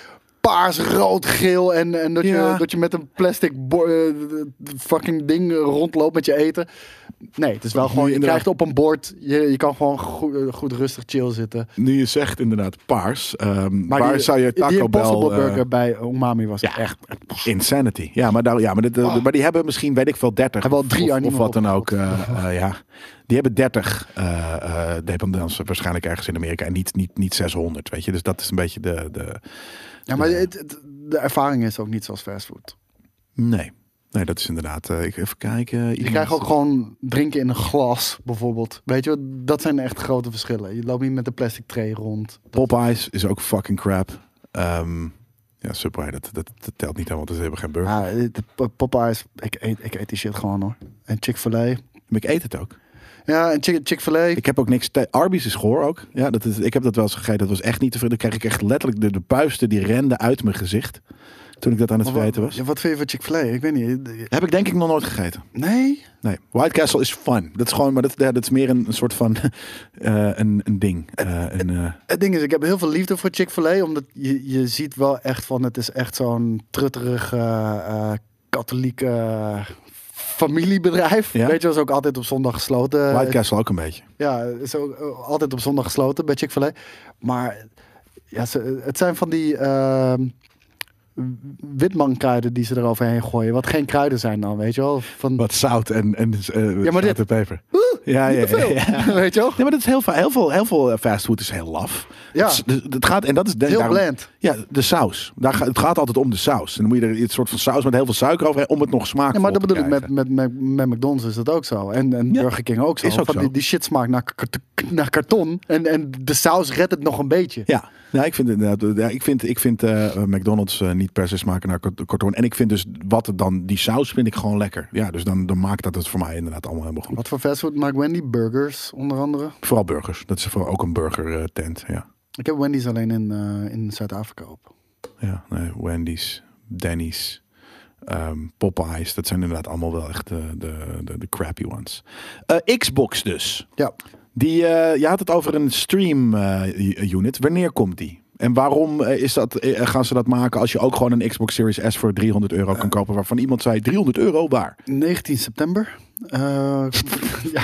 S2: paars, rood, geel en, en dat,
S1: Ja.
S2: je, dat je met een plastic bo- eh, fucking ding rondloopt met je eten. Nee, het is wel
S1: Nu
S2: gewoon. Je
S1: inderdaad-
S2: krijgt op een bord. Je, je kan gewoon goed, eh, goed rustig chill zitten.
S1: Nu je zegt inderdaad paars, ehm maar
S2: die,
S1: zou je Taco
S2: die Impossible
S1: Bell, eh,
S2: Burger bij Umami was
S1: Ja.
S2: echt.
S1: Insanity. Ja, maar, daar, ja, maar, dit, eh, maar die hebben misschien, weet ik veel, 30.
S2: Hebben al
S1: of-
S2: Oh. drie
S1: of,
S2: jaar niet
S1: of
S2: meer
S1: wat dan ook. eh, eh, ja. Die hebben 30 eh eh dependances waarschijnlijk ergens in Amerika. En niet, niet, niet 600, weet je. Dus dat is een beetje de. de
S2: Ja, maar het, het- de ervaring is ook niet zoals fastfood.
S1: nee. Nee, dat is inderdaad. eh, ik even kijken.
S2: Je
S1: iemand-
S2: krijgt ook gewoon drinken in een glas, bijvoorbeeld. Weet je, wat, dat zijn echt grote verschillen. Je loopt niet met een plastic tray rond.
S1: Popeyes is ook fucking crap. Ehm, ja, Subway, dat, dat, dat telt niet aan, want ze hebben geen burger.
S2: Ja, de P- Popeyes, ik eet, ik eet die shit gewoon hoor. En Chick-fil-A.
S1: Maar ik eet het ook.
S2: Ja, en Chick- Chick-fil-A.
S1: Ik heb ook niks. te- Arby's is goor ook. Ja, dat is, ik heb dat wel eens gegeten. Dat was echt niet tevreden. Dan kreeg ik echt letterlijk de, de puisten die renden uit mijn gezicht. Toen ik dat aan het
S2: Maar wa-
S1: vergeten was.
S2: ja, wat vind je van Chick-fil-A? Ik weet niet.
S1: Heb ik denk ik nog nooit gegeten.
S2: Nee?
S1: Nee. White Castle is fun. Dat is gewoon, maar dat, dat is meer een, een soort van [laughs] eh, een, een ding. Eh, een, eh,
S2: Het ding is, ik heb heel veel liefde voor Chick-fil-A. Omdat je, je ziet wel echt van, het is echt zo'n trutterige eh, eh, katholieke eh, familiebedrijf.
S1: Ja.
S2: Weet je, was ook altijd op zondag gesloten.
S1: White Castle ook een beetje.
S2: Ja, is ook eh, altijd op zondag gesloten bij Chick-fil-A. Maar ja, ze, het zijn van die ehm witmankruiden die ze eroverheen gooien. Wat geen kruiden zijn dan, weet je wel. Van, [laughs]
S1: Wat zout en, en ja,
S2: maar dit-
S1: peper. ja, ja, ja, ja.
S2: [laughs] weet je wel?
S1: Nee, maar dat is heel, va- heel veel, heel veel eh, fastfood is heel laf.
S2: Ja.
S1: Het, is- dus dat gaat, en dat is denk,
S2: Heel
S1: daarom-
S2: bland.
S1: Ja, de saus. Daar ga- het gaat altijd om de saus. En dan moet je er iets soort van saus met heel veel suiker over hebben om het nog smaak
S2: Ja, maar dat
S1: te
S2: bedoel ik, met,
S1: krijgen.
S2: met, met, met McDonald's is dat ook zo. En, en
S1: Ja.
S2: Burger King ook zo.
S1: Is ook
S2: Van
S1: zo.
S2: Die, die shit smaakt naar, kart- naar karton. En, en de saus redt het nog een beetje.
S1: Ja, nou, ik vind, inderdaad- ja, ik vind, ik vind eh, McDonald's eh, niet per se smaken naar kart- karton. En ik vind dus wat het dan, die saus vind ik gewoon lekker. Ja, dus dan, dan maakt dat het voor mij inderdaad allemaal helemaal goed.
S2: Wat voor fastfood maakt Wendy? Burgers, onder andere.
S1: Vooral burgers. Dat is vooral ook een burger eh, tent. Ja.
S2: Ik heb Wendy's alleen in, eh, in Zuid-Afrika op.
S1: ja nee, Wendy's, Denny's, ehm, Popeyes. Dat zijn inderdaad allemaal wel echt eh, de, de, de crappy ones. Eh, Xbox dus.
S2: Ja.
S1: Die, eh, je had het over een stream eh, u- unit. Wanneer komt die? En waarom eh, is dat, eh, gaan ze dat maken als je ook gewoon een Xbox Series S voor 300 euro kan kopen? Waarvan iemand zei 300 euro
S2: [laughs]
S1: waar?
S2: 19 september. Eh, [laughs] ja.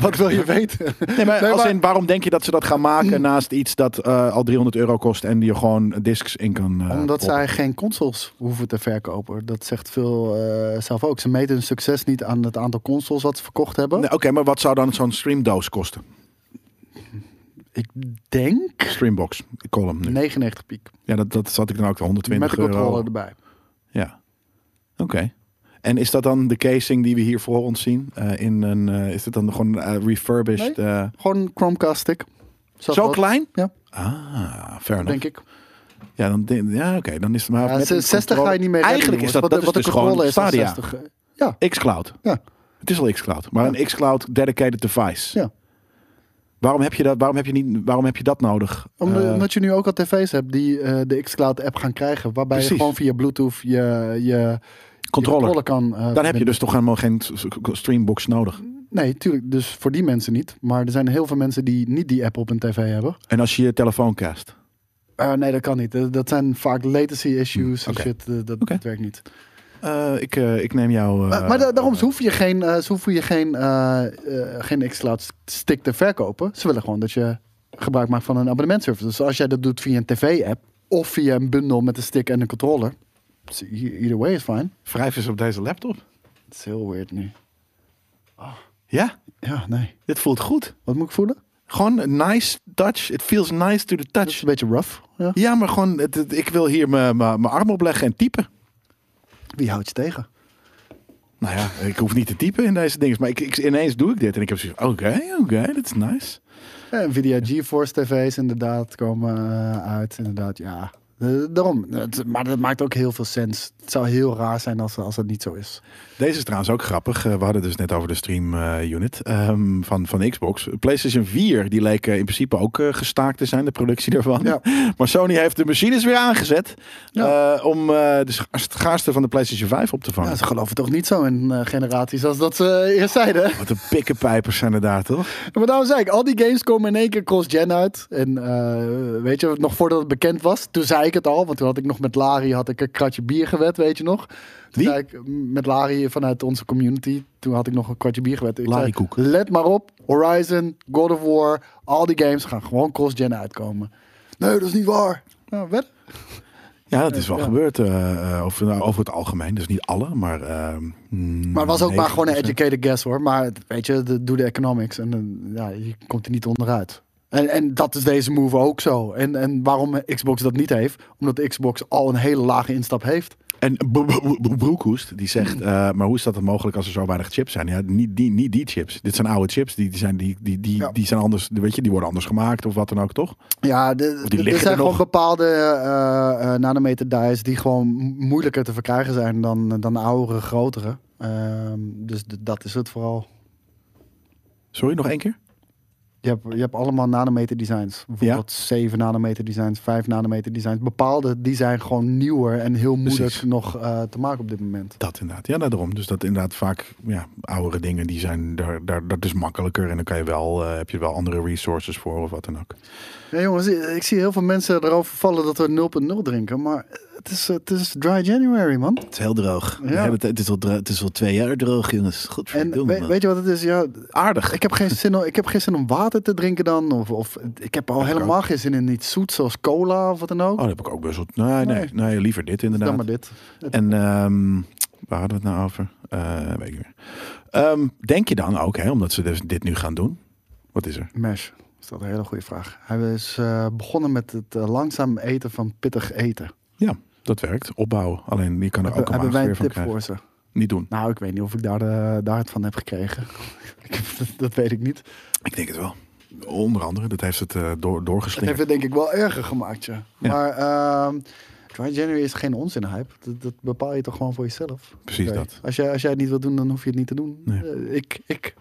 S2: Wat wil [laughs] je weten?
S1: Nee, maar,
S2: Nee,
S1: als
S2: maar- Mm.
S1: in, waarom denk je dat ze dat gaan maken naast iets dat eh, al 300 euro kost en je gewoon discs in kan eh,
S2: Omdat
S1: proppen?
S2: zij geen consoles hoeven te verkopen. Dat zegt veel eh, zelf ook. Ze meten hun succes niet aan het aantal consoles wat ze verkocht hebben.
S1: Nee, Oké, maar wat zou dan zo'n streamdoos kosten?
S2: Ik denk
S1: Streambox, ik call hem nu.
S2: 99 piek.
S1: Ja, dat, dat zat ik dan ook wel, 120
S2: Met de controller
S1: euro.
S2: erbij.
S1: Ja, oké. En is dat dan de casing die we hier voor ons zien? Eh, in een, eh, is dat dan gewoon eh, refurbished? eh,
S2: Gewoon een Chromecast stick. Zo,
S1: Zo
S2: groot,
S1: klein?
S2: Ja.
S1: Ah, fair enough.
S2: denk ik.
S1: Ja, dan, denk- ja oké, dan is het maar...
S2: Ja,
S1: met
S2: ze-
S1: een
S2: 60 ga je
S1: controller-
S2: niet meer redden,
S1: Eigenlijk is
S2: jongens.
S1: dat,
S2: Wat-
S1: dat is
S2: wat de
S1: dus
S2: controller
S1: gewoon
S2: is, dan
S1: Stadia.
S2: 60. Ja,
S1: xCloud.
S2: ja,
S1: Het is al xCloud. Maar een xCloud dedicated device.
S2: ja.
S1: Waarom heb je dat, waarom heb je niet, waarom heb je dat nodig?
S2: Om de-
S1: Eh,
S2: Omdat je nu ook al tv's hebt die eh, de xCloud app gaan krijgen. Waarbij
S1: Precies.
S2: je gewoon via Bluetooth je, je, je
S1: controller.
S2: controller kan. eh,
S1: Dan heb je
S2: verbinden.
S1: dus toch helemaal geen s- s- streambox nodig.
S2: Nee, tuurlijk. Dus voor die mensen niet. Maar er zijn heel veel mensen die niet die app op hun tv hebben.
S1: En als je je telefoon cast.
S2: Eh, nee, dat kan niet. Eh, dat zijn vaak latency issues
S1: Oké.
S2: en shit. eh, dat,
S1: Oké.
S2: dat werkt niet.
S1: Eh, ik, eh, ik neem jou... eh,
S2: Maar- maar da- daarom ze hoeven je geen, eh, ze hoeven je geen, eh, eh, geen xCloud stick te verkopen. Ze willen gewoon dat je gebruik maakt van een abonnementservice. Dus als jij dat doet via een tv-app of via een bundel met een stick en een controller. it's e- Either way is fine.
S1: Wrijf eens op deze laptop.
S2: Het is heel weird nu.
S1: Ja,
S2: Ja, nee.
S1: dit voelt goed.
S2: Wat moet ik voelen?
S1: Gewoon een nice touch. It feels nice to the
S2: Dat is
S1: touch.
S2: een beetje rough. Ja.
S1: Ja, maar gewoon, het- het- ik wil hier mijn- mijn mijn arm op leggen en typen.
S2: Wie houdt je tegen?
S1: Nou ja, ik hoef niet te typen in deze dingen. Maar ik, ik, ineens doe ik dit en ik heb zoiets van, oké, oké, dat is nice.
S2: Ja, Eh, Nvidia GeForce tv's inderdaad komen eh, uit. Inderdaad, ja. Eh, daarom. Het- maar dat maakt ook heel veel sens. Het zou heel raar zijn als, als dat niet zo is.
S1: Deze is trouwens ook grappig. Eh, we hadden het dus net over de stream eh, unit ehm, van, van Xbox. PlayStation 4, die leek eh, in principe ook eh, gestaakt te zijn, de productie daarvan.
S2: Ja.
S1: [laughs] Maar Sony heeft de machines weer aangezet
S2: Ja.
S1: eh, om eh, de scha- schaarste van de PlayStation 5 op te vangen.
S2: Ja, ze geloven toch niet zo in eh, generaties als dat ze eerst zeiden.
S1: Wat een pikkenpijpers zijn er daar, toch?
S2: Maar daarom zei ik, al die games komen in één keer cross-gen uit. En eh, weet je, nog voordat het bekend was, toen zei ik het al. Want toen had ik nog met Larry had ik een kratje bier gewet, weet je nog. Toen
S1: Wie?
S2: zei ik, mm, met Larry vanuit onze community, toen had ik nog een kratje bier gewet. Ik
S1: Larry
S2: zei,
S1: Koek.
S2: Let maar op, Horizon, God of War, al die games gaan gewoon cross-gen uitkomen. Nee, dat is niet waar. Nou, wed.
S1: Ja, dat is wel
S2: Ja.
S1: gebeurd eh, eh, over, nou, over het algemeen. Dus niet alle, maar... ehm, mm,
S2: Maar het was ook maar gewoon een
S1: 90%.
S2: educated guess hoor. Maar weet je, de, doe de economics en dan, ja, je komt er niet onderuit. En, en dat is deze move ook zo. En, en waarom Xbox dat niet heeft? Omdat de Xbox al een hele lage instap heeft.
S1: En Bro- Bro- Bro- Broekhoest die zegt, eh, maar hoe is dat dan mogelijk als er zo weinig chips zijn? Ja, niet die, niet die chips. Dit zijn oude chips. Die, die, zijn, die, die, die,
S2: Ja.
S1: die zijn anders, weet je, die worden anders gemaakt of wat dan ook, toch?
S2: Ja, de,
S1: Of die
S2: de- er
S1: liggen
S2: zijn
S1: er
S2: gewoon
S1: nog.
S2: bepaalde eh, eh, nanometer dies die gewoon mo- moeilijker te verkrijgen zijn dan, dan oudere, grotere. Ehm, dus d- dat is het vooral.
S1: Sorry, nog één keer?
S2: Je hebt, je hebt allemaal nanometer designs. Bijvoorbeeld 7 nanometer designs, 5 nanometer designs. Bepaalde die zijn gewoon nieuwer en heel moeilijk
S1: Precies.
S2: nog eh, te maken op dit moment.
S1: Dat inderdaad. Ja, nou, daarom. Dus dat inderdaad vaak, ja, oudere dingen, die zijn, daar, daar, dat is makkelijker. En dan kan je wel, eh, heb je wel andere resources voor of wat dan ook.
S2: Ja, jongens, ik zie heel veel mensen erover vallen dat we 0.0 drinken. Maar het is, het is dry January, man.
S4: Het is heel droog.
S2: Ja.
S4: Ja. Het, is al, dro- het is al twee jaar droog, jongens.
S2: En
S4: Godverdomme.
S2: weet, weet je wat het is? Ja,
S1: Aardig.
S2: ik, heb geen zin om, ik heb geen zin om water te drinken dan. Of, of ik heb al helemaal geen zin in iets zoets zoals cola of wat dan ook.
S1: Oh, dat heb ik ook best wel. Nee, nee, nee, liever dit inderdaad.
S2: dan maar dit.
S1: En ehm, waar hadden we het nou over? Eh, weet ik niet meer. Ehm, denk je dan ook, hè, omdat ze dus dit nu gaan doen? Wat is er?
S2: Mesh. is dat een hele goede vraag. Hij is eh, begonnen met het eh, langzaam eten van pittig eten.
S1: Ja, dat werkt. Opbouwen. Alleen je kan er ook
S2: Hebben
S1: een
S2: hebben wij
S1: maagsfeer
S2: een
S1: van
S2: tip
S1: krijgen.
S2: voor ze?
S1: Niet doen.
S2: Nou, ik weet niet of ik daar, de, daar het van heb gekregen. [laughs] Ik heb- dat weet ik niet.
S1: Ik denk het wel. Onder andere, dat heeft het eh, door,
S2: Het
S1: doorgeslingerd.
S2: heeft het denk ik wel erger gemaakt, ja.
S1: Ja.
S2: Maar ehm Dry January is geen onzinhype. Dat, dat bepaal je toch gewoon voor jezelf.
S1: Precies
S2: Oké.
S1: dat.
S2: Als jij, als jij het niet wilt doen, dan hoef je het niet te doen.
S1: Nee.
S2: Eh, ik, ik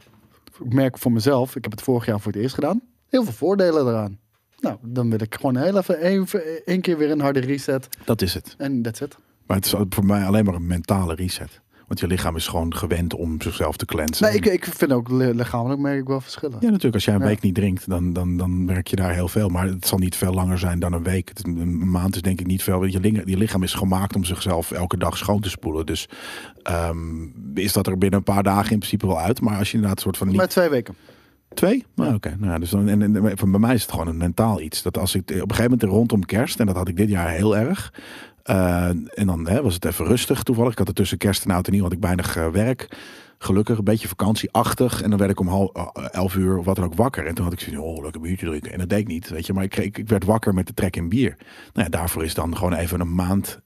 S2: merk voor mezelf, ik heb het vorig jaar voor het eerst gedaan, heel veel voordelen eraan. Nou, dan wil ik gewoon heel even één- één keer weer een harde reset
S1: Dat is het.
S2: en that's it.
S1: Maar het is voor mij alleen maar een mentale reset. Want je lichaam is gewoon gewend om zichzelf te cleansen.
S2: Nee, ik, ik vind ook li- lichamelijk merk ik wel verschillen.
S1: Ja, natuurlijk. Als jij een
S2: Ja.
S1: week niet drinkt, dan, dan, dan merk je daar heel veel. Maar het zal niet veel langer zijn dan een week. Het- Een maand is denk ik niet veel. Want Je, ling- je lichaam is gemaakt om zichzelf elke dag schoon te spoelen. Dus ehm, is dat er binnen een paar dagen in principe wel uit. Maar als je inderdaad soort van niet...
S2: Maar twee weken.
S1: Twee? Nou, oké. Nou, ja, dus dan, en, en- en voor bij mij is het gewoon een mentaal iets. Dat als ik op een gegeven moment rondom kerst, en dat had ik dit jaar heel erg. eh, en dan hè, was het even rustig toevallig. Ik had er tussen kerst en oud en nieuw had ik weinig eh, werk. Gelukkig, een beetje vakantieachtig. En dan werd ik om half eh, elf uur of wat dan ook wakker. En toen had ik zoiets van, oh, lekker biertje drinken. En dat deed ik niet, weet je. Maar ik, kreeg- ik werd wakker met de trek in bier. Nou ja, daarvoor is dan gewoon even een maand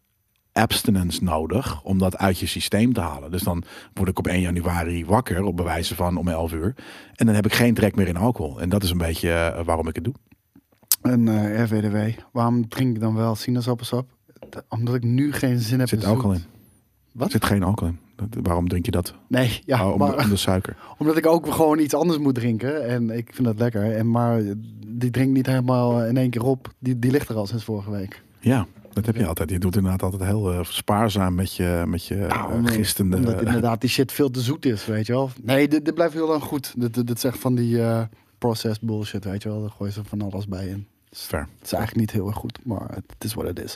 S1: abstinence nodig om dat uit je systeem te halen. Dus dan word ik op 1 januari wakker, op bewijzen van om 11 uur. En dan heb ik geen trek meer in alcohol. En dat is een beetje eh, waarom ik het doe.
S2: En eh, RVDW, waarom drink ik dan wel sinaasappelsap? D- Omdat ik nu geen zin heb
S1: Er zit
S2: zoet.
S1: alcohol in.
S2: Wat?
S1: Er zit geen alcohol in. Dat- waarom drink je dat?
S2: Nee, ja,
S1: Oh, om,
S2: maar,
S1: de, om de suiker.
S2: [laughs] omdat ik ook gewoon iets anders moet drinken. En ik vind dat lekker. En, maar die drinkt niet helemaal eh, in één keer op. Die, die ligt er al sinds vorige week.
S1: Ja, dat heb je altijd. Je doet inderdaad altijd heel eh, spaarzaam met je, met je eh,
S2: Nou, omdat-
S1: gistende...
S2: Omdat
S1: [laughs]
S2: inderdaad die shit veel te zoet is, weet je wel. Nee, dit, dit blijft heel lang goed. Dit, dit, dit zegt van die eh, process bullshit, weet je wel. Daar gooien ze van alles bij in.
S1: Ver.
S2: Het is eigenlijk niet heel erg goed, maar het is wat het is.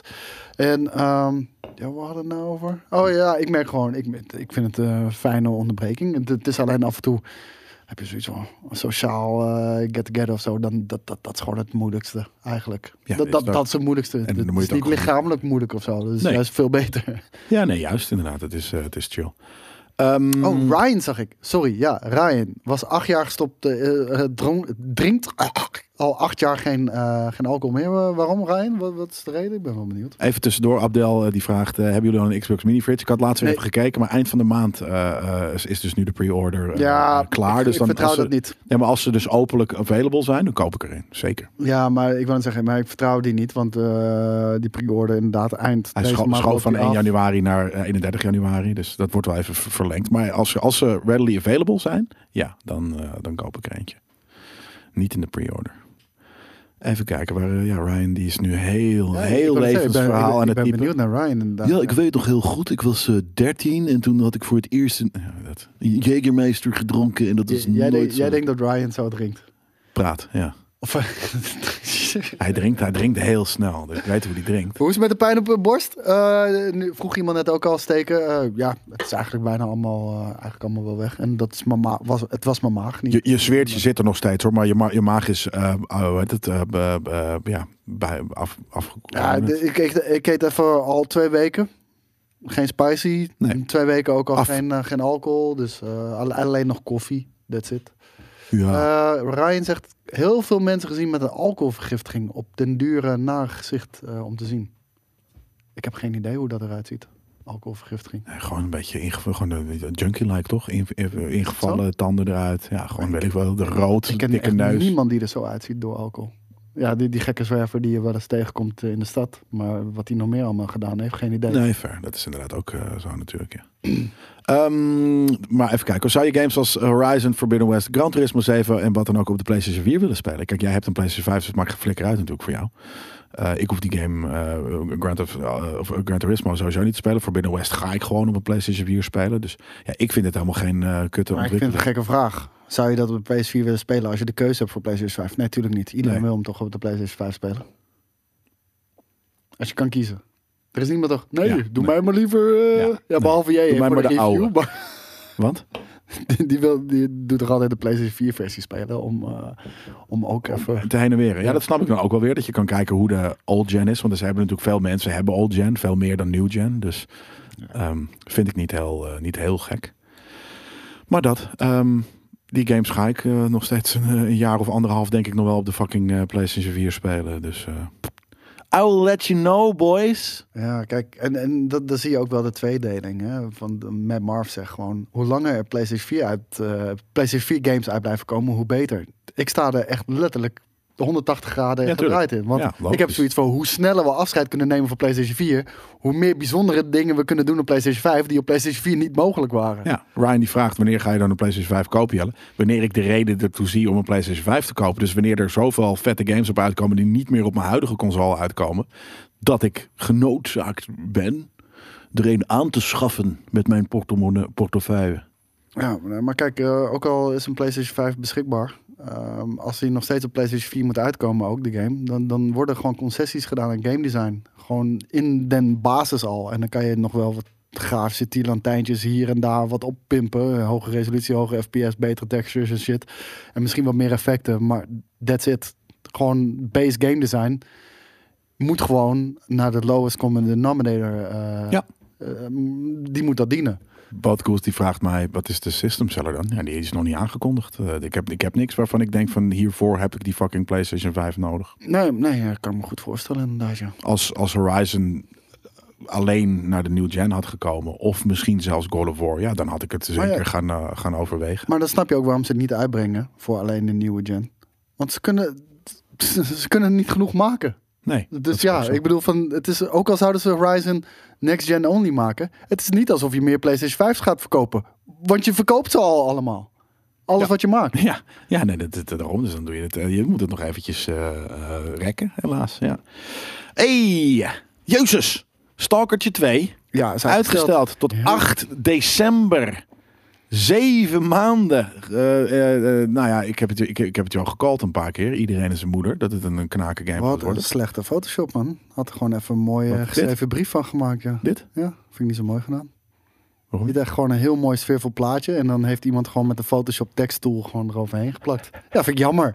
S2: En ehm ja, we hadden het nou over. Oh ja, ik merk gewoon, ik, ik vind het een fijne onderbreking. Het, het is alleen af en toe, heb je zoiets van een sociaal eh, get-together of zo. Dan, dat, dat, dat is gewoon het moeilijkste eigenlijk.
S1: Ja,
S2: dat,
S1: is
S2: dat,
S1: dat-
S2: dat is het moeilijkste.
S1: dan
S2: het
S1: moet je het
S2: is
S1: ook
S2: niet
S1: gewoon-
S2: lichamelijk moeilijk of zo. Dat is
S1: Nee.
S2: juist veel beter.
S1: Ja, nee, juist inderdaad. Het is, eh, het is chill. Ehm,
S2: Oh, Ryan zag ik. Sorry, ja, Ryan was acht jaar gestopt. eh, eh, dronk- drinkt al acht jaar geen, eh, geen alcohol meer. Wa- Waarom, Ryan? Wat, wat is de reden? Ik ben wel benieuwd.
S1: Even tussendoor, Abdel eh, die vraagt: eh, Hebben jullie al een Xbox Mini Fridge? Ik had laatst weer
S2: Nee.
S1: even gekeken, maar eind van de maand eh, eh, is- is dus nu de pre-order eh,
S2: Ja,
S1: klaar.
S2: ik,
S1: dus
S2: ik
S1: dan
S2: vertrouw
S1: als ze,
S2: dat niet.
S1: Nee, maar als ze dus openlijk available zijn, dan koop ik erin. Zeker.
S2: Ja, maar ik wil het zeggen, maar ik vertrouw die niet. Want eh, die pre-order inderdaad eind
S1: Hij
S2: deze
S1: scho-
S2: maand
S1: schoof
S2: loopt
S1: van
S2: die
S1: 1
S2: af.
S1: januari naar eh, 31 januari. Dus dat wordt wel even ver- verlengd. Maar als ze, als ze readily available zijn, ja, dan, eh, dan koop ik er eentje. Niet in de pre-order. Even kijken, waar, eh, ja, Ryan die is nu heel,
S2: Ja, ik
S1: heel
S2: wil het zeggen,
S1: levensverhaal
S2: Ik
S1: aan
S2: ben, ik, ben- ik
S1: het
S2: ben
S1: typen.
S2: benieuwd naar Ryan inderdaad.
S4: Ja, ik weet nog heel goed. Ik was eh 13 en toen had ik voor het eerst een ja, dat, een Jägermeister gedronken. En dat
S2: J-
S4: was
S2: jij, denkt-
S4: nooit
S2: jij
S4: zo.
S2: denkt dat Ryan zo drinkt?
S1: Praat, ja.
S2: Of, [laughs]
S1: Hij drinkt, hij drinkt heel snel. Dus ik weet hoe hij drinkt.
S2: Hoe is het met de pijn op de borst? Eh, nu vroeg iemand net ook al steken. Eh, ja, het is eigenlijk bijna allemaal, eh, eigenlijk allemaal wel weg. En dat is mijn ma- was, het was mijn maag niet.
S1: Je, je zweertje zit er nog steeds hoor, maar je, ma- je maag is eh eh, hoe heet het, eh, eh, eh, ja, bij, af, af, eh,
S2: ja, de- ik, ik, ik eet even al twee weken. Geen spicy.
S1: Nee.
S2: Twee weken ook al
S1: Af.
S2: geen, eh, geen alcohol. Dus eh, alle- alleen nog koffie. That's it.
S1: Ja.
S2: Eh, Ryan zegt, heel veel mensen gezien met een alcoholvergiftiging. Op den dure naar gezicht eh, om te zien. Ik heb geen idee hoe dat eruit ziet. Alcoholvergiftiging.
S1: Nee, gewoon een beetje inge- gewoon een- een junkie-like toch? In- in- ingevallen, tanden eruit. Ja, gewoon weet ik wel, de rood,
S2: Ik ken
S1: dikke
S2: echt
S1: neus.
S2: niemand die er zo uitziet door alcohol. Ja, die, die gekke zwerver die je wel eens tegenkomt eh, in de stad. Maar wat hij nog meer allemaal gedaan heeft, geen idee.
S1: Nee, ver. Dat is inderdaad ook eh, zo natuurlijk, ja. [clears throat] Ehm, maar even kijken. Zou je games als Horizon, Forbidden West, Gran Turismo 7 en wat dan ook op de PlayStation 4 willen spelen? Kijk, jij hebt een PlayStation 5, dus het maakt geen flikker uit natuurlijk voor jou. Eh, ik hoef die game eh Grand, of, eh, of Gran Turismo sowieso niet te spelen. Forbidden West ga ik gewoon op een PlayStation 4 spelen. Dus ja, ik vind het helemaal geen eh kutte
S2: maar ik vind het een
S1: ontwikkeling.
S2: gekke vraag. Zou je dat op de PS4 willen spelen als je de keuze hebt voor PlayStation 5? Nee, natuurlijk niet. Iedereen
S1: Nee.
S2: wil hem toch op de PlayStation 5 spelen. Als je kan kiezen. Er is niemand toch? Nee,
S1: Ja,
S2: doe
S1: nee.
S2: mij maar liever. eh,
S1: Ja,
S2: ja, behalve jij.
S1: Doe mij
S2: voor
S1: maar de
S2: review,
S1: oude.
S2: maar [laughs]
S1: Want?
S2: die, die wil, die doet toch altijd de PlayStation 4 versie spelen om, eh, om ook even.
S1: Te heen en weer. Ja, dat snap ik dan ook wel weer. Dat je kan kijken hoe de old gen is. Want dus ze hebben natuurlijk veel mensen hebben old gen, veel meer dan new gen. Dus ehm, vind ik niet heel, eh, niet heel gek. Maar dat. ehm, die games ga ik eh, nog steeds een, eh, een jaar of anderhalf denk ik nog wel op de fucking eh, PlayStation 4 spelen. Dus eh, I will let you know, boys.
S2: Ja, kijk, en, en dat, dan zie je ook wel de tweedeling. Hè? Van de- Matt Marv zegt gewoon, hoe langer er PlayStation 4, uit, eh, PlayStation 4 games uit blijven komen, hoe beter. Ik sta er echt letterlijk de 180 graden
S1: Ja,
S2: gedraaid in. Want
S1: Ja,
S2: ik heb
S1: logisch.
S2: zoiets van, hoe sneller we afscheid kunnen nemen van PlayStation 4, hoe meer bijzondere dingen we kunnen doen op PlayStation 5, die op PlayStation 4 niet mogelijk waren.
S1: Ja, Ryan die vraagt wanneer ga je dan een PlayStation 5 kopen, Jelle? Wanneer ik de reden ertoe zie om een PlayStation 5 te kopen. Dus wanneer er zoveel vette games op uitkomen die niet meer op mijn huidige console uitkomen. Dat ik genoodzaakt ben er een aan te schaffen met mijn portemonnee- portefeuille.
S2: Ja, maar- maar kijk, eh, ook al is een PlayStation 5 beschikbaar, ehm, als die nog steeds op PlayStation 4 moet uitkomen, ook de game, dan, dan worden gewoon concessies gedaan aan game design. Gewoon in den basis al. En dan kan je nog wel wat gaafse tierlantijntjes hier en daar wat oppimpen. Hoge resolutie, hoge FPS, betere textures en shit. En misschien wat meer effecten, maar that's it. Gewoon base game design moet gewoon naar de lowest common denominator. eh,
S1: Ja.
S2: eh, die moet dat dienen.
S1: Bad Koos die vraagt mij, wat is de system seller dan? Ja, die is nog niet aangekondigd. Eh, ik, heb, ik heb niks waarvan ik denk van hiervoor heb ik die fucking PlayStation 5 nodig.
S2: Nee, nee, ja, ik kan me goed voorstellen inderdaad, ja.
S1: Als, als Horizon alleen naar de new gen had gekomen, of misschien zelfs God of War, ja, dan had ik het zeker
S2: ja.
S1: gaan, eh, gaan overwegen.
S2: Maar dan snap je ook waarom ze het niet uitbrengen voor alleen de nieuwe gen. Want ze kunnen, [laughs] ze kunnen niet genoeg maken.
S1: Nee. [laughs] dat
S2: Dus
S1: is ook
S2: ja,
S1: zo.
S2: ik bedoel, van, het is, ook al zouden ze Horizon Next Gen Only maken... het is niet alsof je meer PlayStation 5 gaat verkopen. Want je verkoopt ze al allemaal. Alles
S1: Ja.
S2: wat je maakt.
S1: Ja, ja nee, dat, dat- daarom. Dus dan doe je het. eh, Je moet het nog eventjes eh, eh, rekken, helaas. Ja. Hey, Jezus! Stalkertje 2.
S2: Ja, is uitgesteld.
S1: Uitgesteld tot 8 december. Zeven maanden. Eh, eh, eh, nou ja, ik heb, het, ik, ik heb het jou gecallt een paar keer. Iedereen is zijn moeder. Dat het een, een knaken game
S2: Wat
S1: wordt.
S2: een slechte Photoshop, man. Had er gewoon even een mooie
S1: Wat, dit?
S2: geschreven brief van gemaakt, ja.
S1: Dit?
S2: Ja, vind ik niet zo mooi gedaan.
S1: Waarom?
S2: Je dacht gewoon een heel mooi sfeervol plaatje. En dan heeft iemand gewoon met de Photoshop teksttool gewoon eroverheen geplakt. Ja, vind ik jammer.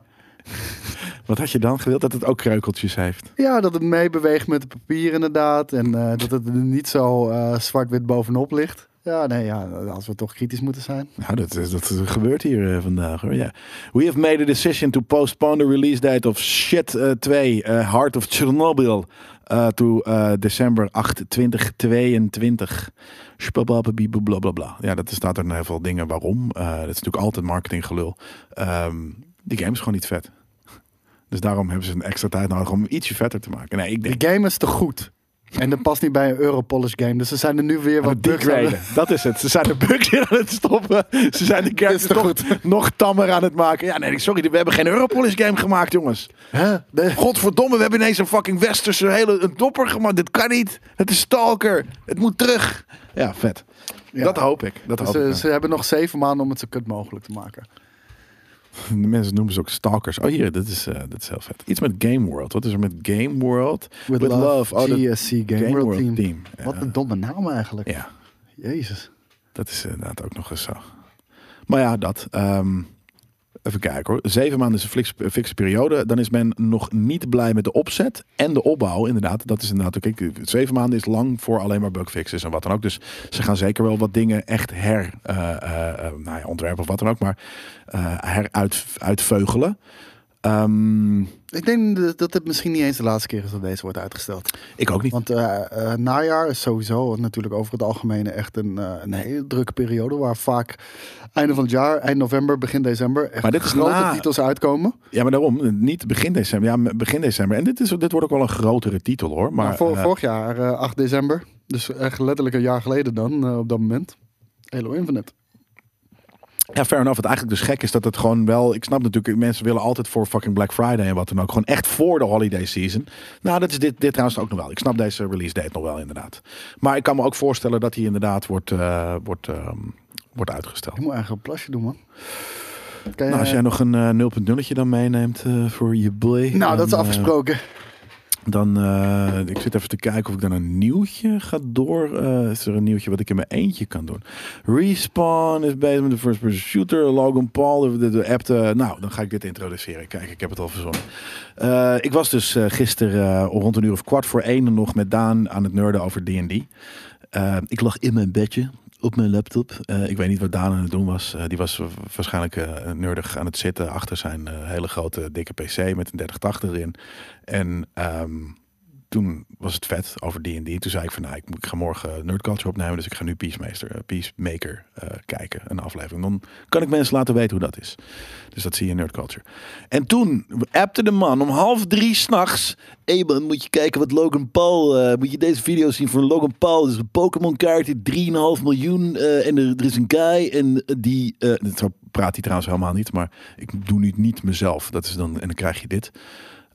S1: Wat had je dan gewild? Dat het ook kreukeltjes heeft.
S2: Ja, dat het meebeweegt met het papier inderdaad. En eh, dat het er niet zo eh, zwart-wit bovenop ligt. Ja, nee, ja, als we toch kritisch moeten zijn.
S1: Nou, dat, is- dat gebeurt hier eh, vandaag hoor. Ja. We have made a decision to postpone the release date of Shit eh, 2, eh, Heart of Chernobyl, eh, to eh, december 8, 2022. Spabababibu, Bla bla bla. Ja, dat is- staat er een heel veel dingen waarom. Eh, dat is natuurlijk altijd marketinggelul. Ehm, die game is gewoon niet vet. Dus daarom hebben ze een extra tijd nodig om hem ietsje vetter te maken. Nee, ik denk
S2: De game is te goed. En dat past niet bij een Europolish game. Dus ze zijn er nu weer wat
S1: Wat
S2: bugs aan de-
S1: degraden. Dat is het. Ze zijn de bugs in aan het stoppen. Ze zijn de
S2: Is
S1: characters
S2: toch
S1: nog, nog tammer aan het maken. Ja, nee, sorry. We hebben geen Europolis game gemaakt, jongens.
S2: Hè? De-
S1: Godverdomme, we hebben ineens een fucking westerse hele een dopper gemaakt. Dit kan niet. Het is stalker. Het moet terug. Ja, vet.
S2: Ja.
S1: Dat hoop ik. Dat hoop ik.
S2: Ze,
S1: ja.
S2: ze hebben nog zeven maanden om het zo kut mogelijk te maken.
S1: De mensen noemen ze ook stalkers. Oh, hier. Dit is, eh dit is heel vet. Iets met Game World. Wat is er met Game World?
S2: With, love,
S1: Oh, dat-
S2: GSC Game, World, Team.
S1: Ja.
S2: Wat een domme naam eigenlijk.
S1: ja.
S2: Jezus.
S1: Dat is inderdaad ook nog eens zo. Maar ja, dat. ehm, even kijken hoor. Zeven maanden is een fliks- een fikse periode. Dan is men nog niet blij met de opzet en de opbouw. Inderdaad, dat is inderdaad. Kijk, zeven maanden is lang voor alleen maar bugfixes en wat dan ook. Dus ze gaan zeker wel wat dingen echt her. eh, eh, eh, nou ja, ontwerpen of wat dan ook. Maar eh heruit, uitveugelen. Ehm,
S2: Ik denk dat- dat het misschien niet eens de laatste keer is dat deze wordt uitgesteld.
S1: ik ook niet.
S2: Want eh, eh, najaar is sowieso natuurlijk over het algemeen echt een, eh, een hele drukke periode. Waar vaak einde van het jaar, eind november, begin december echt
S1: Maar dit is
S2: grote
S1: na-
S2: titels uitkomen.
S1: Ja, maar daarom. Niet begin december. Ja, begin december. En dit, is, dit wordt ook wel een grotere titel hoor. Maar,
S2: Maar, vor-
S1: eh,
S2: vorig jaar, eh, 8 december, dus echt letterlijk een jaar geleden dan eh, op dat moment. Halo Infinite.
S1: Ja, fair enough. Wat eigenlijk dus gek is dat het gewoon wel... Ik snap natuurlijk, mensen willen altijd voor fucking Black Friday en wat dan ook. Gewoon echt voor de holiday season. Nou, dat is dit, dit trouwens ook nog wel. Ik snap deze release date nog wel inderdaad. Maar ik kan me ook voorstellen dat die inderdaad wordt, eh, wordt, ehm, wordt uitgesteld.
S2: Ik moet eigenlijk een plasje doen, man. Kan je-
S1: Nou, als jij nog een eh 0.0 dan meeneemt eh, voor je play.
S2: Nou, dat is
S1: dan, eh,
S2: afgesproken.
S1: dan, eh, ik zit even te kijken of ik dan een nieuwtje ga door. eh is er een nieuwtje wat ik in mijn eentje kan doen? Respawn is bezig met de first person shooter. Logan Paul, de, de, de app. eh, nou, dan ga ik dit introduceren. Kijk, ik heb het al verzonnen. Eh, ik was dus eh, gisteren eh, rond een uur of kwart voor één nog met Daan aan het nerden over D&D. Eh, ik lag in mijn bedje. op mijn laptop. Eh, ik weet niet wat Daan aan het doen was. Eh, die was wa- waarschijnlijk eh nerdig aan het zitten achter zijn eh, hele grote dikke PC met een 3080 erin. En ehm, toen was het vet over die en die. Toen zei ik van nou, ik, moet- ik ga morgen Nerd Culture opnemen. Dus ik ga nu Peacemaker, eh, Peacemaker eh, kijken, een aflevering. Dan kan ik mensen laten weten hoe dat is. Dus dat zie je in Nerd Culture. En toen appte de man om half drie s'nachts. Hé man, moet je kijken wat Logan Paul... eh, moet je deze video zien van Logan Paul. Dus een Pokémon kaartje, 3,5 miljoen. eh, en er, er is een guy en eh, die... eh, zo praat hij trouwens helemaal niet. Maar ik doe nu niet mezelf. Dat is dan, en dan krijg je dit.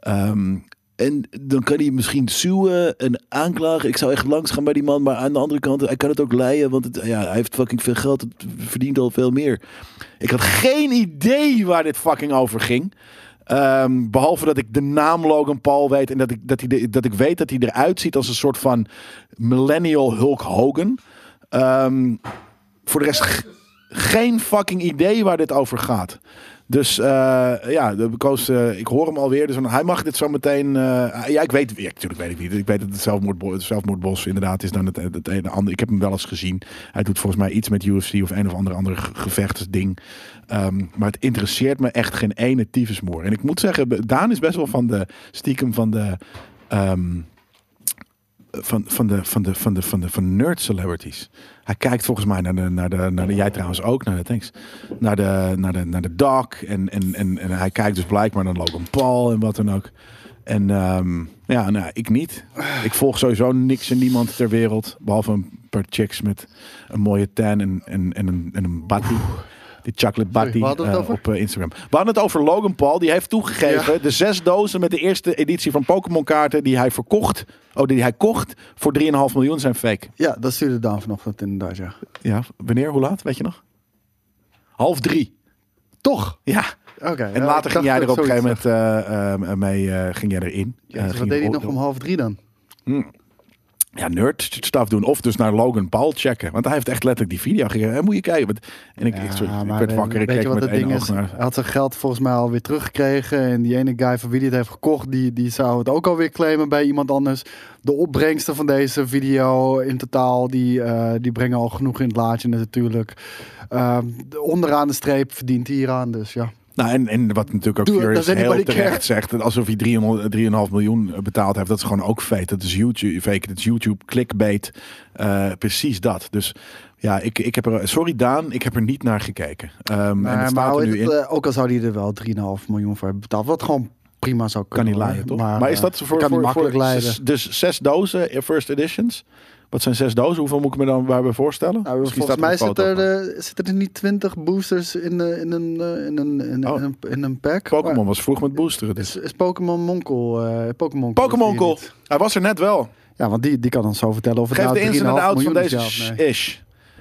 S1: Ehm, en dan kan hij misschien suwen en aanklagen. Ik zou echt langs gaan bij die man. Maar aan de andere kant, hij kan het ook leien. Want het, ja, hij heeft fucking veel geld. Het verdient al veel meer. Ik had geen idee waar dit fucking over ging. Ehm, behalve dat ik de naam Logan Paul weet. En dat ik, dat, hij de- dat ik weet dat hij eruit ziet als een soort van millennial Hulk Hogan. Ehm, voor de rest g- geen fucking idee waar dit over gaat. Dus eh, ja, de koos, eh, ik hoor hem alweer. Dus hij mag dit zo meteen. eh, ja, ik weet weer. natuurlijk weet ik niet. Ik weet dat het zelfmoordbos, het zelfmoordbos inderdaad is dan het, het ene ander. Ik heb hem wel eens gezien. Hij doet volgens mij iets met UFC of een of ander andere ge- gevechtsding. Ehm, maar het interesseert me echt geen ene tyfusmoer. En ik moet zeggen, be- Daan is best wel van de stiekem van de. ehm, van, van, de, van, de, van, de, van, de, van nerd celebrities. Hij kijkt volgens mij naar de, naar de, naar de jij trouwens ook, naar de, thanks, naar de, naar de, naar de doc. En, en, en, en hij kijkt dus blijkbaar naar Logan Paul en wat dan ook. En ehm, ja, nou, ik niet. Ik volg sowieso niks en niemand ter wereld. Behalve een paar chicks met een mooie tan en, en, en een, en een battie. Die chocolate batty
S2: waar hadden we het
S1: eh,
S2: over?
S1: op eh, Instagram. We hadden het over Logan Paul. Die heeft toegegeven de zes dozen met de eerste editie van Pokémon kaarten die hij verkocht. Oh, die hij kocht voor 3,5 miljoen zijn fake.
S2: Ja, dat stuurde Daan vanochtend inderdaad, ja.
S1: Ja, wanneer? Hoe laat? Weet je nog? Half drie.
S2: Toch?
S1: Ja.
S2: Oké.
S1: En later ging jij er op een gegeven moment eh, eh, mee eh, ging jij erin. Eh,
S2: Ja, dus wat
S1: ging
S2: deed hij
S1: je
S2: nog
S1: op-
S2: om half drie dan?
S1: ja, nerd stuff doen. Of dus naar Logan Paul checken. Want hij heeft echt letterlijk die video gegeven. En moet je kijken. Want- En ik, ik, sorry, ik werd wakker. Ik
S2: eh, weet
S1: keek
S2: je wat
S1: met
S2: het
S1: één
S2: ding
S1: oog
S2: is? Hij
S1: naar...
S2: had zijn geld volgens mij alweer teruggekregen. En die ene guy van wie hij het heeft gekocht, die, die zou het ook alweer claimen bij iemand anders. De opbrengsten van deze video in totaal, die, eh, die brengen al genoeg in het laadje natuurlijk. Ehm, onderaan de streep verdient hij hieraan, dus ja.
S1: Nou, en, en wat natuurlijk ook
S2: Doe het,
S1: Furious
S2: does anybody
S1: heel terecht
S2: care?
S1: zegt, dat alsof hij 300 3,5 miljoen betaald heeft, dat is gewoon ook feit. Dat is YouTube, fake, dat is YouTube clickbait, Eh, precies dat. Dus ja, ik, ik heb er, sorry Daan, ik heb er niet naar gekeken. Ehm, en
S2: maar
S1: dat staat
S2: hoe
S1: er
S2: heet
S1: nu in.
S2: het, eh, ook al zou hij er wel 3,5 miljoen voor hebben betaald, wat gewoon prima zou
S1: kan
S2: kunnen.
S1: niet laaien,
S2: hoor.
S1: toch? Maar, is
S2: eh,
S1: dat voor, voor,
S2: kan niet
S1: voor
S2: makkelijk leiden.
S1: zes- dus zes dozen eh, first editions? Wat zijn zes dozen? Hoeveel moet ik me dan waarbij voorstellen?
S2: Nou,
S1: Misschien
S2: volgens mij
S1: staat er een
S2: zitten
S1: foto
S2: er,
S1: van.
S2: eh, zitten er niet 20 boosters in, eh, in, een, eh, in, een, in,
S1: Oh.
S2: een, in een pack. Maar
S1: Pokémon was vroeg met boosteren. Dus.
S2: Is, is Pokémon Monkel? eh Pokémon
S1: Pokémon
S2: is hier
S1: Call.
S2: niet.
S1: Hij was er net wel.
S2: Ja, want die, die kan ons zo vertellen of het
S1: Geef
S2: nou
S1: de ins en de
S2: 3,5
S1: outs van
S2: miljoen is,
S1: deze
S2: ja of
S1: sh-
S2: nee.
S1: ish.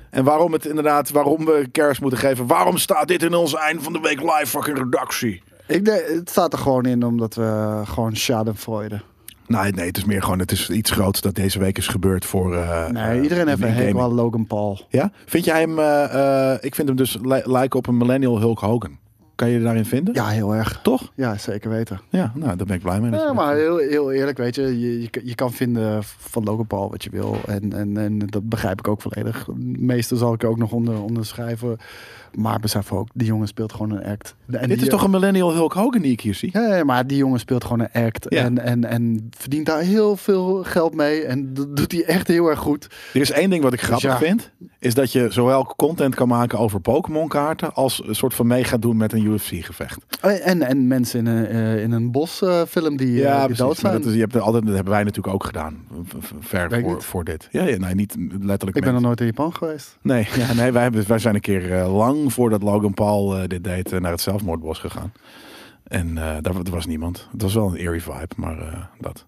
S1: En waarom het inderdaad, waarom we kerst moeten geven. Waarom staat dit in ons eind van de week live fucking redactie?
S2: Ik denk, het staat er gewoon in omdat we gewoon schadenfreude.
S1: Nee, nee, het is meer gewoon, het is iets groots dat deze week is gebeurd voor... eh,
S2: Nee,
S1: eh,
S2: iedereen heeft een
S1: gaming.
S2: hekel aan Logan Paul.
S1: Ja? Vind jij hem, eh, eh, ik vind hem dus li- lijken op een millennial Hulk Hogan. Kan je je daarin vinden?
S2: Ja, heel erg.
S1: Toch?
S2: Ja, zeker weten.
S1: Ja, nou, daar ben ik blij mee.
S2: Ja, maar heel, heel eerlijk, weet je, je, je, je kan vinden van Logan Paul wat je wil. En, en, en dat begrijp ik ook volledig. Meestal zal ik er ook nog onder, onderschrijven. Maar besef ook, die jongen speelt gewoon een act. En
S1: Dit is toch een millennial Hulk Hogan die ik hier zie?
S2: Ja, ja, maar die jongen speelt gewoon een act.
S1: Ja.
S2: En, en, en verdient daar heel veel geld mee. En dat doet hij echt heel erg goed.
S1: Er is één ding wat ik grappig
S2: ja.
S1: vind. Is dat je zowel content kan maken over Pokémon kaarten. als een soort van mee gaat doen met een UFC gevecht.
S2: Eh, En, en mensen in een, eh, in een bosfilm film die, eh, die dood
S1: precies. Maar
S2: zijn.
S1: Dat, is, je hebt er altijd, dat hebben wij natuurlijk ook gedaan. v- v- Ver
S2: Weet ik
S1: voor,
S2: niet.
S1: voor dit. Ja, ja, nee, niet letterlijk.
S2: Ik ben nog
S1: mensen.
S2: nooit in Japan geweest.
S1: Nee, [laughs] ja, nee wij, hebben, wij zijn een keer eh, lang voordat Logan Paul eh, dit deed eh, naar het zelfmoordbos gegaan. En eh, daar wa- er was niemand. Het was wel een eerie vibe, maar eh, dat.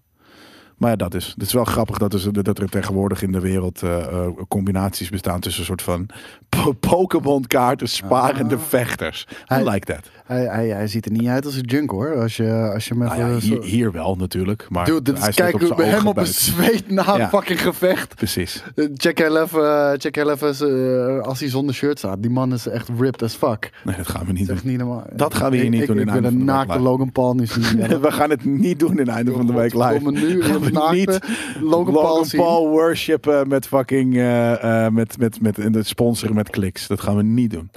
S1: Maar ja, dat is. Het is wel grappig dat, is, dat er tegenwoordig in de wereld eh, eh, combinaties bestaan tussen een soort van [laughs] po- Pokémon kaarten sparende vechters. I
S2: Ah. Hij-
S1: like that.
S2: Hij, hij, hij ziet er niet uit als een junk hoor. Als je, als je hem
S1: Nou
S2: even
S1: ja,
S2: zo-
S1: hier, hier wel natuurlijk. Maar
S2: Dude, dit
S1: hij
S2: is
S1: staat
S2: kijken hoe
S1: zijn
S2: hem
S1: ogen
S2: op een
S1: buiten.
S2: zweet na een
S1: Ja.
S2: fucking gevecht.
S1: Precies.
S2: Eh, Check heel even, eh, check heel even eh, als hij zonder shirt staat. Die man is echt ripped as fuck.
S1: Nee, dat gaan we niet
S2: Dat is
S1: doen.
S2: echt niet normaal.
S1: Dat gaan we hier
S2: Ik-
S1: niet
S2: ik-
S1: doen in
S2: Ik wil
S1: Einde
S2: een
S1: van de
S2: naakte
S1: Week [laughs]
S2: Logan Paul nu zien.
S1: We gaan het niet doen in einde van de week live.
S2: Godverdomme, nu
S1: Gaan we Natuurlijk niet.
S2: Logan Paul zien.
S1: worshipen met fucking. eh, eh, met, met, met, en dat sponsoren met kliks. Dat gaan we niet doen.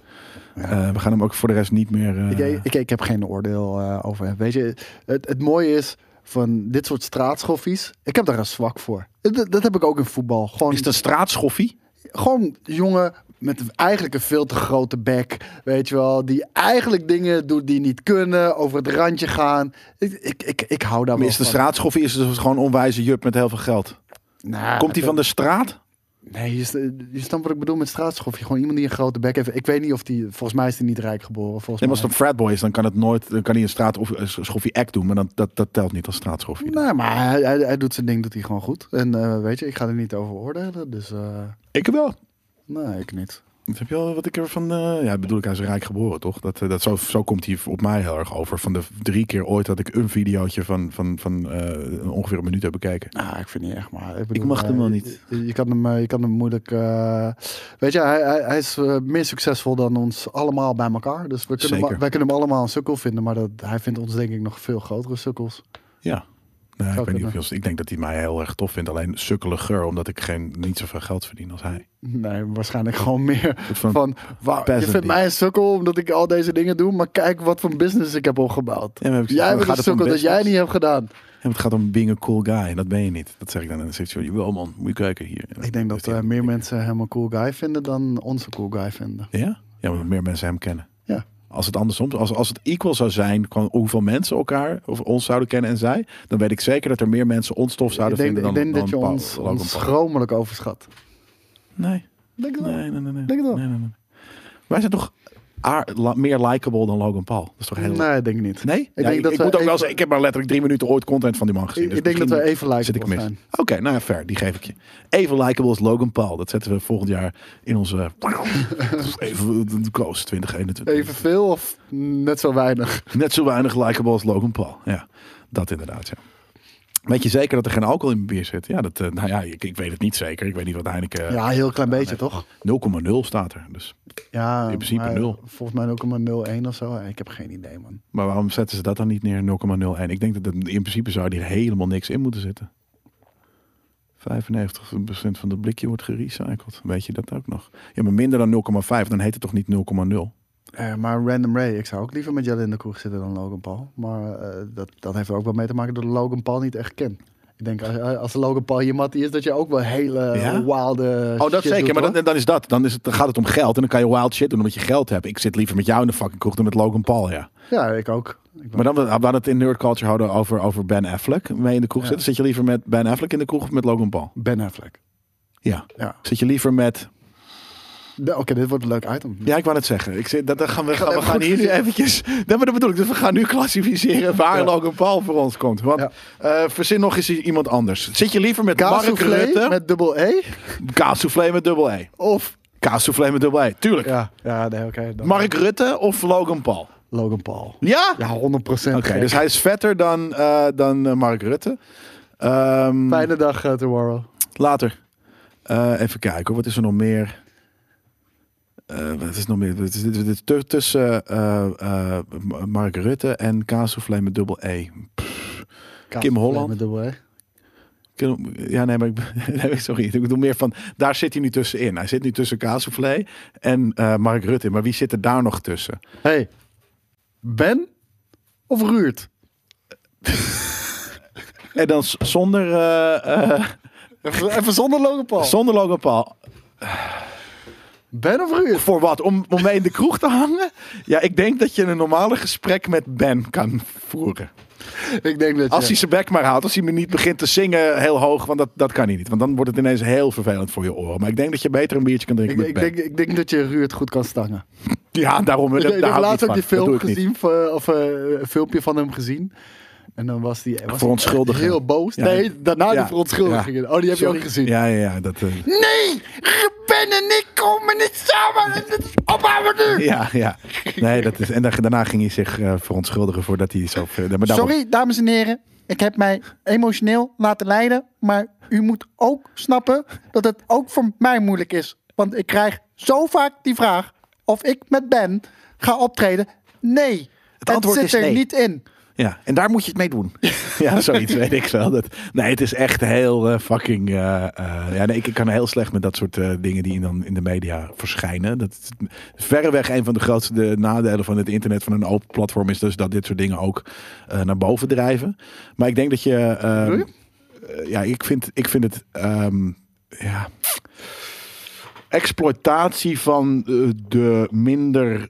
S1: Eh, we gaan hem ook voor de rest niet meer. eh,
S2: Ik, ik, ik heb geen oordeel eh, over hem. Weet je, het, het mooie is van dit soort straatschoffies. Ik heb daar een zwak voor. Dat, dat heb ik ook in voetbal. Gewoon,
S1: Is het een straatschoffie?
S2: gewoon jongen met eigenlijk een veel te grote bek. Weet je wel. Die eigenlijk dingen doet die niet kunnen. Over het randje gaan. Ik, ik, ik, ik hou daar
S1: Maar
S2: wel
S1: Is de
S2: van.
S1: straatschoffie is dus gewoon onwijze jup met heel veel geld.
S2: Nou,
S1: Komt hij
S2: dat-
S1: van de straat?
S2: Nee, je, st- je snapt wat ik bedoel met straatschoffie. Gewoon iemand die een grote bek heeft. Ik weet niet of die... Volgens mij is die niet rijk geboren. Volgens
S1: Nee, maar als
S2: mij.
S1: het een fratboy is, dan kan het nooit. Dan kan hij een straatschoffie act doen, maar dan, dat, dat telt niet als straatschoffie.
S2: Nee, maar hij, hij, hij doet zijn ding, doet hij gewoon goed. En eh, weet je, ik ga er niet over oordelen. Dus eh,
S1: Ik wel.
S2: nee, ik niet.
S1: Dat heb je al wat ik ervan. eh ja, bedoel ik, hij is rijk geboren, toch? Dat, eh, dat, zo, zo komt hij op mij heel erg over. Van de drie keer ooit had ik een videootje van, van, van eh, ongeveer een minuut heb bekeken.
S2: Nou, ik vind niet echt, maar... Ik,
S4: mag
S2: eh,
S4: hem wel
S2: je-
S4: niet.
S2: Je, je kan hem, eh, je kan hem moeilijk... eh, weet je, hij, hij, hij is eh, meer succesvol dan ons allemaal bij elkaar. Dus we kunnen, hem-
S1: Zeker.
S2: wij kunnen hem allemaal een sukkel vinden. Maar dat, hij vindt ons denk ik nog veel grotere sukkels. [laughs]
S1: Ja. Nee, ik,
S2: Zou
S1: weet niet of
S2: kunnen.
S1: hij ons- ik denk dat hij mij heel erg tof vindt. Alleen sukkeliger, omdat ik geen, niet zoveel geld verdien als hij.
S2: Nee, waarschijnlijk gewoon meer
S1: Een soort
S2: van...
S1: van
S2: wauw, je
S1: peasant
S2: vindt
S1: die-
S2: mij een sukkel omdat ik al deze dingen doe. Maar kijk wat voor business ik heb opgebouwd.
S1: Ja, maar heb ik gezegd,
S2: jij bent
S1: gaat
S2: een
S1: het om
S2: sukkel dat jij
S1: business?
S2: niet hebt gedaan.
S1: Ja, maar het gaat om being a cool guy. En dat ben je niet. Dat zeg ik dan. En dan zegt hij, jawel man, moet je kijken hier. En dan
S2: Ik denk
S1: is
S2: dat
S1: hij-
S2: eh, meer mensen hem een cool guy vinden dan onze cool guy vinden.
S1: Ja? Ja, maar meer mensen hem kennen.
S2: Ja.
S1: Als het andersom, als, als het equal zou zijn, gewoon hoeveel mensen elkaar of ons zouden kennen en zij, dan weet ik zeker dat er meer mensen ons tof
S2: Ik
S1: zouden
S2: denk,
S1: vinden
S2: ik
S1: dan,
S2: denk dat je
S1: dan Paul-
S2: ons,
S1: Logan
S2: ons
S1: Paul.
S2: schromelijk overschat.
S1: Nee,
S2: Denk je wel?
S1: nee, nee, nee. nee.
S2: Denk het wel.
S1: Nee, nee, nee. Wij zijn toch aar- la- meer likable dan Logan Paul. Dat is toch heel...
S2: Nee, ik denk niet.
S1: Nee? Ja,
S2: denk
S1: ik,
S2: dat
S1: ik
S2: we
S1: moet ook wel
S2: even-
S1: zeggen, ik heb maar letterlijk drie minuten ooit content van die man gezien.
S2: Ik-
S1: dus
S2: ik denk dat we
S1: misschien
S2: even likable
S1: zit ik mis.
S2: zijn.
S1: Oké, nou ja, fair. Die geef ik je. Even likable als Logan Paul. Dat zetten we volgend jaar in onze... even de coast 2021.
S2: Evenveel of net zo weinig?
S1: Net zo weinig likable als Logan Paul. Ja, dat inderdaad, ja. Weet je zeker dat er geen alcohol in bier zit? Ja, dat, eh, nou ja, ik, ik weet het niet zeker. Ik weet niet wat Heineken...
S2: Ja, heel klein beetje toch?
S1: 0,0 staat er. Dus.
S2: Ja,
S1: Oh. In principe
S2: maar
S1: nul.
S2: Volgens mij ook maar 0,01 of zo. Ik heb geen idee, man.
S1: Maar waarom zetten ze dat dan niet neer? 0,01. Ik denk dat het- in principe zou hier helemaal niks in moeten zitten. 95% van dat blikje wordt gerecycled. Weet je dat ook nog? Ja, maar minder dan 0,5, dan heet het toch niet 0,0?
S2: Eh, maar Random Ray, ik zou ook liever met Jelle in de kroeg zitten dan Logan Paul. Maar eh, dat, dat heeft er ook wel mee te maken dat Logan Paul niet echt kent. Ik denk, als, als Logan Paul je mattie is, dat je ook wel hele
S1: Ja?
S2: wilde
S1: Oh, dat
S2: shit
S1: zeker.
S2: doet,
S1: maar
S2: hoor.
S1: dan, dan is dat. Dan, is het, dan gaat het om geld. En dan kan je wild shit doen omdat je geld hebt. Ik zit liever met jou in de fucking kroeg dan met Logan Paul, ja.
S2: Ja, ik ook. Ik ben-
S1: Maar dan, we hadden het in Nerd Culture houden over, over Ben Affleck mee in de kroeg zitten. Zit je liever met Ben Affleck in de kroeg of met Logan Paul?
S2: Ben Affleck.
S1: Ja.
S2: Ja.
S1: Zit je liever met...
S2: De- Oké, dit wordt een leuk item.
S1: Ja, ik wou het zeggen. Ik zit, dat, dat gaan we, gaan, we
S2: even
S1: gaan
S2: goed-
S1: hier eventjes... Dat, maar dat bedoel ik. Dus we gaan nu klassificeren waar Logan Paul voor ons komt. Want
S2: Ja.
S1: eh, verzin nog eens iemand anders. Zit je liever met Mark
S2: Kaassoufflé
S1: Rutte...
S2: met dubbel E?
S1: Kaassoufflé met dubbel E.
S2: Of...
S1: Kaassoufflé met dubbel E. Tuurlijk.
S2: Ja, ja nee, oké. dan-
S1: Mark Rutte of Logan Paul?
S2: Logan Paul.
S1: Ja?
S2: Ja, 100 procent.
S1: Oké, dus hij is vetter dan, eh, dan eh, Mark Rutte. Ehm,
S2: Fijne dag, eh, tomorrow.
S1: Later. Eh, even kijken, hoor. wat is er nog meer? Eh, wat is er nog meer? Dit is, dit is- dit is tu- tussen eh, eh, M- Mark Rutte en Kaassoufflé met dubbel E.
S2: Kaassoufflé
S1: Holland.
S2: Met dubbel E.
S1: Kun- Ja, nee, maar ik, [laughs] nee, sorry. Ik bedoel meer van, daar zit hij nu tussenin. Hij zit nu tussen Kaassoufflé en eh, Mark Rutte. Maar wie zit er daar nog tussen?
S2: Hey, Ben of Ruurt?
S1: En dan z- zonder, eh, eh,
S2: Even, even zonder Logan Paul.
S1: zonder Logan Paul.
S2: ben of Ruurt?
S1: Voor wat? Om, om mee in de kroeg te hangen? Ja, ik denk dat je een normale gesprek met Ben kan voeren.
S2: Ik denk dat
S1: Als
S2: je...
S1: hij zijn bek maar houdt, als hij me niet begint te zingen heel hoog, want dat, dat kan hij niet. Want dan wordt het ineens heel vervelend voor je oren. Maar ik denk dat je beter een biertje kan drinken
S2: Ik,
S1: met
S2: ik,
S1: Ben.
S2: denk, ik denk dat je Ruurt goed kan stangen.
S1: ja, daarom. Dat,
S2: Ik, ik
S1: daar
S2: heb
S1: hou ik niet
S2: laatst ook
S1: van.
S2: die
S1: Dat doe
S2: film
S1: ik niet.
S2: gezien, van- of eh, een filmpje van hem gezien. En dan was die was die echt
S1: Verontschuldiging.
S2: heel boos.
S1: Ja.
S2: nee, daarna
S1: Ja.
S2: de verontschuldigingen. Oh, die heb
S1: Sorry.
S2: je ook gezien.
S1: Ja, ja, ja. Dat, eh,
S2: Nee, Ben en ik komen niet samen. Ophouden nu.
S1: ja, ja. Nee, dat is, en daar- daarna ging hij zich eh, verontschuldigen voordat hij zo... ver- Maar daarom-
S2: Sorry, dames en heren. Ik heb mij emotioneel laten leiden. Maar u moet ook snappen dat het ook voor mij moeilijk is. Want ik krijg zo vaak die vraag of ik met Ben ga optreden. Nee, het,
S1: antwoord
S2: zit
S1: is
S2: er
S1: nee.
S2: niet in.
S1: Ja, en daar moet je het mee doen. [laughs] ja, zoiets weet ik wel. Dat, nee, het is echt heel eh, fucking. eh, eh, ja, nee, ik, ik kan heel slecht met dat soort eh, dingen die dan in de media verschijnen. Dat is verreweg een van de grootste de nadelen van het internet, van een open platform, is dus dat dit soort dingen ook eh, naar boven drijven. Maar ik denk dat je. ehm,
S2: Bedoel je?
S1: eh, ja, ik vind, ik vind het. ehm, ja. Exploitatie van eh, de minder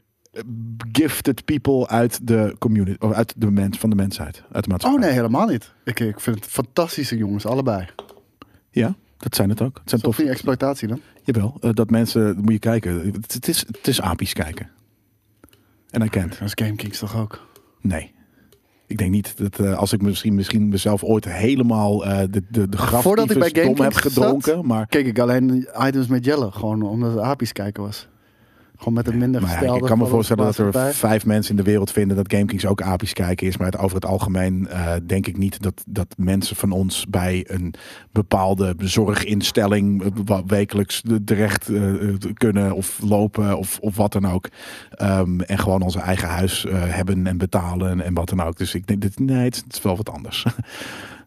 S1: gifted people uit de community, of uit de mens, van de mensheid, uit de
S2: Oh
S1: maatschappij.
S2: nee, helemaal niet. Ik, ik vind het fantastische jongens, allebei.
S1: Ja, dat zijn het ook. Het zijn
S2: Toch
S1: tof.
S2: vind je exploitatie dan?
S1: Jawel, eh, dat mensen, moet je kijken. Het, het is, het is apisch kijken. En hij kent.
S2: Dat is Game Kings toch ook?
S1: Nee. Ik denk niet dat eh, als ik misschien, misschien mezelf ooit helemaal eh, de, de, de graf
S2: Voordat ik bij
S1: tyfus dom heb
S2: Gamekings zat,
S1: gedronken, maar
S2: Keek ik alleen die items met Jelle, gewoon omdat het apisch kijken was. Gewoon met het minder
S1: Maar ja,
S2: gestelde.
S1: ik kan me
S2: van onze
S1: voorstellen dat er
S2: maatschappij.
S1: vijf mensen in de wereld vinden dat GameKings ook apisch kijken is. Maar het, over het algemeen eh, denk ik niet dat, dat mensen van ons bij een bepaalde zorginstelling eh, wa- wekelijks de- terecht eh, eh, kunnen of lopen of, of wat dan ook. Ehm, en gewoon onze eigen huis eh, hebben en betalen en wat dan ook. Dus ik denk, dit, nee, het is, het is wel wat anders. [laughs]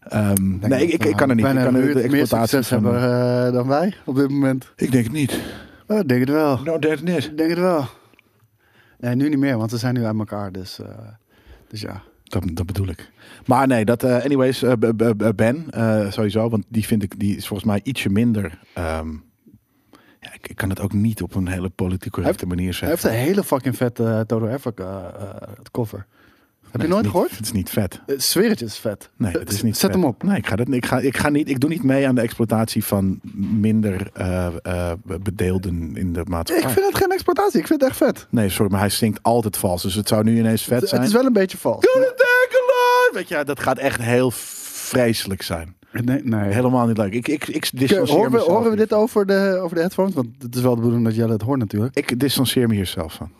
S1: Ehm,
S2: denk
S1: nee, ik,
S2: dat,
S1: ik, ik kan er niet.
S2: eh,
S1: Ik
S2: Bijna
S1: kan er
S2: een
S1: de
S2: buurt meer
S1: exploitatie
S2: succes
S1: van...
S2: hebben eh, dan wij op dit moment.
S1: Ik denk het niet.
S2: Oh, ik denk het wel.
S1: Nou, dat niet.
S2: Ik denk het wel. Nee, nu niet meer, want we zijn nu uit elkaar. Dus, eh, dus ja.
S1: Dat, dat bedoel ik. Maar nee, dat, eh, anyways, eh, b- b- b- Ben eh, sowieso, want die vind ik, die is volgens mij ietsje minder. ehm, ja, ik, ik kan het ook niet op een hele politiek correcte manier
S2: Hij
S1: zeggen.
S2: heeft een hele fucking vette eh, Toto Africa eh, het cover. Heb je nooit
S1: niet,
S2: gehoord?
S1: Het is niet vet.
S2: Eh, Zweer het je, is vet.
S1: Nee,
S2: Eh,
S1: het is niet
S2: Zet
S1: vet.
S2: hem op.
S1: Nee, ik ga, dat, ik, ga, ik ga niet. Ik doe niet mee aan de exploitatie van minder eh, eh, bedeelden in de
S2: Ik
S1: maatschappij.
S2: vind het geen exploitatie. Ik vind het echt vet.
S1: Nee, sorry, maar hij stinkt altijd vals. Dus het zou nu ineens vet
S2: Het,
S1: zijn.
S2: is wel een beetje vals.
S1: Weet je, dat gaat echt heel vreselijk zijn.
S2: Nee, nee.
S1: Helemaal niet leuk. Ik, ik, ik
S2: Ke-
S1: distancieer
S2: Horen we,
S1: mezelf
S2: horen we dit
S1: hiervan.
S2: over de, over de headphones? Want het is wel de bedoeling dat jij het hoort natuurlijk.
S1: Ik distancieer me hier zelf van.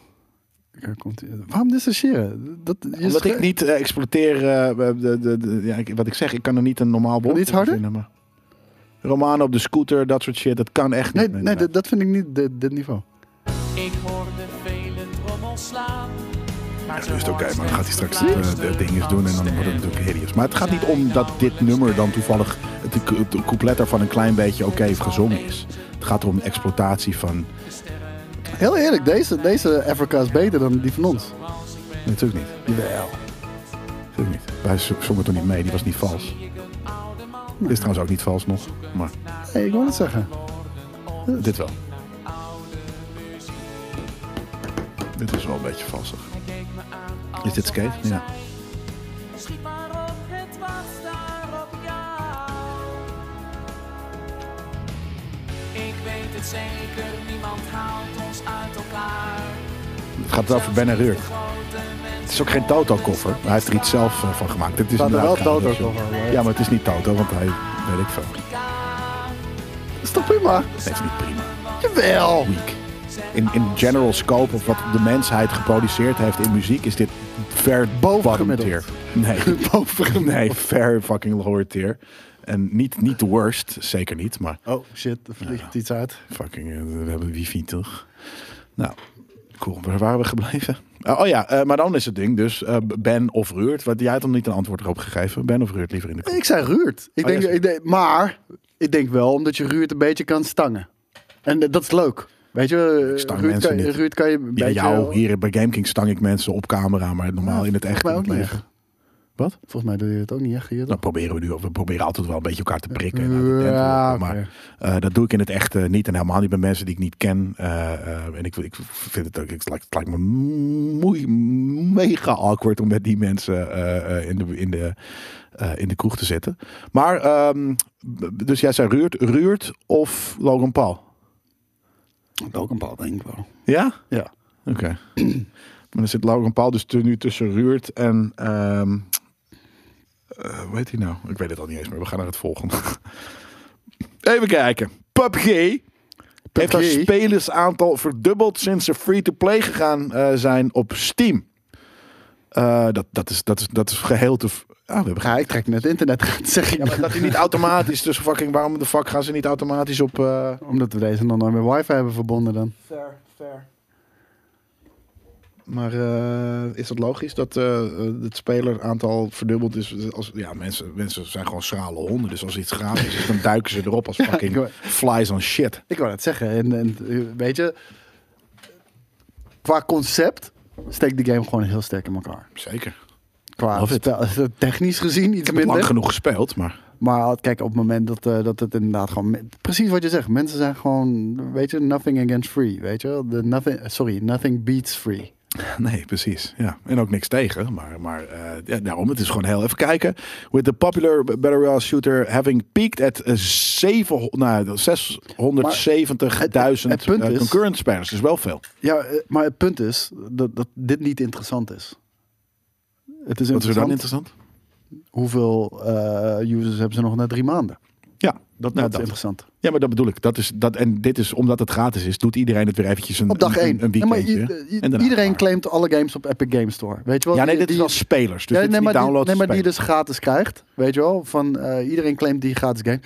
S2: Hier komt ie. Waarom distancieren? Dat, je
S1: Omdat
S2: schre-
S1: ik niet eh, exploiteer, eh, de, de, de- ja, ik- wat ik zeg, ik kan er niet een normaal woord
S2: iets
S1: voor
S2: harder?
S1: verzinnen, maar... Romanen op de scooter, dat soort shit, dat kan echt
S2: Nee,
S1: niet.
S2: nee, dat- dat vind ik niet dit, dit niveau.
S5: Ik hoorde vele trommels slaan. Maar
S1: Ja, dus oké, maar dan gaat hij straks de, de dinges doen en dan wordt het natuurlijk hideous. Maar het gaat niet om dat dit nummer dan toevallig het, het couplet daarvan een klein beetje oké gezongen is. Het gaat om exploitatie van...
S2: Heel eerlijk, deze, deze Africa is beter dan die van ons.
S1: Nee, natuurlijk niet.
S2: Jawel.
S1: Natuurlijk niet. Wij z- zongen toch niet mee, die was niet vals. Is trouwens ook niet vals nog, maar eh,
S2: Hey, ik wil het zeggen.
S1: dit wel. Dit is wel een beetje valsig. Is dit skate? Ja.
S5: Schiet maar op, het was daar op jou. Ik weet het zeker, niemand haalt ons uit elkaar.
S1: Het gaat wel voor Ben en Ruurt. Het is ook geen Toto-koffer. maar Hij heeft er iets zelf eh, van gemaakt. Het is
S2: Staat er wel
S1: inderdaad
S2: Toto
S1: Toto.
S2: cover, maar-
S1: Ja, maar het is niet Toto, want hij weet ik veel.
S2: Is toch prima?
S1: Het is niet prima.
S2: Jawel.
S1: Weak. In, in general scope of wat de mensheid geproduceerd heeft in muziek, is dit ver bottom tier.
S2: Bovengemiddeld.
S1: Nee,
S2: [laughs] Bovengemiddeld.
S1: nee, ver fucking lower tier. En niet, niet de worst, zeker niet, maar
S2: Oh shit, er vliegt iets uit.
S1: Fucking, eh, we hebben wifi toch? Nou, cool. Waar waren we gebleven? Ah, oh ja, eh, maar dan is het ding dus eh, Ben of Ruurt. Wat, jij had hem niet een antwoord erop gegeven. Ben of Ruurt liever in de kop.
S2: Ik zei Ruurt. Ik
S1: Oh,
S2: denk,
S1: ja,
S2: ik denk, maar ik denk wel omdat je Ruurt een beetje kan stangen. En eh, dat is leuk. Weet je, eh,
S1: stang
S2: Ruurt
S1: mensen
S2: kan, je-
S1: niet.
S2: Ruurt kan je een
S1: Ja,
S2: beetje...
S1: jou hier bij GameKing stang ik mensen op camera, maar normaal in het echt.
S2: mij
S1: in het
S2: ook niet
S1: leven.
S2: echt.
S1: Wat?
S2: Volgens mij doe je het ook niet echt hier.
S1: Dan
S2: toch?
S1: proberen we nu, we proberen altijd wel een beetje elkaar te prikken. en uit de
S2: Ja,
S1: tent te lokken,
S2: oké.
S1: Maar eh, dat doe ik in het echt eh, niet en helemaal niet bij mensen die ik niet ken. Eh, eh, en ik, ik vind het ook, het lijkt, het lijkt me moe- mega awkward om met die mensen eh, eh, in, de, in, de, eh, in de kroeg te zitten. Maar, ehm, b- dus jij zei Ruurt, Ruurt of Logan Paul?
S2: Ook een bal, denk ik wel.
S1: Ja?
S2: Ja.
S1: Oké. maar dan zit Logan Paul dus tu- nu tussen Ruurt en... ehm eh, hoe heet hij nou? Ik weet het al niet eens meer. We gaan naar het volgende. [laughs] Even kijken. PUBG heeft haar
S2: PUBG?
S1: spelersaantal verdubbeld sinds ze free-to-play gegaan eh, zijn op Steam. Eh, dat, dat, is, dat, is, dat is geheel te... v- Ah, we hebben
S2: Ja, ik trek net internet, [laughs] zeg ik.
S1: ja, maar dat hij niet automatisch, dus fucking waarom de fuck gaan ze niet automatisch op... eh,
S2: nou. Omdat we deze nog nooit met wifi hebben verbonden dan.
S3: Fair, fair.
S1: Maar eh, is dat logisch dat eh, eh, het speleraantal verdubbeld is? Als, ja, mensen, mensen zijn gewoon schrale honden. Dus als iets gratis is, dan duiken ze erop
S2: [laughs]
S1: als fucking
S2: ik hoor-
S1: flies on shit.
S2: Ik wou dat zeggen. En, en eh, weet je, qua concept steekt de game gewoon heel sterk in elkaar.
S1: Zeker.
S2: Qua
S1: Love it.
S2: spel- [laughs] technisch gezien
S1: Ik
S2: iets
S1: heb het lang
S2: minder.
S1: genoeg gespeeld, maar [laughs]
S2: Maar kijk, op het moment dat, eh, dat het inderdaad gewoon... me- Precies wat je zegt. Mensen zijn gewoon, weet je, nothing against free. Weet je wel? De nothing, eh, sorry, nothing beats free.
S1: nee, precies. Ja. En ook niks tegen. Maar, maar eh, ja, daarom, het is gewoon heel even kijken. With the popular battle royale shooter having peaked at eh, 700 nou, 670.000
S2: het punt
S1: eh,
S2: is-
S1: concurrent spelers. Dat is wel veel.
S2: Ja, eh, maar het punt is dat, dat dit niet interessant is. Het is
S1: Wat is er dan
S2: interessant
S1: interessant?
S2: hoeveel eh, users hebben ze nog na drie maanden.
S1: Ja, nou,
S2: Dat, dat is interessant.
S1: Ja, maar dat bedoel ik. Dat is, dat, en dit is, omdat het gratis is, doet iedereen het weer eventjes een,
S2: Op dag
S1: een-
S2: één.
S1: een, een
S2: Ja, maar i-
S1: weekendje.
S2: i-
S1: En daarna
S2: iedereen
S1: maar.
S2: claimt alle games op Epic Games Store. Weet je wel?
S1: Ja, nee,
S2: Die-
S1: dit is
S2: die-
S1: wel spelers. Dus dit
S2: Ja,
S1: is
S2: nee, maar,
S1: niet
S2: die,
S1: downloaden,
S2: nee, maar die
S1: spelen.
S2: dus gratis krijgt. Weet je wel? Van eh, iedereen claimt die gratis game.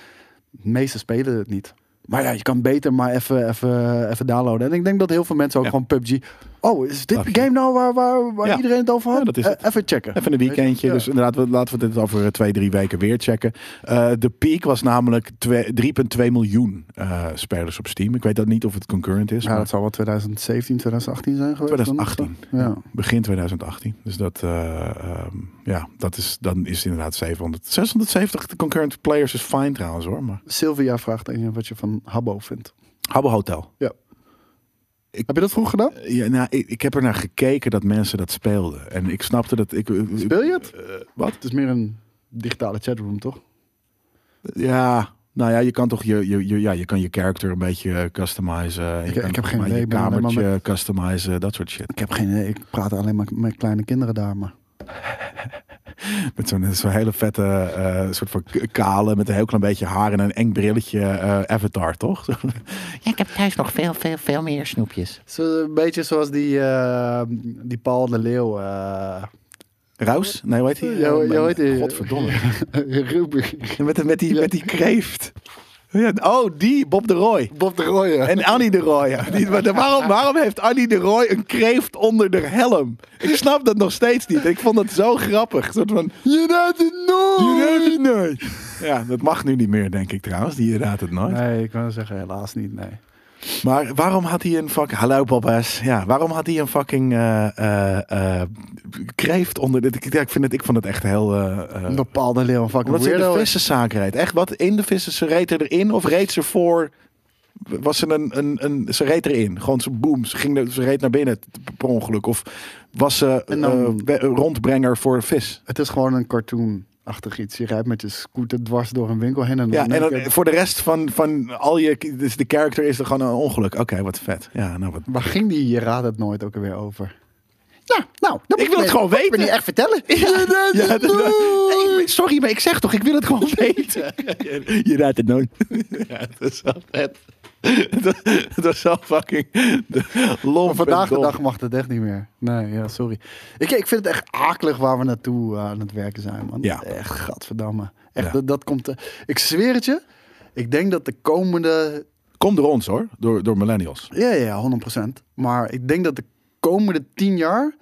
S2: De meeste spelen het niet. Maar ja, je kan beter maar even, even, even downloaden. En ik denk dat heel veel mensen ook
S1: Ja.
S2: gewoon PUBG... Oh, is dit
S1: Laat
S2: de
S1: je-
S2: game nou waar, waar, waar
S1: Ja.
S2: iedereen het over had?
S1: Ja, dat is
S2: Eh,
S1: het.
S2: even checken.
S1: Even een weekendje.
S2: Ja.
S1: Dus inderdaad, we- laten we dit over eh, twee, drie weken weer checken. Eh, de piek was namelijk twee- 3,2 miljoen eh, spelers op Steam. Ik weet dat niet of het concurrent is.
S2: Ja,
S1: maar
S2: dat zou wel 2017, 2018 zijn geweest. dan of zo.
S1: 2018.
S2: Ja.
S1: Begin 2018. Dus dat, eh, ehm, ja, dat is, dan is het inderdaad 700. 670 concurrent players is fijn trouwens hoor. Maar
S2: Sylvia vraagt aan je wat je van Habbo vindt.
S1: Habbo Hotel.
S2: Heb je dat vroeg gedaan?
S1: Ja, nou, ik, ik heb er naar gekeken dat mensen dat speelden. En ik snapte dat ik.
S2: Speel je het? Eh,
S1: wat?
S2: Het is meer een digitale chatroom, toch?
S1: Ja. Nou ja, je kan toch je, je, je- ja, je, kan je character een beetje eh, customizen. Je
S2: Ik-
S1: kan
S2: ik heb geen
S1: maar
S2: idee,
S1: Je
S2: ik ben alleen maar
S1: kamertje customizen, dat soort shit. [laughs]
S2: Ik heb geen idee. Ik praat alleen maar met kleine kinderen daar, maar...
S1: Met zo'n zo'n hele vette eh, soort van k- kale, met een heel klein beetje haar en een eng brilletje eh, avatar, toch? [laughs]
S6: Ja, ik heb thuis nog veel, veel, veel meer snoepjes.
S2: Zo, een beetje zoals die, eh, die Paul de Leeuw. eh
S1: Raus? Nee, hoe heet die? Eh,
S2: Ja, hoe- ja, hoe heet die?
S1: Godverdomme.
S2: [laughs] Ruby.
S1: met, met, die, met die kreeft. Ja, Oh, die, Bob de Roy.
S2: Bob de Rooijen.
S1: En Annie de Roy. ja. Die- maar de- waarom, waarom heeft Annie de Roy een kreeft onder de helm? Ik snap dat nog steeds niet. Ik vond dat zo grappig. Een soort van,
S2: Je raadt het
S1: je
S2: nooit!
S1: raadt het nooit. Ja, dat mag nu niet meer, denk ik trouwens. Die raadt het nooit.
S2: Nee, ik kan zeggen, helaas niet, nee.
S1: Maar waarom had hij een fucking... Hallo papa's. Ja, waarom had hij een fucking eh, eh, eh, kreeft onder... de- Ik, ja, ik, vind het, ik vond het echt heel... eh, eh,
S2: Een bepaalde leeuw, een fucking
S1: omdat ze in de
S2: weirdo.
S1: vissenzaak reed. Echt, wat? In de vissen? Ze reed er erin of reed ze voor... Was ze een, een, een... Ze reed erin. Gewoon ze boom. Ze, ging, er- ze reed naar binnen t- per ongeluk. Of was ze
S2: En dan-
S1: eh, we- rondbrenger voor vis?
S2: Het is gewoon een cartoon-achtig iets. Je rijdt met je scooter dwars door een winkel heen en
S1: Ja,
S2: dan...
S1: en dan, voor de rest van, van al je... Dus de character is er gewoon een ongeluk. Oké, wat vet. Ja, nou wat... [laughs]
S2: Waar ging die je raadt het nooit ook alweer over? Ja, nou, dat
S1: Ik wil het gewoon weten.
S2: niet echt vertellen.
S1: Ja, dat- Nee, ik ben- sorry, maar ik zeg toch, ik wil het
S2: [laughs]
S1: gewoon weten. [laughs] Je, raadt het nooit. [laughs] Ja, dat is wel vet. [laughs] Dat, dat is zo fucking lomp
S2: Maar vandaag
S1: en
S2: de
S1: dom.
S2: dag mag dat echt niet meer. Nee, ja, sorry. Ik, ik vind het echt akelig waar we naartoe eh, aan het werken zijn, man.
S1: Ja.
S2: Echt, gadverdamme. Echt,
S1: Ja.
S2: dat, dat komt... eh, ik zweer het je. Ik denk dat de komende...
S1: Komt door ons hoor, door, door millennials.
S2: Ja, ja, 100%. Maar ik denk dat de komende tien jaar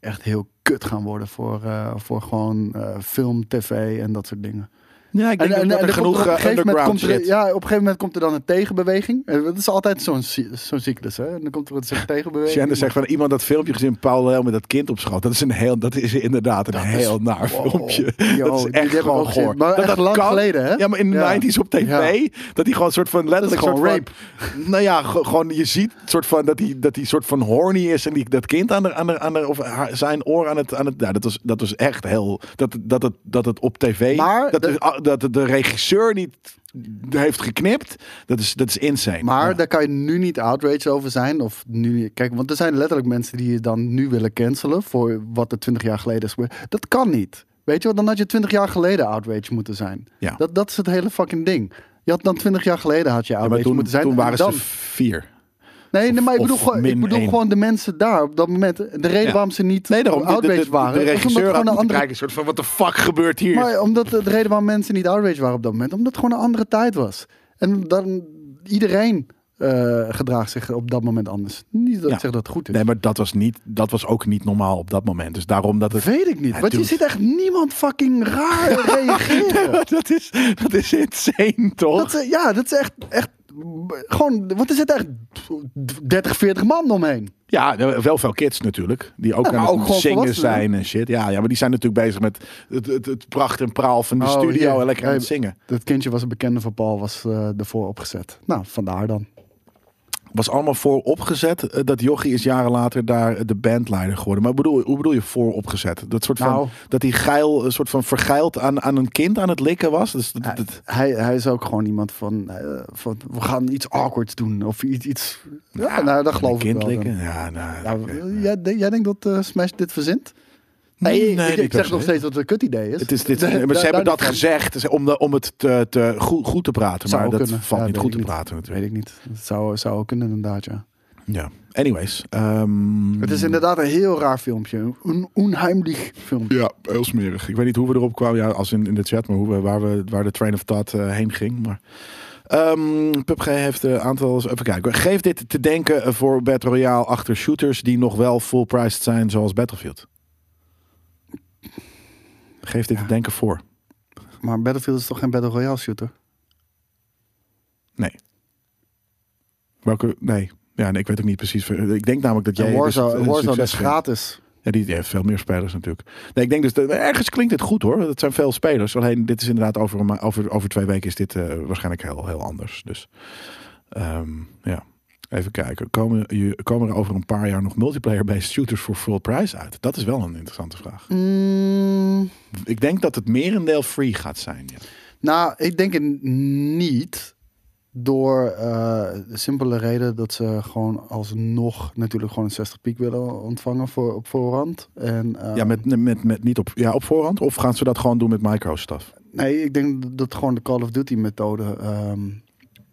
S2: echt heel kut gaan worden voor, eh, voor gewoon eh, film, tv en dat soort dingen.
S1: Ja, ik
S2: En,
S1: denk
S2: en-
S1: dat
S2: en
S1: er
S2: er komt
S1: genoeg
S2: er op een
S1: eh,
S2: gegeven moment
S1: underground
S2: komt
S1: shit.
S2: er, ja, op een gegeven moment komt er dan een tegenbeweging. Eh, Dat is altijd zo'n cy- zo'n cyclus, hè? En dan komt er wat een tegenbeweging.
S1: Shannon zegt van iemand dat filmpje gezien, Paul Leel met dat kind op schoot. Dat is, een heel, dat is inderdaad een heel naar
S2: Wow.
S1: filmpje.
S2: Yo,
S1: [laughs] dat is
S2: die
S1: echt
S2: heb ik ook
S1: gewoon
S2: gezien.
S1: goor.
S2: Maar
S1: dat
S2: echt
S1: dat
S2: lang
S1: kan.
S2: geleden, hè?
S1: Ja, maar in de
S2: Ja.
S1: 90s op tv. Dat hij gewoon soort van letterlijk
S2: Dat is gewoon
S1: soort van, Nou ja, ge- gewoon je ziet soort van dat hij dat hij soort van horny is en die, dat kind aan de, aan de, aan de, of haar- zijn oor aan het aan het. Ja, dat was dat was echt heel dat dat het dat het op tv.
S2: Maar
S1: dat,
S2: de-
S1: is- ah, dat de regisseur niet heeft geknipt. Dat is dat is insane.
S2: Maar
S1: Ja.
S2: daar kan je nu niet outraged over zijn. Of nu, kijk, want er zijn letterlijk mensen die je dan nu willen cancelen voor wat er 20 jaar geleden is gebeurd. Dat kan niet. Weet je wel, dan had je 20 jaar geleden outraged moeten zijn.
S1: Ja.
S2: Dat, dat is het hele fucking ding. Je had dan 20 jaar geleden had je
S1: Ja,
S2: outraged
S1: maar toen,
S2: moeten zijn.
S1: toen
S2: en
S1: waren
S2: dan-
S1: ze vier.
S2: Nee, nee, maar ik
S1: of
S2: bedoel, gewoon, ik
S1: min
S2: bedoel
S1: één.
S2: gewoon de mensen daar op dat moment. De reden
S1: Ja.
S2: waarom ze niet
S1: Nee, daarom. De, de, de,
S2: outraged
S1: de
S2: waren. is omdat
S1: regisseur had
S2: gewoon
S1: moeten
S2: een andere
S1: kijken. Een soort van, wat de fuck gebeurt hier?
S2: Maar omdat de reden waarom mensen niet outraged waren op dat moment, omdat het gewoon een andere tijd was. En dan iedereen eh, gedraagt zich op dat moment anders. Niet dat
S1: Ja.
S2: ik zeg dat het goed is.
S1: Nee, maar dat was, niet, dat was ook niet normaal op dat moment. Dus daarom dat het...
S2: Weet ik niet.
S1: Ja,
S2: want je
S1: dude.
S2: ziet echt niemand fucking raar reageren.
S1: [laughs] dat, is, dat is insane, toch?
S2: Dat, is- ja, dat is echt, echt... Gewoon, want er zitten echt 30, 40 man omheen.
S1: Ja, nou, wel veel kids natuurlijk. Die ook
S2: Ja, maar
S1: aan het
S2: ook gewoon
S1: zingen
S2: volwassenen.
S1: zijn en shit. Ja, ja, maar die zijn natuurlijk bezig met het, het, het pracht en praal van de
S2: Oh,
S1: studio
S2: hier.
S1: en lekker aan het
S2: Hey.
S1: zingen.
S2: Dat kindje was een bekende van Paul, was eh, ervoor opgezet. Nou, vandaar dan.
S1: Was allemaal voor opgezet. eh, dat Jochie is jaren later daar de bandleider geworden. Maar bedoel, hoe bedoel je voor opgezet? Dat soort van,
S2: Nou.
S1: dat hij geil, een soort van vergeild aan, aan een kind aan het likken was. Dus dat, dat-
S2: Hij, hij is ook gewoon iemand van, eh, van, we gaan iets awkward doen. Of iets... iets ja, nou, dat
S1: een
S2: geloof ik
S1: kind
S2: wel. dan.
S1: likken. Ja, nou,
S2: Ja,
S1: oké.
S2: jij, denk- jij denkt dat eh, Smash dit verzint? Nee, ik-
S1: nee,
S2: ik,
S1: niet
S2: ik
S1: per
S2: zeg
S1: se.
S2: nog steeds dat het een kut idee is.
S1: Het is dit,
S2: Da-
S1: maar
S2: da-
S1: ze hebben
S2: daar
S1: dat
S2: niet van.
S1: gezegd ze- om, de, om het te, te goed, goed te praten.
S2: Zou
S1: maar
S2: ook
S1: dat
S2: kunnen.
S1: valt
S2: Ja,
S1: niet
S2: weet
S1: goed
S2: ik
S1: te
S2: niet.
S1: praten
S2: Weet
S1: natuurlijk.
S2: ik niet. Het zou, zou ook kunnen inderdaad, ja.
S1: Hmm. Ja. Anyways. ehm,
S2: Het is inderdaad een heel raar filmpje. Een un- onheimlich filmpje.
S1: Ja, heel smerig. Ik weet niet hoe we erop kwamen, ja, als in, in de chat, maar hoe we, waar, we, waar de train of thought eh, heen ging. Maar. Ehm PUBG heeft een aantal. Even kijken. Geef dit te denken voor Battle Royale achter shooters die nog wel full priced zijn, zoals Battlefield. Geef dit te denken voor.
S2: Maar Battlefield is toch geen Battle Royale shooter?
S1: Nee. Welke? Nee. Ja, nee, ik weet ook niet precies. Ik denk namelijk dat jij.
S2: En
S1: dus
S2: Warzone,
S1: het- het
S2: Warzone
S1: succes
S2: is
S1: vindt.
S2: gratis.
S1: Ja, die, die heeft veel meer spelers natuurlijk. Nee, ik denk dus, dat- ergens klinkt het goed hoor. Het zijn veel spelers. Alleen dit is inderdaad over, een ma- over, over twee weken is dit eh, waarschijnlijk heel, heel anders. Dus ehm, ja, even kijken. Komen, je, komen er over een paar jaar nog multiplayer-based shooters voor full price uit? Dat is wel een interessante vraag.
S2: Mm,
S1: Ik denk dat het merendeel free gaat zijn. Ja.
S2: nou, ik denk het niet. Door eh, de simpele reden dat ze gewoon alsnog natuurlijk gewoon een 60 piek willen ontvangen voor, op voorhand. En, eh,
S1: Ja, met, met, met niet op, ja, op voorhand? Of gaan ze dat gewoon doen met micro-stuff?
S2: Nee, ik denk dat gewoon de Call of Duty methode ehm,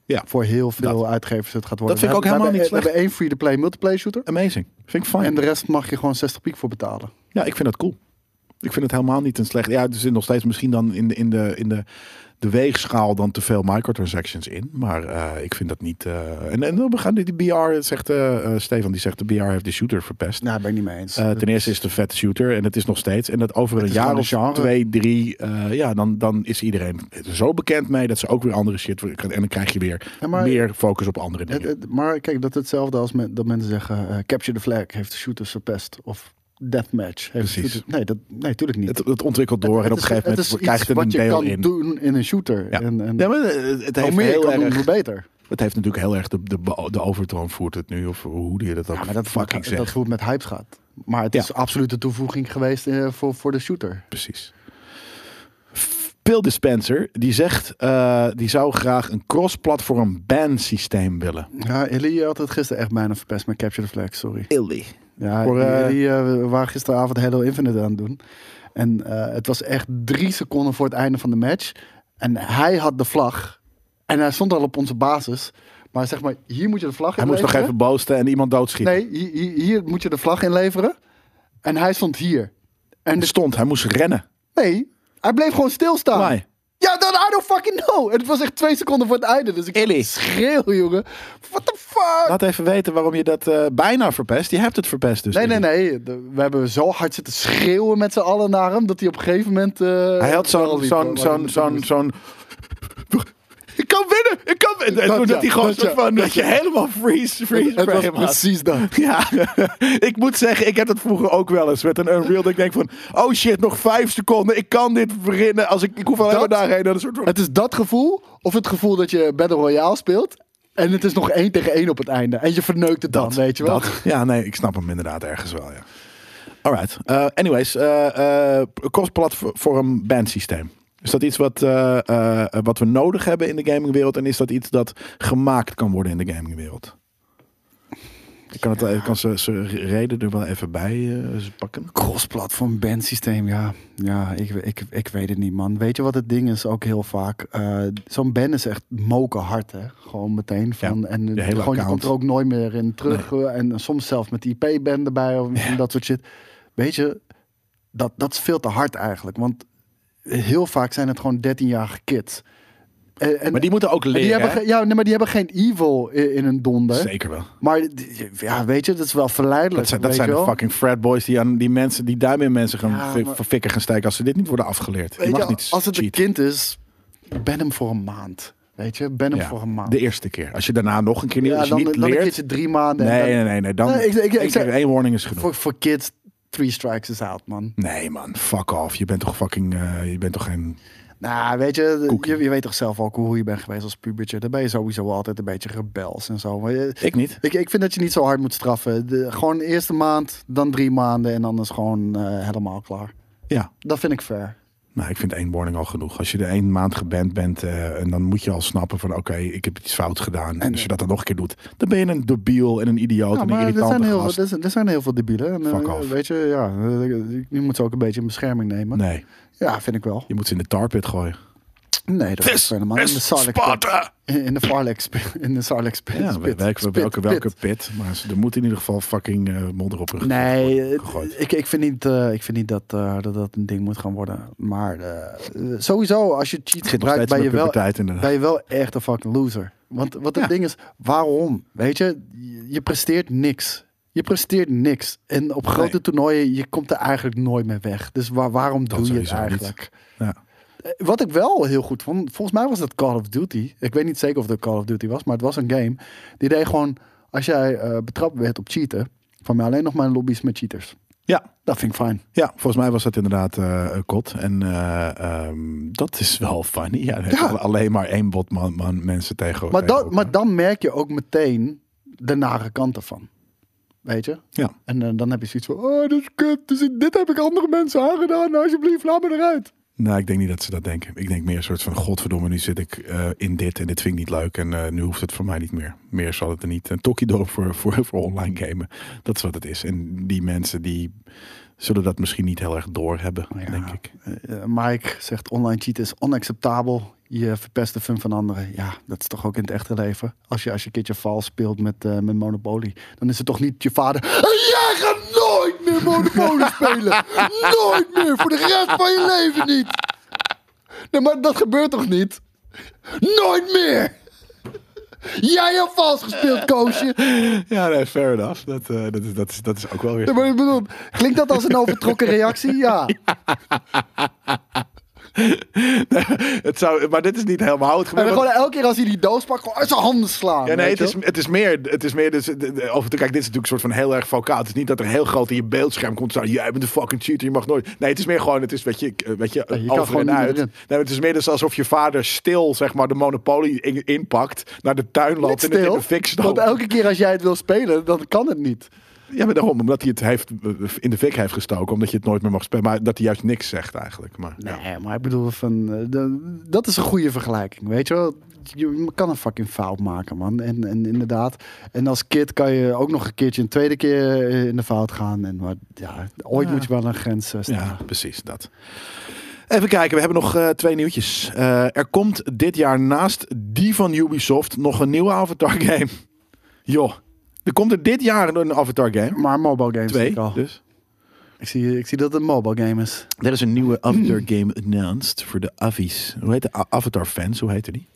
S1: Ja,
S2: voor heel veel uitgevers het gaat worden.
S1: Dat vind ik ook
S2: We hebben-
S1: helemaal niet
S2: we hebben- We hebben één free-to-play multiplayer shooter.
S1: Amazing. Vind ik
S2: En
S1: fijn.
S2: de rest mag je gewoon 60 piek voor betalen.
S1: Ja, ik vind dat cool. Ik vind het helemaal niet een slecht. Ja, er zit nog steeds misschien dan in de, in de, in de, de weegschaal dan te veel microtransactions in. Maar eh, ik vind dat niet. eh, en, en dan gaan die, die BR, zegt eh, eh, Stefan, die zegt de BR heeft de shooter verpest.
S2: Nou, ben ik niet mee eens.
S1: Eh, ten eerste is het een vette shooter en het is nog steeds. En dat over een
S2: is
S1: jaar
S2: gewoon
S1: of
S2: een genre.
S1: twee, drie, eh, ja, dan, dan is iedereen er zo bekend mee dat ze ook weer andere shit. En dan krijg je weer
S2: Ja, maar-
S1: meer focus op andere
S2: Het-
S1: dingen.
S2: het- Eh, maar kijk, dat is hetzelfde als men- dat mensen zeggen... eh, Capture the Flag heeft de shooters verpest. Of Deathmatch heeft de
S1: Precies.
S2: shooters... Nee, dat, nee, tuurlijk niet.
S1: Het, het ontwikkelt door en op een
S2: Het is-
S1: gegeven moment
S2: het is
S1: krijgt
S2: iets
S1: het een
S2: wat je
S1: deel
S2: kan
S1: in.
S2: doen in een shooter.
S1: Ja.
S2: En, en
S1: Ja, Oh, maar eh, het, het heeft
S2: hoe meer je
S1: heel
S2: kan doen,
S1: erg
S2: hoe beter.
S1: Het heeft natuurlijk heel erg de, de, de overtoon voert het nu, of hoe je dat ook
S2: Ja, maar dat is
S1: fucking
S2: hoe- dat
S1: zegt.
S2: is hoe het met hypes gaat. Maar het
S1: Ja.
S2: is absoluut de toevoeging geweest eh, voor, voor de shooter.
S1: Precies. Phil Dispenser, die zegt, eh, die zou graag een cross-platform ban systeem willen.
S2: Ja, Illy je had het gisteren echt bijna verpest met Capture the Flag, sorry.
S1: Illy.
S2: Ja,
S1: Voor,
S2: Illy,
S1: eh,
S2: Illy, eh, we waren gisteravond Halo Infinite aan het doen. En eh, het was echt drie seconden voor het einde van de match. En hij had de vlag. En hij stond al op onze basis. Maar zeg maar, hier moet je de vlag
S1: Hij moest nog
S2: inleveren.
S1: even boosten en iemand doodschieten.
S2: Nee, hi- hi- hier, moet je de vlag inleveren. En hij stond hier. En
S1: En
S2: de-
S1: er stond, hij moest rennen.
S2: nee, hij bleef gewoon stilstaan.
S1: Why?
S2: Ja, dan I don't fucking know. En het was echt twee seconden voor het einde. Dus ik schreeuw, jongen. What the fuck?
S1: Laat even weten waarom je dat eh, bijna verpest. Je hebt het verpest dus.
S2: Nee, nee,
S1: Illy.
S2: nee. De- we hebben zo hard zitten schreeuwen met z'n allen naar hem... dat hij op een gegeven moment... eh,
S1: Hij had
S2: wel
S1: zo'n,
S2: liep,
S1: zo'n,
S2: hoor,
S1: zo'n,
S2: maar-
S1: zo'n, zo'n... Ik kan winnen! Ik kan winnen! En
S2: Dat
S1: toen
S2: ja,
S1: dat hij gewoon
S2: dat
S1: zo
S2: ja,
S1: van, dat je helemaal freeze, freeze
S2: Het was
S1: frame had.
S2: precies
S1: [laughs]
S2: dat.
S1: Ja, ik moet zeggen, ik heb dat vroeger ook wel eens met een Unreal. Dat ik denk van, oh shit, nog vijf seconden. Ik kan dit verrinnen. Als ik, ik hoef alleen
S2: Dat-
S1: maar daarheen. Dat is een soort van...
S2: Het is dat gevoel of het gevoel dat je Battle Royale speelt... en het is nog één tegen één op het einde. En je verneukt het dan, weet je wel.
S1: Dat. Ja, nee, ik snap hem inderdaad ergens wel, ja. Alright. Eh, anyways, eh eh cross-platform bandsysteem. Is dat iets wat, eh, eh, wat we nodig hebben in de gamingwereld? En is dat iets dat gemaakt kan worden in de gamingwereld? Ik kan, het, ik kan ze, ze reden er wel even bij eh, pakken.
S2: Cross-platform bandsysteem, ja. Ja, ik, ik, ik weet het niet, man. Weet je wat het ding is ook heel vaak? Eh, Zo'n band is echt mokerhard, hè. Gewoon meteen. Van,
S1: Ja,
S2: en
S1: de hele
S2: gewoon, je
S1: account.
S2: komt er ook nooit meer in terug. eh, En soms zelfs met de IP-band erbij of en dat soort shit. Weet je, dat, dat is veel te hard eigenlijk. Want heel vaak zijn het gewoon 13-jarige kids. En, en-
S1: Maar die moeten ook
S2: en
S1: leren.
S2: die hebben
S1: hè?
S2: ge- ja, nee, maar die hebben geen evil i- in, hun donder.
S1: Zeker wel.
S2: Maar die- ja, weet je, dat is wel verleidelijk.
S1: Dat zijn, dat
S2: weet
S1: zijn
S2: je
S1: de
S2: wel.
S1: fucking frat boys die, aan die, mensen, die duim in mensen gaan
S2: Ja,
S1: fi-
S2: maar-
S1: verfikken gaan steken als ze dit niet worden afgeleerd. Je
S2: Weet
S1: mag
S2: je,
S1: niet
S2: als het
S1: cheaten.
S2: een kind is, ben hem voor een maand. Weet je, ben hem
S1: Ja,
S2: voor een maand.
S1: De eerste keer. Als je daarna nog een keer niet,
S2: ja,
S1: als je
S2: dan,
S1: niet
S2: dan een
S1: leert.
S2: keertje drie maanden. en
S1: nee,
S2: dan-
S1: nee, nee, nee. Dan
S2: Nee, ik- ik- ik
S1: één keer-
S2: zeg-
S1: één warning is genoeg.
S2: Voor, voor kids, three strikes is out, man.
S1: Nee man, fuck off. Je bent toch fucking, eh, je bent toch geen...
S2: Nou, weet je,
S1: Koekie.
S2: je, je weet toch zelf ook hoe je bent geweest als pubertje. Dan ben je sowieso altijd een beetje rebels en zo. Maar je-
S1: Ik niet.
S2: ik, ik vind dat je niet zo hard moet straffen. De, gewoon de eerste maand, dan drie maanden en dan is gewoon eh, helemaal klaar.
S1: Ja.
S2: Dat vind ik fair.
S1: Nou, ik vind één warning al genoeg. Als je er één maand geband bent eh, en dan moet je al snappen van oké, ik heb iets fout gedaan. En, als je dat dan nog een keer doet, dan ben je een debiel en een idioot en
S2: Ja,
S1: een
S2: maar er zijn,
S1: irritante
S2: heel
S1: gast.
S2: veel, er, zijn, er zijn heel veel debielen. En, eh,
S1: Fuck off.
S2: Weet je, ja, eh, je moet ze ook een beetje in bescherming nemen.
S1: Nee,
S2: Ja, vind ik wel.
S1: je moet ze in de tarpit gooien.
S2: Nee, dat is helemaal in de Sarlex
S1: Sparta!
S2: In de Farlex In de Sarlex pit.
S1: Ja,
S2: Spit.
S1: welke, welke,
S2: Spit.
S1: welke, welke
S2: Pit.
S1: pit. Maar ze- er moet in ieder geval fucking eh modder op hun gezicht
S2: Nee,
S1: worden
S2: het-
S1: gegooid.
S2: ik, ik vind niet, eh, ik vind niet dat, eh, dat dat een ding moet gaan worden. Maar eh, eh, sowieso, als je cheat
S1: zit nog
S2: gebruikt,
S1: steeds
S2: ben
S1: in
S2: je,
S1: de
S2: wel,
S1: puberteit inderdaad.
S2: ben je wel echt een fucking loser. Want wat het
S1: Ja.
S2: ding is, waarom? Weet je, je- je presteert niks. Je presteert niks. En op grote
S1: Nee.
S2: toernooien, je komt er eigenlijk nooit mee weg. Dus waar- waarom doe je het
S1: sowieso niet.
S2: eigenlijk?
S1: Ja.
S2: Eh, Wat ik wel heel goed vond, volgens mij was dat Call of Duty. Ik weet niet zeker of dat Call of Duty was, maar het was een game. Die deed gewoon, als jij eh, betrapt werd op cheaten, van mij alleen nog maar lobby's met cheaters.
S1: Ja,
S2: Dat vind ik fijn.
S1: ja, volgens mij was dat inderdaad eh eh, kot. En eh, ehm, dat is wel funny. Ja, nee,
S2: Ja.
S1: Alleen maar één bot man, man, mensen tegen
S2: Maar,
S1: tegen
S2: dat,
S1: elkaar.
S2: maar dan merk je ook meteen de nare kanten van. Weet je?
S1: Ja.
S2: En eh, dan heb je zoiets van, oh, dat is kut. Dus dit heb ik andere mensen aangedaan. Alsjeblieft, laat me eruit.
S1: Nou, ik denk niet dat ze dat denken. Ik denk meer een soort van: Godverdomme, nu zit ik eh, in dit en dit vind ik niet leuk. En eh, nu hoeft het voor mij niet meer. Meer zal het er niet. Een tokkiedoop voor, voor, [laughs] voor online gamen. Dat is wat het is. En die mensen die zullen dat misschien niet heel erg doorhebben, denk ik.
S2: Eh, Mike zegt, online cheaten is onacceptabel. Je verpest de fun van anderen. Ja, dat is toch ook in het echte leven. Als je, als je een keertje vals speelt met, eh, met Monopoly, dan is het toch niet je vader. "En Jij gaat nooit meer Monopoly
S1: [laughs]
S2: spelen. Nooit meer. Voor de rest van je leven niet. Nee, maar dat gebeurt toch niet? Nooit meer. Jij hebt vals gespeeld, Koosje.
S1: Ja, nee, fair enough. Dat, eh, dat, is, dat, is, dat is ook wel weer.
S2: Nee, maar ik bedoel, klinkt dat als een overtrokken reactie? Ja.
S1: [laughs] het zou, maar dit is niet helemaal het
S2: En
S1: gebeurt.
S2: dan gewoon elke keer als hij die doos pakt, gewoon uit zijn handen slaan.
S1: Ja, nee,
S2: weet
S1: het
S2: je
S1: is, het is meer. Het is meer dus, de- de- over, kijk, dit is natuurlijk een soort van heel erg vocaal. Het is niet dat er heel groot in je beeldscherm komt. Zo, jij bent een fucking cheater, je mag nooit. Nee, het is meer gewoon. Het is, weet je, ik, eh, weet je,
S2: je kan
S1: over
S2: gewoon
S1: en
S2: niet meer
S1: uit. Nee,
S2: erin.
S1: maar het is meer dus alsof je vader stil, zeg maar, de monopolie in- inpakt. Naar de tuin loopt en het in de fik
S2: want
S1: stopt.
S2: elke keer als jij het wil spelen, dan kan het niet.
S1: Ja, maar daarom. Omdat hij het heeft, eh, in de fik heeft gestoken. Omdat je het nooit meer mag spelen. Maar dat hij juist niks zegt eigenlijk. Maar, ja.
S2: Nee, maar ik bedoel, van, eh, de- dat is een goede vergelijking, weet je wel. Je kan een fucking fout maken, man. En, en inderdaad, en als kid kan je ook nog een keertje een tweede keer eh, in de fout gaan. En, maar ja, ooit moet je wel een grens eh, stellen.
S1: Ja, precies dat. Even kijken, we hebben nog eh, twee nieuwtjes. Eh, er komt dit jaar naast die van Ubisoft nog een nieuwe Avatar [laughs] game. Joh, er komt er dit jaar een Avatar game.
S2: Maar mobile games zie
S1: Twee,
S2: ik al.
S1: dus.
S2: Ik, zie, ik zie dat het een mobile game is.
S1: Er is een nieuwe Avatar game announced voor de Avi's. Hoe heet de A- Avatar fans? Hoe heette die?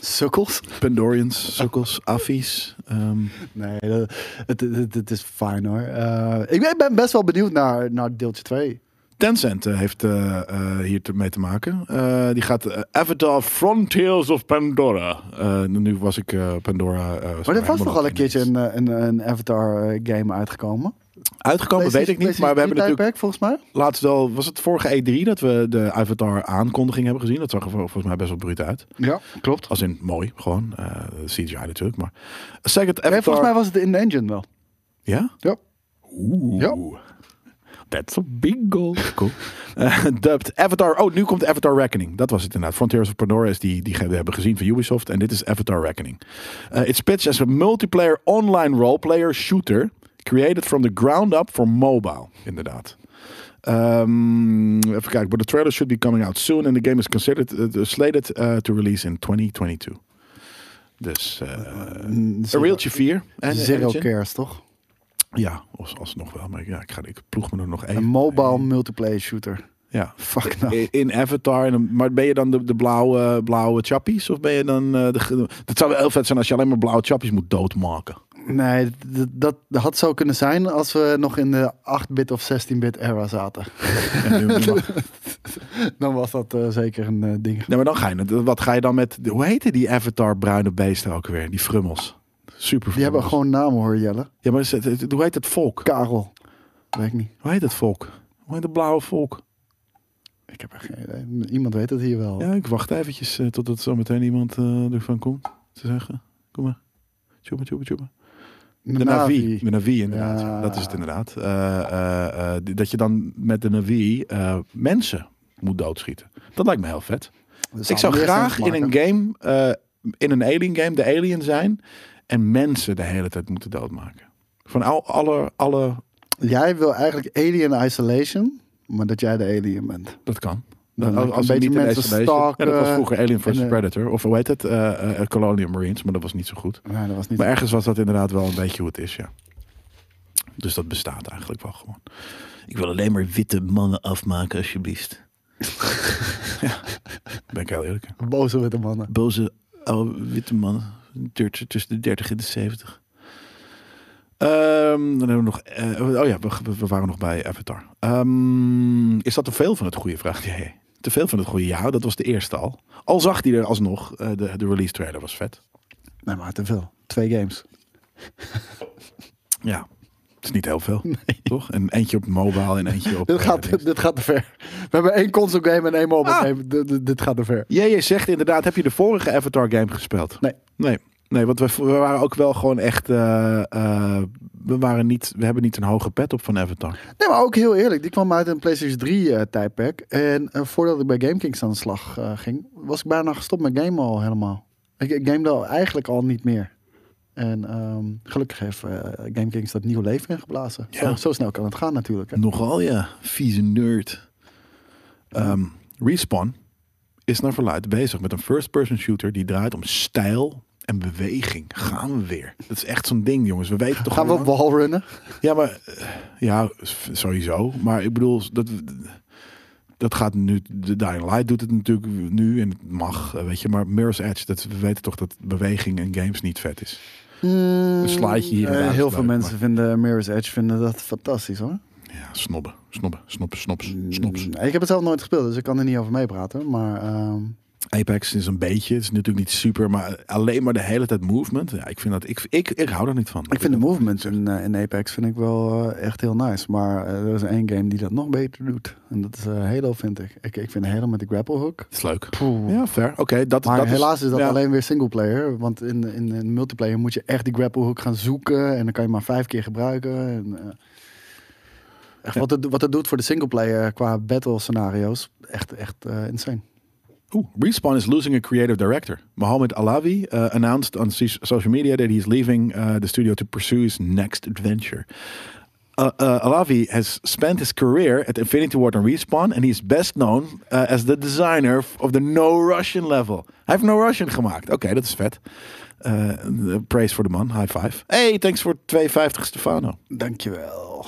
S2: Sukkels? [laughs]
S1: Pandorians, Sukkels, Avi's. ehm,
S2: Nee, dat- het, het, het is fijn hoor. Eh, ik ben- ik ben best wel benieuwd naar, naar deeltje 2.
S1: Tencent eh, heeft eh, eh, hier te- mee te maken. Eh, die gaat eh, Avatar Frontiers of Pandora. Eh, nu was ik eh, Pandora. eh,
S2: Maar er was
S1: helemaal
S2: toch al een
S1: in.
S2: keertje een, eh, een, een Avatar-game uitgekomen?
S1: Uitgekomen weet ik niet, maar we hebben natuurlijk
S2: Tijdperk, volgens mij.
S1: laatst wel, was het vorige E3 dat we de Avatar aankondiging hebben gezien. Dat zag er vol- volgens mij best wel bruut uit.
S2: Ja, klopt.
S1: Als in mooi, gewoon. eh, CGI natuurlijk, maar. Second Avatar.
S2: Nee, volgens mij was het in de engine wel.
S1: Ja?
S2: Ja.
S1: Oeh.
S2: Ja.
S1: That's a big goal. [laughs] Cool. Eh, dubbed Avatar. Oh, nu komt Avatar Reckoning. Dat was het inderdaad. Frontiers of Pandora is die, die we hebben gezien van Ubisoft. En dit is Avatar Reckoning. Eh it's pitched as a multiplayer online roleplayer shooter. Created from the ground up for mobile. Inderdaad. Ehm, even kijken. But the trailer should be coming out soon. And the game is considered eh, slated eh, to release in 2022. Dus eh A Realtje 4. En
S2: Zero
S1: Engine.
S2: cares, toch?
S1: Ja, als, alsnog wel. Maar ja, ik, ga, ik ploeg me er nog één.
S2: Een mobile multiplayer shooter.
S1: Ja.
S2: Fuck nou.
S1: In- In Avatar. en dan- Maar ben je dan de, de blauwe, blauwe chappies? Of ben je dan... eh, de, ge- dat zou wel heel vet zijn als je alleen maar blauwe chappies moet doodmaken.
S2: Nee, d- dat had zo kunnen zijn als we nog in de 8-bit of 16-bit era zaten. [laughs]
S1: [laughs] En nu-
S2: Dan was dat eh, zeker een eh, ding.
S1: nee, maar dan ga je... Wat ga je dan met... Hoe heette die Avatar bruine beesten ook weer? Die frummels. Super
S2: Die hebben
S1: frummels.
S2: gewoon namen hoor, Jelle.
S1: Ja, maar ze- het- het- hoe heet het volk?
S2: Karel. Weet ik niet.
S1: Hoe heet het volk? Hoe heet het blauwe volk?
S2: Ik heb er geen idee. Iemand weet het hier wel.
S1: Ja, ik wacht eventjes eh, totdat zo meteen iemand eh, ervan komt te zeggen. Kom maar. Tjoepa, tjoepa, tjoepa. De Navi. De Navi, inderdaad.
S2: Ja.
S1: Dat is het inderdaad. Eh, eh, eh, d- dat je dan met de Navi eh, mensen moet doodschieten. Dat lijkt me heel vet.
S2: Dus
S1: Ik zou
S2: allereerst
S1: graag
S2: maken.
S1: in een game, eh, in een alien game, de alien zijn. En mensen de hele tijd moeten doodmaken. Van al, alle, alle,
S2: Jij wil eigenlijk Alien Isolation, maar dat jij de alien bent.
S1: dat kan.
S2: Dan
S1: Als-
S2: een
S1: als
S2: beetje
S1: niet in
S2: mensen
S1: Isolation.
S2: stalken.
S1: Ja, dat was vroeger Alien vs.
S2: en, eh,
S1: Predator. Of hoe heet het? Eh, eh, Colonial Marines. Maar dat was niet zo goed.
S2: Nee, dat was niet.
S1: Maar ergens was dat inderdaad wel een beetje hoe het is, ja. Dus dat bestaat eigenlijk wel gewoon.
S4: Ik wil alleen maar witte mannen afmaken,
S1: [laughs]
S4: alsjeblieft.
S1: Ben ik heel eerlijk.
S2: boze witte mannen.
S4: Boze oude witte mannen. Dirt tussen de 30 en de 70.
S1: Ehm, dan hebben we nog. eh, oh ja, we, we waren nog bij Avatar. Ehm, is dat te veel van het goede? [laughs] Vraagt jij. Te veel van het goede? Ja, dat was de eerste al. Al zag hij er alsnog. eh, de, de release trailer was vet.
S2: Nee, maar te veel. Twee games.
S1: Ja, het is niet heel
S2: [laughs]
S1: veel. Toch? En eentje op mobile en eentje op.
S2: Dit
S1: eh,
S2: gaat,
S1: ding.
S2: dit gaat te ver. We hebben één console game en één mobile
S1: Ah.
S2: game. Dit- dit- dit gaat te ver.
S1: JJ zegt inderdaad, heb je de vorige Avatar game gespeeld?
S2: Nee.
S1: Nee, nee want we, we waren ook wel gewoon echt... eh, eh, we, waren niet, we hebben niet een hoge pet op van
S2: [laughs]
S1: Avatar.
S2: Nee, maar ook heel eerlijk. Die kwam uit een PlayStation 3 eh, tijdperk. En eh, voordat ik bij GameKings aan de slag eh, ging, was ik bijna gestopt met gamen al helemaal. Ik, ik gamede al eigenlijk al niet meer. En ehm, gelukkig heeft eh, GameKings dat nieuw leven ingeblazen. Zo, zo snel kan het gaan natuurlijk. Hè.
S1: Nogal ja, vieze nerd. Ehm, Respawn is naar verluid bezig met een first-person shooter... die draait om stijl en beweging. Gaan we weer. Dat is echt zo'n ding, jongens. We weten toch
S2: Gaan we
S1: al
S2: op
S1: lang-
S2: wallrunnen?
S1: Ja, maar... eh, Ja, s- sowieso. Maar ik bedoel, dat... Dat gaat nu, de Dying Light doet het natuurlijk nu en het mag, eh, weet je. Maar Mirror's Edge, dat, we weten toch dat beweging in games niet vet is.
S2: Een
S1: slaatje hier en daar is
S2: Mm, eh, heel
S1: leuk,
S2: veel mensen vinden Mirror's Edge vinden dat fantastisch hoor.
S1: Ja, snobben, snobben, snoppen, snops, snops.
S2: Mm, Ik heb het zelf nooit gespeeld, dus ik kan er niet over meepraten. Maar ehm,
S1: Apex is een beetje, het is natuurlijk niet super, maar alleen maar de hele tijd movement. Ja, ik vind dat, ik, ik, ik hou er niet van.
S2: Ik vind de movement in, eh, in Apex vind ik wel eh, echt heel nice. Maar eh, er is één game die dat nog beter doet. En dat is eh Halo, vind ik. ik. Ik vind Halo met de grapple hook.
S1: Het is leuk.
S2: Poeh.
S1: Ja, fair. Oké, dat,
S2: Maar
S1: dat
S2: helaas is, dat
S1: ja.
S2: alleen weer singleplayer. Want in, in, in multiplayer moet je echt die grapple hook gaan zoeken. En dan kan je maar vijf keer gebruiken. En, eh, echt wat, het, wat het doet voor de singleplayer qua battle scenario's. Echt, echt eh, insane.
S1: Oeh, Respawn is losing a creative director. Mohamed Alawi uh, announced on so- social media that he's leaving uh, the studio to pursue his next adventure. Uh, uh, Alavi has spent his career at Infinity Ward and Respawn, and he's best known uh, as the designer f- of the No Russian level. Hij heeft No Russian gemaakt. Oké, dat is vet. Eh, praise for the man. High five. Hey, thanks voor 250 Stefano.
S2: Dankjewel.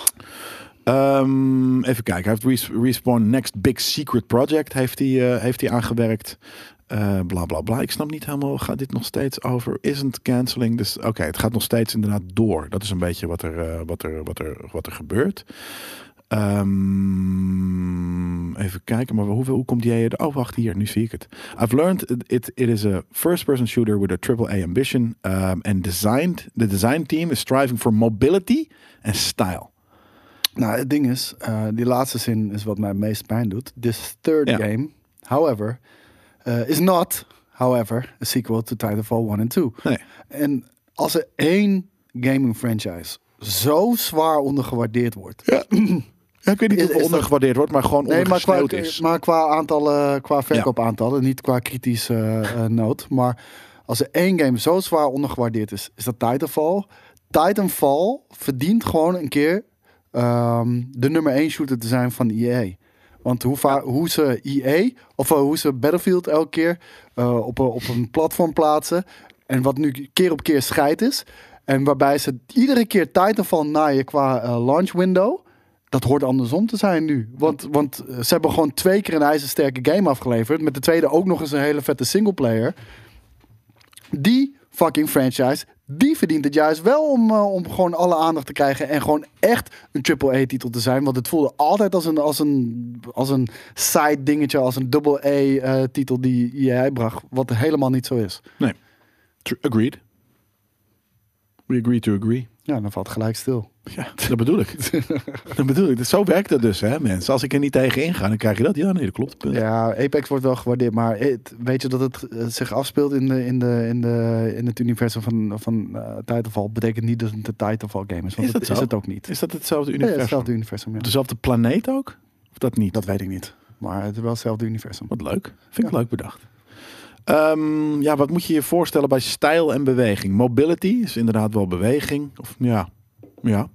S1: Ehm, even kijken. Hij heeft Res- Respawn Next Big Secret Project heeft hij, eh, heeft hij aangewerkt. Eh, bla bla bla. Ik snap niet helemaal. Gaat dit nog steeds over? Isn't canceling. Dus oké, het gaat nog steeds inderdaad door. Dat is een beetje wat er, eh, wat er, wat er, wat er gebeurt. Ehm, even kijken, maar hoeveel, hoe komt jij er? Oh, wacht hier, nu zie ik het. I've learned it, it, it is a first-person shooter with a triple-A ambition. ehm, and designed, the design team is striving for mobility and style.
S2: Nou, het ding is, eh, die laatste zin is wat mij het meest pijn doet. This third
S1: Ja.
S2: game, however, eh, is not, however, a sequel to Titanfall 1 en 2.
S1: Nee.
S2: En als er één gaming franchise zo zwaar ondergewaardeerd wordt.
S1: Ja, ik weet niet
S2: Is-
S1: of het
S2: is dat-
S1: ondergewaardeerd wordt, maar gewoon
S2: Nee, maar qua,
S1: ondergesneeuwd is.
S2: maar qua aantallen, qua verkoopaantallen, niet qua kritische eh, eh, nood. Maar als er één game zo zwaar ondergewaardeerd is, is dat Titanfall. Titanfall verdient gewoon een keer ehm, de nummer één shooter te zijn van EA. Want hoe, va- hoe ze EA, of eh, hoe ze Battlefield elke keer eh, op, een- op een platform plaatsen. En wat nu keer op keer scheid is. En waarbij ze iedere keer Titanfall naaien qua eh, launch window. Dat hoort andersom te zijn nu. Want, want eh, ze hebben gewoon twee keer een ijzersterke game afgeleverd. Met de tweede ook nog eens een hele vette singleplayer. Die fucking franchise, die verdient het juist wel om, eh, om gewoon alle aandacht te krijgen. En gewoon echt een AAA-titel te zijn. Want het voelde altijd als een, als een, als een side dingetje. Als een double-A-titel die jij bracht. Wat helemaal niet zo is.
S1: Nee. Tr- agreed. We agree to agree.
S2: Ja, dan valt het gelijk stil.
S1: Ja, dat bedoel [laughs] ik. dat bedoel ik. Dus Zo werkt dat dus, hè, mensen. Als ik er niet tegen inga, dan krijg je dat. Ja, nee, dat klopt. Punt.
S2: Ja, Apex wordt wel gewaardeerd, maar het- weet je dat het eh, zich afspeelt in, de, in, de, in, de, in het universum van, van eh, Titanfall? Betekent niet dat het een Titanfall game is,
S1: Is
S2: want dat
S1: dat
S2: is
S1: zo?
S2: het Dus- ook niet.
S1: Is dat hetzelfde
S2: Ja, ja,
S1: universum?
S2: hetzelfde universum, ja.
S1: Op dezelfde planeet ook? Of dat niet?
S2: Dat weet ik niet, maar het is wel hetzelfde universum.
S1: Wat leuk. Vind ik
S2: Ja.
S1: leuk bedacht. Ehm, ja, wat moet je je voorstellen bij stijl en beweging? Mobility is inderdaad wel beweging. Of ja, ja.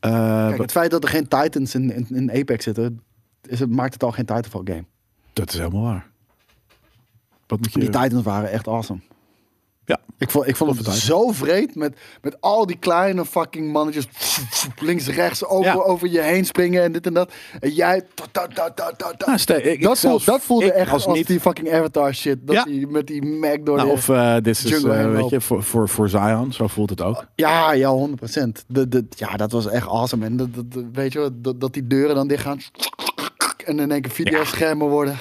S1: Eh,
S2: Kijk, het feit dat er geen Titans in, in, in Apex zitten, is het, maakt het al geen Titanfall game.
S1: dat is helemaal waar. Wat moet je...
S2: Die Titans waren echt awesome.
S1: Ja.
S2: Ik vond, ik vond het
S1: Titans.
S2: zo vreed met, met al die kleine fucking mannetjes links, rechts, over,
S1: Ja.
S2: over je heen springen en dit en dat. En jij... ta, ta, ta, ta, ta, ta.
S1: Nou, stel- ik- ik
S2: dat,
S1: zelfs-
S2: voelde, dat voelde
S1: ik
S2: echt als,
S1: niet-
S2: die fucking Avatar shit. Dat
S1: Ja.
S2: die, met die Mac door
S1: Nou,
S2: de...
S1: of eh dit is,
S2: Jungle
S1: eh,
S2: heen
S1: weet
S2: lopen.
S1: je, voor, voor, voor Zion, zo voelt het ook.
S2: Ja, ja, 100%. De, de, ja, dat was echt awesome. En dat, dat, weet je wel, dat, dat die deuren dan dicht gaan. En in één keer videoschermen worden.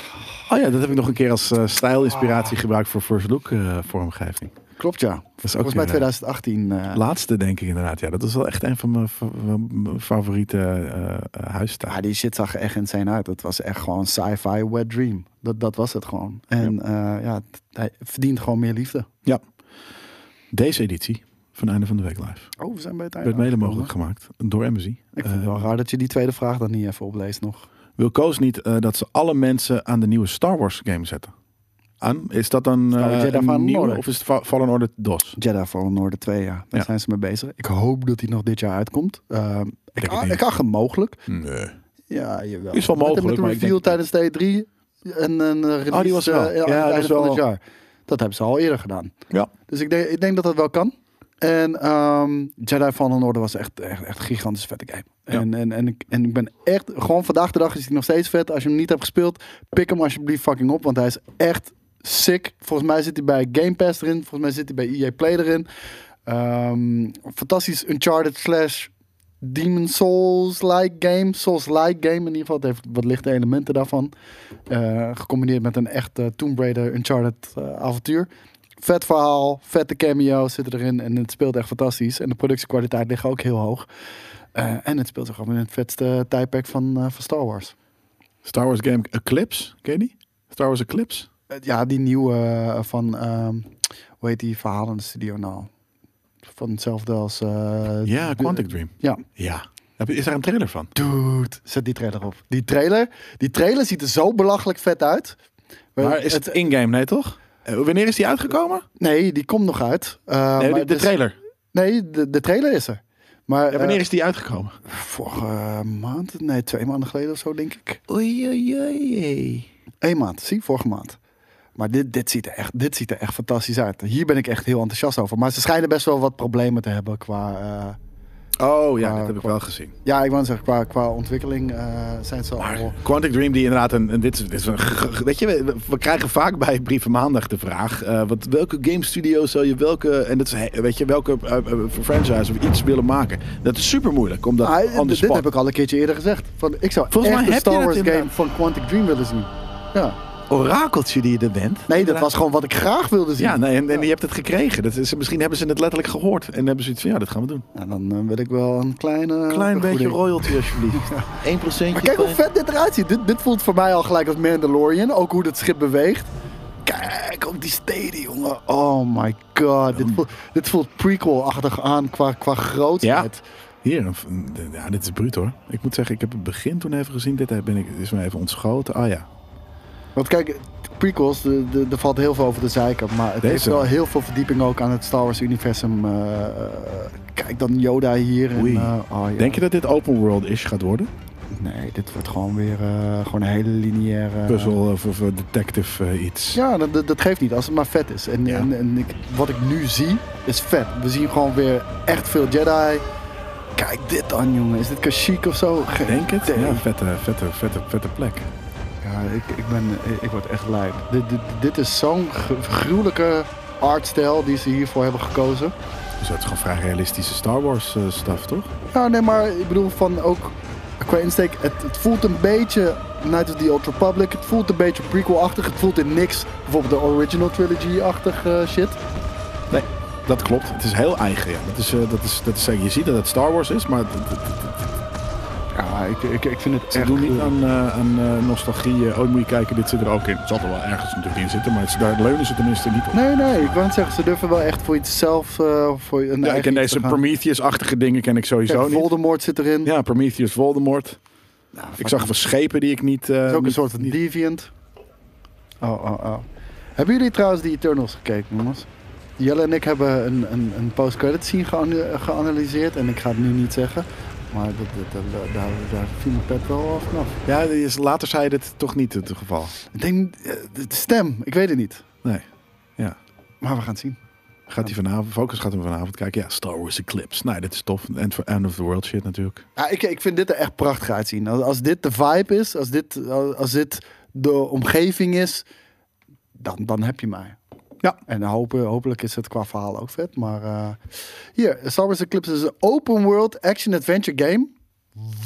S1: Oh ja, dat heb ik nog een keer als eh, stijlinspiratie gebruikt voor First Look eh, vormgeving.
S2: Klopt, ja.
S1: is ook
S2: Volgens mij
S1: weer, eh,
S2: 2018. eh,
S1: Laatste denk ik inderdaad, ja. Dat is wel echt een van mijn fa- mijn favoriete eh, eh, huisstijlen.
S2: Ja, die shit zag er echt insane uit. Dat was echt gewoon sci-fi wet dream. Dat, dat was het gewoon. En ja, ja t- hij verdient gewoon meer liefde.
S1: Ja. Deze editie van Einde van de Week Live
S2: Oh, we zijn bij het einde.
S1: werd mede
S2: aangekomen.
S1: mogelijk gemaakt door Eh, Embassy.
S2: Ik vind het wel Eh, raar dat je die tweede vraag dan niet even opleest nog.
S1: Wil Koos niet eh, dat ze alle mensen aan de nieuwe Star Wars game zetten? Aan? Is dat dan
S2: Star Wars
S1: eh
S2: Jedi
S1: een
S2: Fallen
S1: nieuwe
S2: Order.
S1: of is het Va- Fallen Order DOS?
S2: Jedi Fallen Order 2, ja. Daar
S1: Ja.
S2: zijn ze mee bezig. Ik hoop dat die nog dit jaar uitkomt. Ehm, ik,
S1: het
S2: a-
S1: niet.
S2: ik acht hem mogelijk.
S1: Nee.
S2: Ja, jawel.
S1: Is wel
S2: Met-
S1: mogelijk,
S2: Met een
S1: maar ik
S2: review
S1: denk- Oh,
S2: tijdens de E3 en een eh, release
S1: was wel.
S2: eh, aan
S1: Ja,
S2: het
S1: dat
S2: einde
S1: is
S2: van het
S1: wel-
S2: jaar. Dat hebben ze al eerder gedaan.
S1: Ja.
S2: Dus ik denk, ik denk dat dat wel kan. En ehm Jedi Fallen Order was echt, echt, echt een gigantisch vette game. En, en, en, ik, en ik ben echt, gewoon vandaag de dag is hij nog steeds vet. Als je hem niet hebt gespeeld, pik hem alsjeblieft fucking op. Want hij is echt sick. Volgens mij zit hij bij Game Pass erin. Volgens mij zit hij bij EA Play erin. Ehm, fantastisch Uncharted slash Demon Souls-like game. Souls-like game in ieder geval. Het heeft wat lichte elementen daarvan. Eh, gecombineerd met een echt eh, Tomb Raider Uncharted eh, avontuur. Vet verhaal, vette cameo's zitten erin. En het speelt echt fantastisch. En de productiekwaliteit ligt ook heel hoog. Eh, en het speelt zich gewoon in het vetste tijdperk van, eh, van Star Wars.
S1: Star Wars game Eclipse, ken je die? Star Wars Eclipse?
S2: Eh, ja, die nieuwe eh, van... ehm, hoe heet die verhalenstudio nou? Van hetzelfde als... eh,
S1: Ja,
S2: de-
S1: Quantic Dream.
S2: Ja,
S1: Ja. Heb je- Is daar een trailer van?
S2: Dude, zet die trailer op. Die trailer, die trailer ziet er zo belachelijk vet uit. We-
S1: Maar is het in-game, nee toch? Eh, wanneer is die uitgekomen?
S2: Nee, die komt nog uit. Eh,
S1: nee,
S2: maar
S1: de, de
S2: dus-
S1: trailer.
S2: Nee, de, de trailer is er. Maar
S1: Ja, wanneer
S2: eh,
S1: is die uitgekomen?
S2: vorige maand, nee, twee maanden geleden of zo, denk ik.
S1: Oei, oei, oei.
S2: Eén maand, zie, vorige maand. Maar dit, dit, ziet er echt, dit ziet er echt fantastisch uit. Hier ben ik echt heel enthousiast over. Maar ze schijnen best wel wat problemen te hebben qua... eh,
S1: Oh ja,
S2: Maar-
S1: dat heb ik wel gezien.
S2: ja, ik wou zeggen, qua, qua ontwikkeling eh, zijn ze al...
S1: Quantic Dream die inderdaad een, een- dit, is, dit is een g- g- weet je we, we krijgen vaak bij Brieven Maandag de vraag eh, wat welke game studio zou je welke en dat is, he- weet je welke eh, eh, franchise of iets willen maken. Dat is super moeilijk omdat
S2: Ah,
S1: anders.
S2: dit dit heb ik al een keertje eerder gezegd. Van, ik zou
S1: Volgens
S2: echt
S1: mij
S2: de
S1: heb je
S2: Star
S1: dat
S2: Wars game
S1: inderdaad.
S2: van Quantic Dream willen zien. Ja.
S1: orakeltje die je er bent.
S2: Nee, dat was gewoon wat ik graag wilde zien.
S1: Ja, nee, en, en je hebt het gekregen. Dat is, misschien hebben ze het letterlijk gehoord en hebben ze iets van ja, dat gaan we doen.
S2: Nou, dan eh, wil ik wel een kleine...
S1: Klein beetje
S2: vergoeding.
S1: royalty
S2: [laughs]
S1: alsjeblieft.
S6: 1%
S2: Maar kijk hoe vet dit eruit ziet. Dit, dit voelt voor mij al gelijk als Mandalorian. Ook hoe dat schip beweegt. Kijk, ook die steden, jongen. Oh my god.
S1: Mm.
S2: Dit voelt, dit voelt prequel-achtig aan qua, qua grootheid.
S1: Hier, een- een- ja, dit is bruut hoor. Ik moet zeggen, ik heb het begin toen even gezien. Dit ben ik, is me even ontschoten. Ah ja,
S2: Want kijk, prequels, de- de- er valt heel veel over te zeiken. Maar het
S1: Deze.
S2: heeft wel heel veel verdieping ook aan het Star Wars-universum. eh, eh, kijk dan Yoda hier. En,
S1: Oei.
S2: eh, oh ja.
S1: Denk je dat dit open world is gaat worden?
S2: Nee, dit wordt gewoon weer eh, gewoon een hele lineaire... eh,
S1: Puzzle of, of eh, detective eh, iets.
S2: Ja, dat, dat, dat geeft niet, als het maar vet is. En,
S1: Ja.
S2: en, en ik, wat ik nu zie, is vet. We zien gewoon weer echt veel Jedi. Kijk dit dan, jongen. Is dit Kashyyyk of zo? Geen
S1: Denk het?
S2: idee.
S1: Ja, vette, vette, vette, vette plek.
S2: Ja, ik, ik, ben, ik word echt lui. Dit, dit, dit is zo'n gr- gruwelijke artstijl die ze hiervoor hebben gekozen.
S1: Dus dat is gewoon vrij realistische Star Wars eh, stuff, toch?
S2: Ja, nee, maar ik bedoel van ook qua insteek, het, het voelt een beetje Night of the Old Republic. Het voelt een beetje prequel-achtig. Het voelt in niks bijvoorbeeld de original trilogy-achtig eh, shit.
S1: Nee, dat klopt. Het is heel eigen, ja. Dat is, eh, dat is, dat is, zeker. je ziet dat het Star Wars is, maar het- het- het-
S2: Ja, ik, ik, ik vind het
S1: ze
S2: echt...
S1: doen niet
S2: gruwelijk.
S1: aan, eh, aan eh, nostalgie. eh, oh, moet je kijken, dit zit er ook in. Het zal er wel ergens natuurlijk in zitten, maar het, daar leunen ze tenminste niet op.
S2: Nee, nee, ik wou net zeggen, ze durven wel echt voor iets zelf, eh, voor een
S1: Ja, ik
S2: eigen
S1: ken
S2: iets te
S1: deze
S2: gaan.
S1: Prometheus-achtige dingen ken ik sowieso
S2: Kijk,
S1: niet.
S2: Voldemort zit erin.
S1: Ja, Prometheus, Voldemort. ik zag van schepen die ik niet... eh,
S2: Het is ook een
S1: niet-
S2: soort van
S1: niet-
S2: deviant. Oh, oh, oh. Hebben jullie trouwens die Eternals gekeken, jongens? Jelle en ik hebben een, een, een post-credit scene geana- geanalyseerd. En ik ga het nu niet zeggen. Maar dat, dat, dat- daar, daar viel mijn pet wel af vanaf.
S1: Ja, die is- later zei dit toch niet het geval.
S2: Ik denk, eh, de stem, ik weet het niet.
S1: Nee. Ja.
S2: Maar we gaan het zien.
S1: Gaat hij vanavond, Focus gaat hem vanavond kijken. Ja, Star Wars Eclipse. Nou, dit is tof. End, for- end of the world shit natuurlijk.
S2: Ja, ik, ik vind dit er echt prachtig uitzien. Als, als dit de vibe is, als dit, als dit de omgeving is, dan, dan heb je mij.
S1: Ja.
S2: En hopen, hopelijk is het qua verhaal ook vet. Maar eh, hier, Star Wars Eclipse is een open world action-adventure game.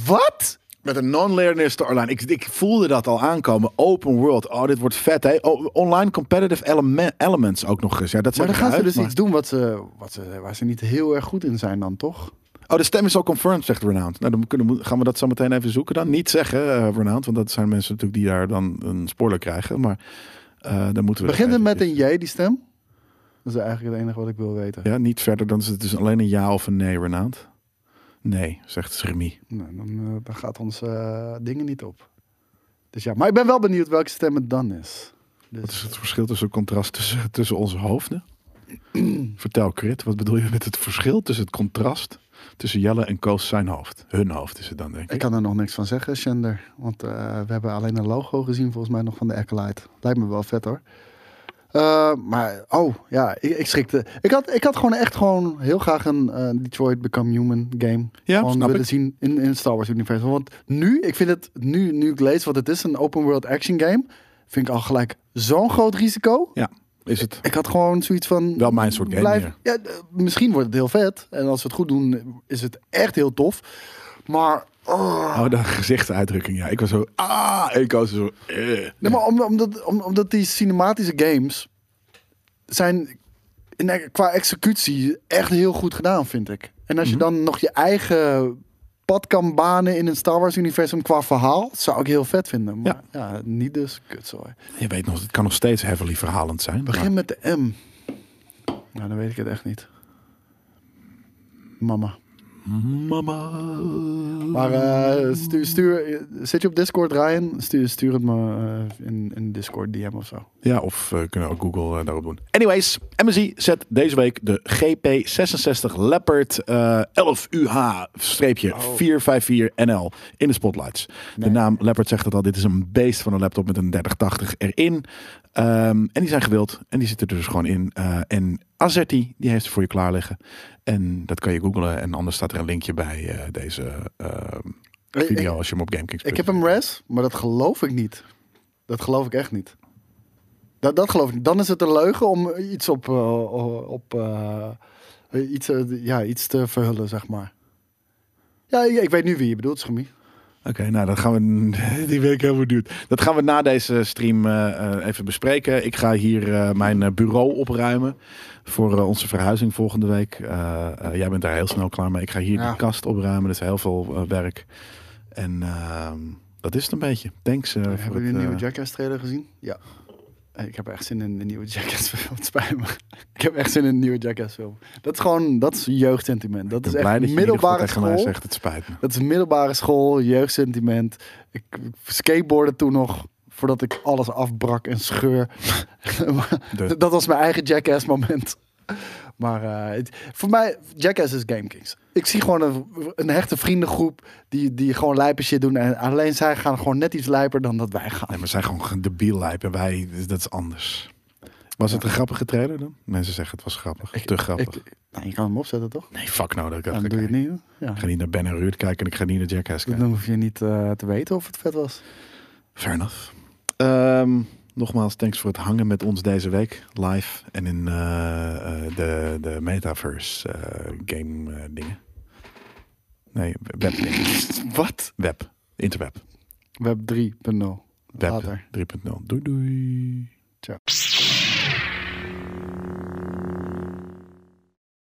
S2: Wat?
S1: Met een non-linear storyline. Ik, ik voelde dat al aankomen. Open world. Oh, dit wordt vet, hè? O- online competitive element, elements ook nog eens. Ja, dat
S2: Maar
S1: zet
S2: dan
S1: ik
S2: gaan ze
S1: eruit,
S2: dus
S1: maar-
S2: iets doen wat ze, wat ze, waar ze niet heel erg goed in zijn dan, toch?
S1: Oh, de stem is al confirmed, zegt Renowned. Nou, dan kunnen, we- gaan we dat zo meteen even zoeken dan. Niet zeggen, eh Renowned, want dat zijn mensen natuurlijk die daar dan een spoiler krijgen. Maar eh dan moeten we...
S2: Begint het met
S1: eventjes-
S2: een J, die stem? Dat is eigenlijk het enige wat ik wil weten.
S1: Ja, niet verder dan... Het is alleen een ja of een nee, Renowned. Nee, zegt Remy.
S2: Nou, dan, eh, dan gaat ons eh, dingen niet op. Dus ja, maar ik ben wel benieuwd welke stem het dan is. Dus,
S1: Wat is het verschil tussen het contrast tussen, tussen onze hoofden? Vertel, Crit, wat bedoel je met het verschil tussen het contrast tussen Jelle en Koos zijn hoofd? Hun hoofd is het dan, denk ik.
S2: Ik kan er nog niks van zeggen, Shender. Want eh, we hebben alleen een logo gezien, volgens mij nog van de Acolyte. Lijkt me wel vet hoor. Eh, maar, oh ja, ik, ik schrikte. Ik had, ik had gewoon echt gewoon heel graag een eh, Detroit Become Human game.
S1: Ja,
S2: gewoon
S1: snap
S2: willen
S1: ik.
S2: zien in, in het Star Wars universum. Want nu, ik vind het, nu, nu ik lees wat het is, een open world action game, vind ik al gelijk zo'n groot risico.
S1: Ja, is het.
S2: Ik had gewoon zoiets van.
S1: Wel mijn soort game
S2: blijf-
S1: meer.
S2: ja, eh, misschien wordt het heel vet. En als we het goed doen, is het echt heel tof. Maar. oh.
S1: Oh, de gezichtsuitdrukking, ja. Ik was zo, ah, en Koos is zo, eh.
S2: Nee, maar om- omdat, om- omdat die cinematische games. zijn. In, e- qua executie echt heel goed gedaan, vind ik. En als je
S1: Mhm.
S2: dan nog je eigen pad kan banen in een Star Wars-universum qua verhaal, zou ik heel vet vinden. Maar ja, niet dus. Kutzooi.
S1: Je weet nog, het kan nog steeds heavily verhalend zijn. maar-
S2: Begin met de M. Nou, dan weet ik het echt niet. Mama.
S1: Mama.
S2: Maar eh, stuur, stuur, zit je op Discord, Ryan? Stuur, stuur het me eh, in, in Discord DM of zo.
S1: Ja, of eh, kunnen we ook Google eh, daarop doen. Anyways, MSI zet deze week de GP66 Leopard eh 11UH-454NL in de spotlights. De naam Leopard zegt het al, dit is een beest van een laptop met een 3080 erin. Ehm, en die zijn gewild en die zitten er dus gewoon in. Eh, en Azerti, die heeft ze voor je klaar liggen. En dat kan je googlen en anders staat er een linkje bij eh, deze eh,
S2: Ik-
S1: video als je hem op GameKings
S2: Ik heb hem res, maar dat geloof ik niet. Dat geloof ik echt niet. Dat, dat geloof ik niet. Dan is het een leugen om iets op, eh, op eh, iets, eh, ja, iets te verhullen, zeg maar. Ja, ik, ik weet nu wie je bedoelt, Schemie.
S1: Oké, nou dan gaan we. [laughs] Die ben ik heel benieuwd. Dat gaan we na deze stream eh, eh, even bespreken. Ik ga hier eh, mijn eh, bureau opruimen voor eh, onze verhuizing volgende week. Eh, eh, jij bent daar heel snel klaar mee. Ik ga hier
S2: Ja.
S1: de kast opruimen. Dat is heel veel eh, werk. En ehm, dat is het een beetje. Thanks eh, voor
S2: Hebben
S1: het,
S2: jullie een nieuwe
S1: eh,
S2: Jackass trailer gezien? Ja. Ik heb echt zin in een nieuwe Jackass film. [laughs] Het spijt me. Ik heb echt zin in een nieuwe Jackass film. Dat is gewoon, dat is jeugdsentiment. Dat
S1: ik ben
S2: is
S1: blij
S2: echt
S1: dat je in ieder geval
S2: middelbare
S1: tegen mij
S2: school.
S1: zegt. Het spijt me.
S2: Dat is middelbare school, jeugdsentiment. Ik ik skateboarde toen nog, voordat ik alles afbrak en scheur. Maar
S1: [laughs] De-
S2: Dat was mijn eigen Jackass moment. Maar eh, het- voor mij, Jackass is GameKings. Ik zie gewoon een, een hechte vriendengroep die, die gewoon lijpe shit doen. En alleen zij gaan gewoon net iets lijper dan dat wij gaan.
S1: Nee, maar we zijn gewoon debiel lijp en wij, dat is anders. Was het een grappige trailer dan? Mensen zeggen het was grappig. Te grappig.
S2: Ik, nou, je kan hem opzetten, toch?
S1: nee, fuck nou. Dat ik, dat
S2: Dan
S1: ga
S2: doe je het
S1: kijken.
S2: niet. hè? Ja.
S1: ik ga niet naar Ben en Ruud kijken en ik ga niet naar Jackass kijken.
S2: Dan hoef je niet eh, te weten of het vet was.
S1: Fair enough. Ehm, nogmaals, thanks voor het hangen met ons deze week. Live en in eh, eh, de, de metaverse eh, game eh, dingen. Nee, web dingen.
S2: Wat?
S1: Web. Interweb.
S2: Web 3.0.
S1: Web
S2: Later.
S1: 3.0. Doei doei.
S2: Ciao.